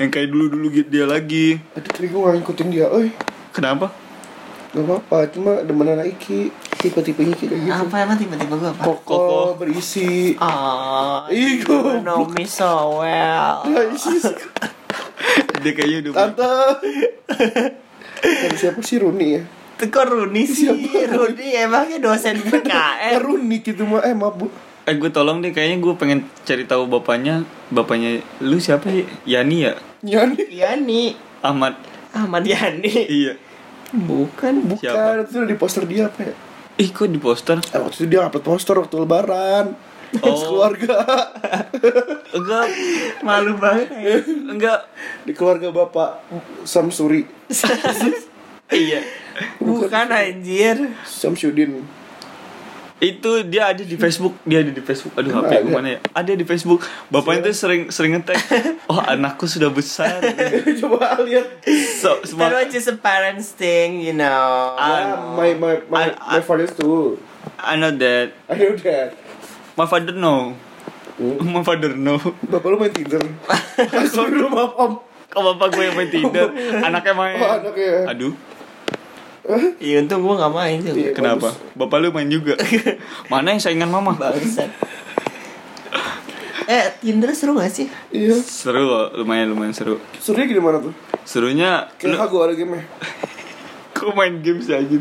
Speaker 2: yang kayak dulu dulu gitu dia lagi
Speaker 3: Aduh, tapi gue gak ngikutin dia, eh
Speaker 2: kenapa *laughs*
Speaker 3: Gak apa-apa, cuma demen anak Iki Tipe-tipenya kayak gitu
Speaker 4: Apa emang tiba-tiba gue apa?
Speaker 3: Kokoh,
Speaker 2: Kokoh.
Speaker 3: berisi
Speaker 4: Oh,
Speaker 3: Ih,
Speaker 4: you
Speaker 3: goblok.
Speaker 4: know me so well.
Speaker 3: Isis,
Speaker 2: dia kayaknya udah
Speaker 3: *laughs* tante Tante siapa sih Runi ya?
Speaker 4: Itu kok Runi sih? Runi emangnya dosen
Speaker 3: Eh,
Speaker 4: PKN.
Speaker 3: Runi gitu mah, eh maaf bu
Speaker 2: eh gue tolong deh kayaknya gue pengen cari tahu bapaknya bapaknya lu siapa ya Yani ya
Speaker 3: Nyani
Speaker 4: Yani.
Speaker 2: Ahmad
Speaker 4: Ahmad
Speaker 2: *laughs*
Speaker 4: Yani.
Speaker 2: iya
Speaker 4: Bukan.
Speaker 3: Bukan,
Speaker 2: Siapa?
Speaker 3: itu di poster dia apa ya?
Speaker 2: ih kok di poster
Speaker 3: Eh, waktu itu dia upload poster waktu lebaran
Speaker 2: Oh.
Speaker 3: Di keluarga
Speaker 2: enggak
Speaker 4: Malu banget. ya.
Speaker 2: enggak
Speaker 3: Di keluarga bapak Samsuri
Speaker 2: iya
Speaker 4: Bukan anjir.
Speaker 3: Samsudin
Speaker 2: itu dia ada di Facebook dia ada di Facebook aduh HP
Speaker 3: Ada.
Speaker 2: gue mana ya ada di Facebook bapaknya tuh sering sering
Speaker 3: *laughs*
Speaker 2: ngetek oh anakku sudah besar
Speaker 3: Coba lihat
Speaker 2: so
Speaker 4: That
Speaker 2: smart
Speaker 4: was just a parents thing, you know.
Speaker 3: Ah, my my my,
Speaker 2: I-
Speaker 3: my father's too
Speaker 2: I know that
Speaker 3: I know that
Speaker 2: My father no.
Speaker 3: Oh.
Speaker 2: My
Speaker 3: *laughs*
Speaker 2: father no.
Speaker 3: Bapak lu main Tinder? Asli lu maaf om
Speaker 2: Kok bapak gue yang main Tinder? Anaknya main.
Speaker 3: Oh, anaknya.
Speaker 2: Aduh,
Speaker 4: Iya untung gue gak main sih.
Speaker 3: Iya.
Speaker 2: kenapa? Bapak lu main
Speaker 3: *laughs*
Speaker 2: juga. Mana yang saingan mama?
Speaker 4: Bangsat. eh, Tinder seru gak sih?
Speaker 3: Iya
Speaker 2: Seru loh, lumayan lumayan seru.
Speaker 3: Surya gimana tuh?
Speaker 2: Serunya lu
Speaker 3: Kayak aku ada game
Speaker 2: kok main games ya, aja.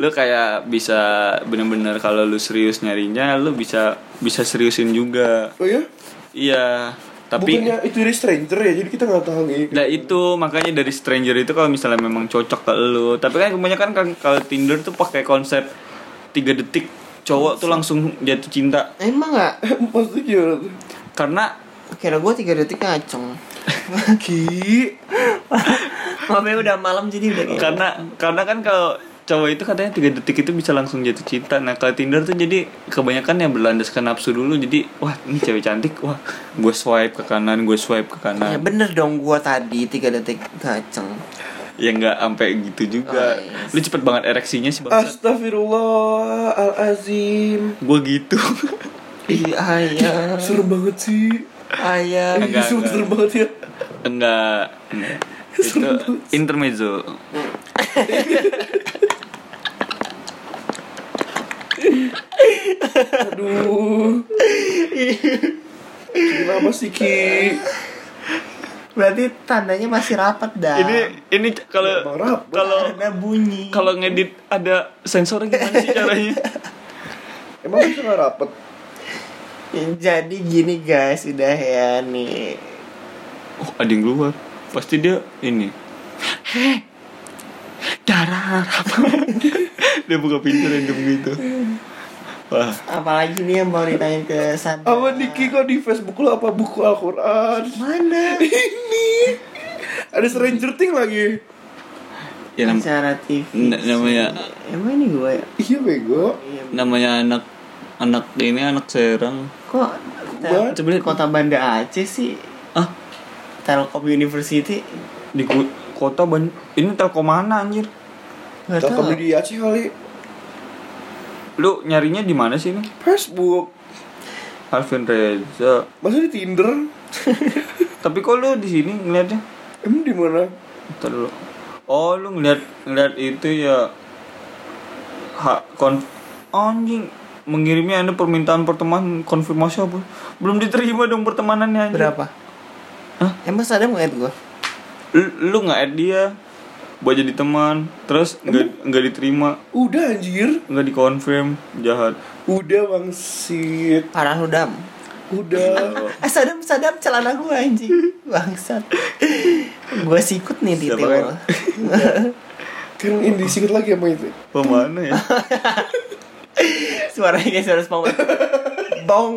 Speaker 2: Lu kayak bisa bener-bener kalau lu serius nyarinya, lu bisa bisa seriusin juga.
Speaker 3: Oh iya?
Speaker 2: Iya, tapi
Speaker 3: Bukannya itu dari stranger ya, jadi kita gak tahu gitu
Speaker 2: Nah itu makanya dari stranger itu kalau misalnya memang cocok ke lu Tapi kan kebanyakan kan kalau Tinder tuh pakai konsep 3 detik Cowok tuh langsung jatuh cinta
Speaker 4: Emang gak?
Speaker 3: *laughs* Maksudnya gimana tuh?
Speaker 2: Karena
Speaker 4: Kira gue 3 detik ngacong. *laughs*
Speaker 3: Ki
Speaker 4: Maafnya udah malam jadi udah kayak.
Speaker 2: karena karena kan kalau cowok itu katanya 3 detik itu bisa langsung jatuh cinta Nah kalau Tinder tuh jadi kebanyakan yang berlandaskan nafsu dulu Jadi wah ini cewek cantik Wah gue swipe ke kanan, gue swipe ke
Speaker 4: Ya
Speaker 2: kanan
Speaker 4: bener dong gue tadi 3 detik ngacong.
Speaker 2: Ya nggak sampai gitu juga
Speaker 4: Oh, iya.
Speaker 2: Lu cepet banget ereksinya sih bang
Speaker 3: Astagfirullahalazim
Speaker 2: Gue gitu *laughs*
Speaker 4: Ih ayah,
Speaker 3: Serem banget sih
Speaker 4: ayah.
Speaker 2: Enggak,
Speaker 3: Sumpah
Speaker 2: enggak.
Speaker 3: serem banget ya
Speaker 2: Enggak, enggak. Itu intermezzo.
Speaker 3: Aduh Kenapa sih Ki?
Speaker 4: Berarti tandanya masih rapat dah.
Speaker 2: Ini ini c- kalau
Speaker 3: Ya, Bang Rap, Bang.
Speaker 2: kalau
Speaker 4: karena bunyi.
Speaker 2: kalau ngedit ada sensornya gimana sih
Speaker 4: *laughs*
Speaker 2: caranya?
Speaker 3: Emang kita gak rapet?
Speaker 4: Jadi gini guys, udah ya nih.
Speaker 2: Oh, ada yang keluar. Pasti dia ini.
Speaker 4: "Heh, darah
Speaker 2: *laughs*
Speaker 4: harapan
Speaker 5: dia buka pintu random gitu wah
Speaker 4: apalagi nih yang mau ditanya ke Santa
Speaker 3: Apa Diki kok di Facebook lo apa buku Al-Quran? *laughs*
Speaker 4: mana
Speaker 3: Ini ada Stranger Things lagi.
Speaker 2: ya nam-
Speaker 4: acara TV
Speaker 2: na- namanya
Speaker 4: emang ini gue ya?
Speaker 3: Iya bego.
Speaker 2: namanya anak anak ini anak Serang
Speaker 4: kok
Speaker 3: Gua-
Speaker 4: sebenarnya kota Banda Aceh sih
Speaker 2: ah
Speaker 4: Telkom University
Speaker 2: di ku- kota ban ini telkom mana anjir
Speaker 4: Gak
Speaker 3: Telkom
Speaker 4: tahu.
Speaker 3: di Aceh kali.
Speaker 2: lu nyarinya di mana sih ini
Speaker 3: Facebook.
Speaker 2: Alvin Reza
Speaker 3: Masa di Tinder?
Speaker 2: tapi kok lu di sini ngeliatnya
Speaker 3: Emang di mana?
Speaker 2: Bentar dulu. Oh, lu ngeliat ngeliat itu ya ha, kon anjing mengirimnya ada permintaan pertemanan konfirmasi apa? Belum diterima dong pertemanannya anjing.
Speaker 4: berapa
Speaker 2: Hah?
Speaker 4: emang ada ngeliat gue
Speaker 2: Lu, lu nggak add dia buat jadi teman, terus nggak nggak diterima,
Speaker 3: Udah anjir.
Speaker 2: nggak dikonfirm, jahat.
Speaker 3: Udah bangsit.
Speaker 4: parah lu dam
Speaker 3: Udah.
Speaker 4: ah sadam sadam celana gue anjing bangsat gue sikut nih di
Speaker 2: Siapa
Speaker 4: table
Speaker 2: kan?
Speaker 3: kan ini disikut lagi sama itu.
Speaker 2: Pemana ya?
Speaker 4: suaranya kayak suara spam bong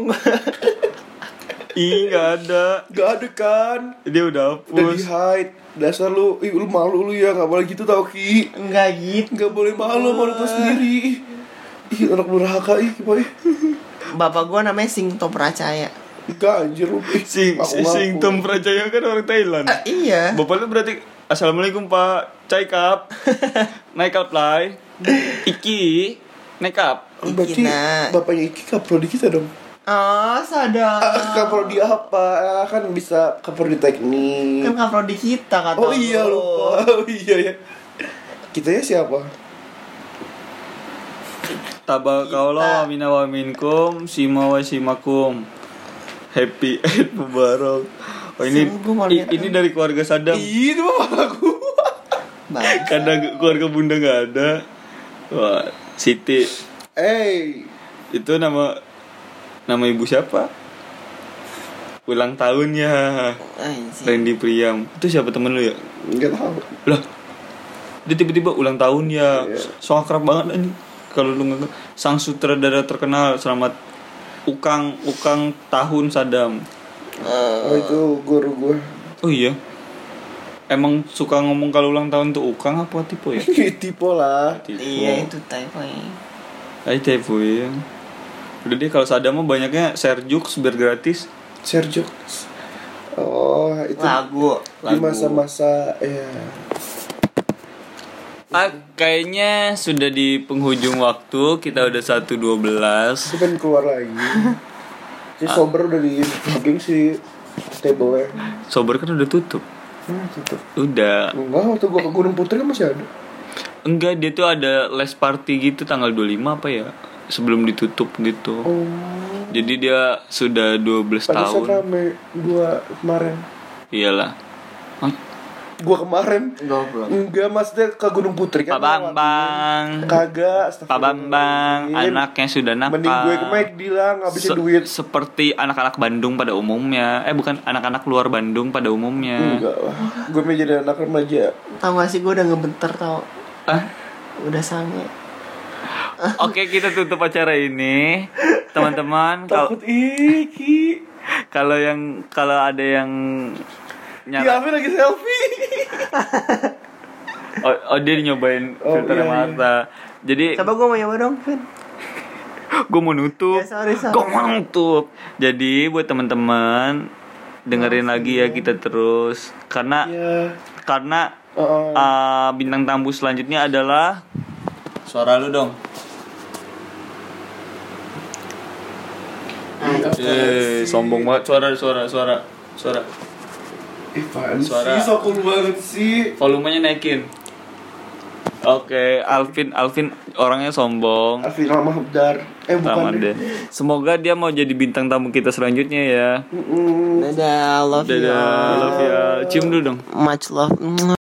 Speaker 2: Ih, nggak ada.
Speaker 3: Gak ada kan?
Speaker 2: Dia udah
Speaker 3: Udah di
Speaker 2: hapus.
Speaker 3: hide. Dasar lu, ih lu malu lu ya, gak boleh gitu tau Ki
Speaker 4: enggak gitu
Speaker 3: Gak boleh malu malu tuh sendiri Ih anak durhaka ih boy
Speaker 4: bapak gue namanya Singto Pracaya
Speaker 3: Enggak anjir lu Ih,
Speaker 2: Sing,
Speaker 3: ngaku-ngaku.
Speaker 2: sing Tom Prajaya kan orang Thailand.
Speaker 4: Ah, iya
Speaker 2: Bapak lu berarti Assalamualaikum Pak Cai kap Naik kap lai Iki Naik kap
Speaker 3: Oh,
Speaker 4: Oh,
Speaker 3: Berarti
Speaker 4: Ikina.
Speaker 3: bapaknya Iki kapro di kita dong
Speaker 4: ah sadam
Speaker 3: Ah, Kapro di apa? Ah, Kan bisa kapro di teknik
Speaker 4: kan cover di kita kata
Speaker 3: Oh iya
Speaker 4: lu.
Speaker 3: lupa *laughs* Oh iya ya Kitanya siapa?
Speaker 2: Tabakaulah wa mina wa minkum Sima wa simakum Happy *laughs* Eid Mubarak Oh ini
Speaker 4: Sing, gua mau
Speaker 2: i-
Speaker 4: lihat.
Speaker 2: ini dari keluarga Saddam
Speaker 3: Ih, itu bapak aku
Speaker 4: Bang.
Speaker 2: Karena keluarga bunda nggak ada Wah Siti
Speaker 3: Eh
Speaker 2: Itu nama Nama ibu siapa? Ulang tahunnya
Speaker 4: Anjing.
Speaker 2: Randy Priam Itu siapa temen lu ya?
Speaker 3: Gak tau
Speaker 2: lah dia tiba-tiba ulang tahun ya so akrab banget anjing kalau lu nggak sang sutradara terkenal selamat ukang ukang tahun sadam
Speaker 3: Oh itu guru gua
Speaker 2: oh iya emang suka ngomong kalau ulang tahun tuh ukang apa tipe *laughs* ya
Speaker 3: Tipe lah
Speaker 2: tipe
Speaker 4: iya itu typo ya.
Speaker 2: Ay, tipe ya udah deh kalau sadam mah banyaknya serjuk biar gratis
Speaker 3: Sergio Oh itu
Speaker 4: lagu
Speaker 3: di
Speaker 2: Lagu.
Speaker 3: masa-masa ya
Speaker 2: Ah, kayaknya sudah di penghujung waktu kita udah 1.12
Speaker 3: itu kan keluar lagi si sober udah di booking si table nya
Speaker 2: sober kan udah tutup
Speaker 3: hmm, tutup
Speaker 2: udah
Speaker 3: enggak waktu gua ke Gunung Putri kan masih ada
Speaker 2: Enggak, dia tuh ada les party gitu tanggal 25 apa ya? Sebelum ditutup gitu.
Speaker 3: oh
Speaker 2: Jadi dia sudah 12
Speaker 3: pantesan
Speaker 2: tahun.
Speaker 3: rame gua kemarin
Speaker 2: Iyalah. Hah?
Speaker 3: gua kemarin
Speaker 4: goblok
Speaker 3: enggak maksudnya ke Gunung Putri kan
Speaker 2: Pak Bambang.
Speaker 3: kagak
Speaker 2: Pak Bambang,
Speaker 3: astagfirullahaladzim.
Speaker 2: anaknya sudah nakal.
Speaker 3: Kan. Iya. mending gue ke McD lah ngabisin
Speaker 2: Se-
Speaker 3: duit
Speaker 2: Seperti anak-anak Bandung pada umumnya. Eh bukan anak-anak luar Bandung pada umumnya.
Speaker 3: enggak lah gue mau jadi anak remaja
Speaker 4: tau gak sih gue udah ngebentar tau
Speaker 2: Ah,
Speaker 4: udah sange
Speaker 2: Oke, kita tutup acara ini. Teman-teman, kalau
Speaker 3: takut iki
Speaker 2: kalau yang kalau ada yang
Speaker 3: Iya,
Speaker 2: nyala-
Speaker 3: Afi lagi *laughs* selfie.
Speaker 2: Oh, oh, dia nyobain
Speaker 3: Oh,
Speaker 2: filter
Speaker 3: iya, iya.
Speaker 2: mata. Jadi
Speaker 4: coba gue mau nyoba dong Vin
Speaker 2: gue mau nutup.
Speaker 4: Ya, sorry, sorry.
Speaker 2: Gua mau nutup. Jadi buat teman-teman dengerin lagi ya kita terus karena
Speaker 3: Iya. Oh.
Speaker 2: karena
Speaker 3: Heeh.
Speaker 2: uh, bintang tamu selanjutnya adalah suara lu dong.
Speaker 3: Ah,
Speaker 2: Eh, sombong banget suara suara suara suara.
Speaker 3: Ih, apaan
Speaker 2: Suara.
Speaker 3: sih, sokul banget sih
Speaker 2: Volumenya naikin. Oke, Alvin Alvin orangnya sombong.
Speaker 3: Alvin Ramahbdar Eh, bukan
Speaker 2: Ramadan. Semoga dia mau jadi bintang tamu kita selanjutnya ya.
Speaker 3: Mm-mm.
Speaker 4: dadah love you
Speaker 2: Dadah,
Speaker 4: all.
Speaker 2: love ya. Cium dulu dong.
Speaker 4: much love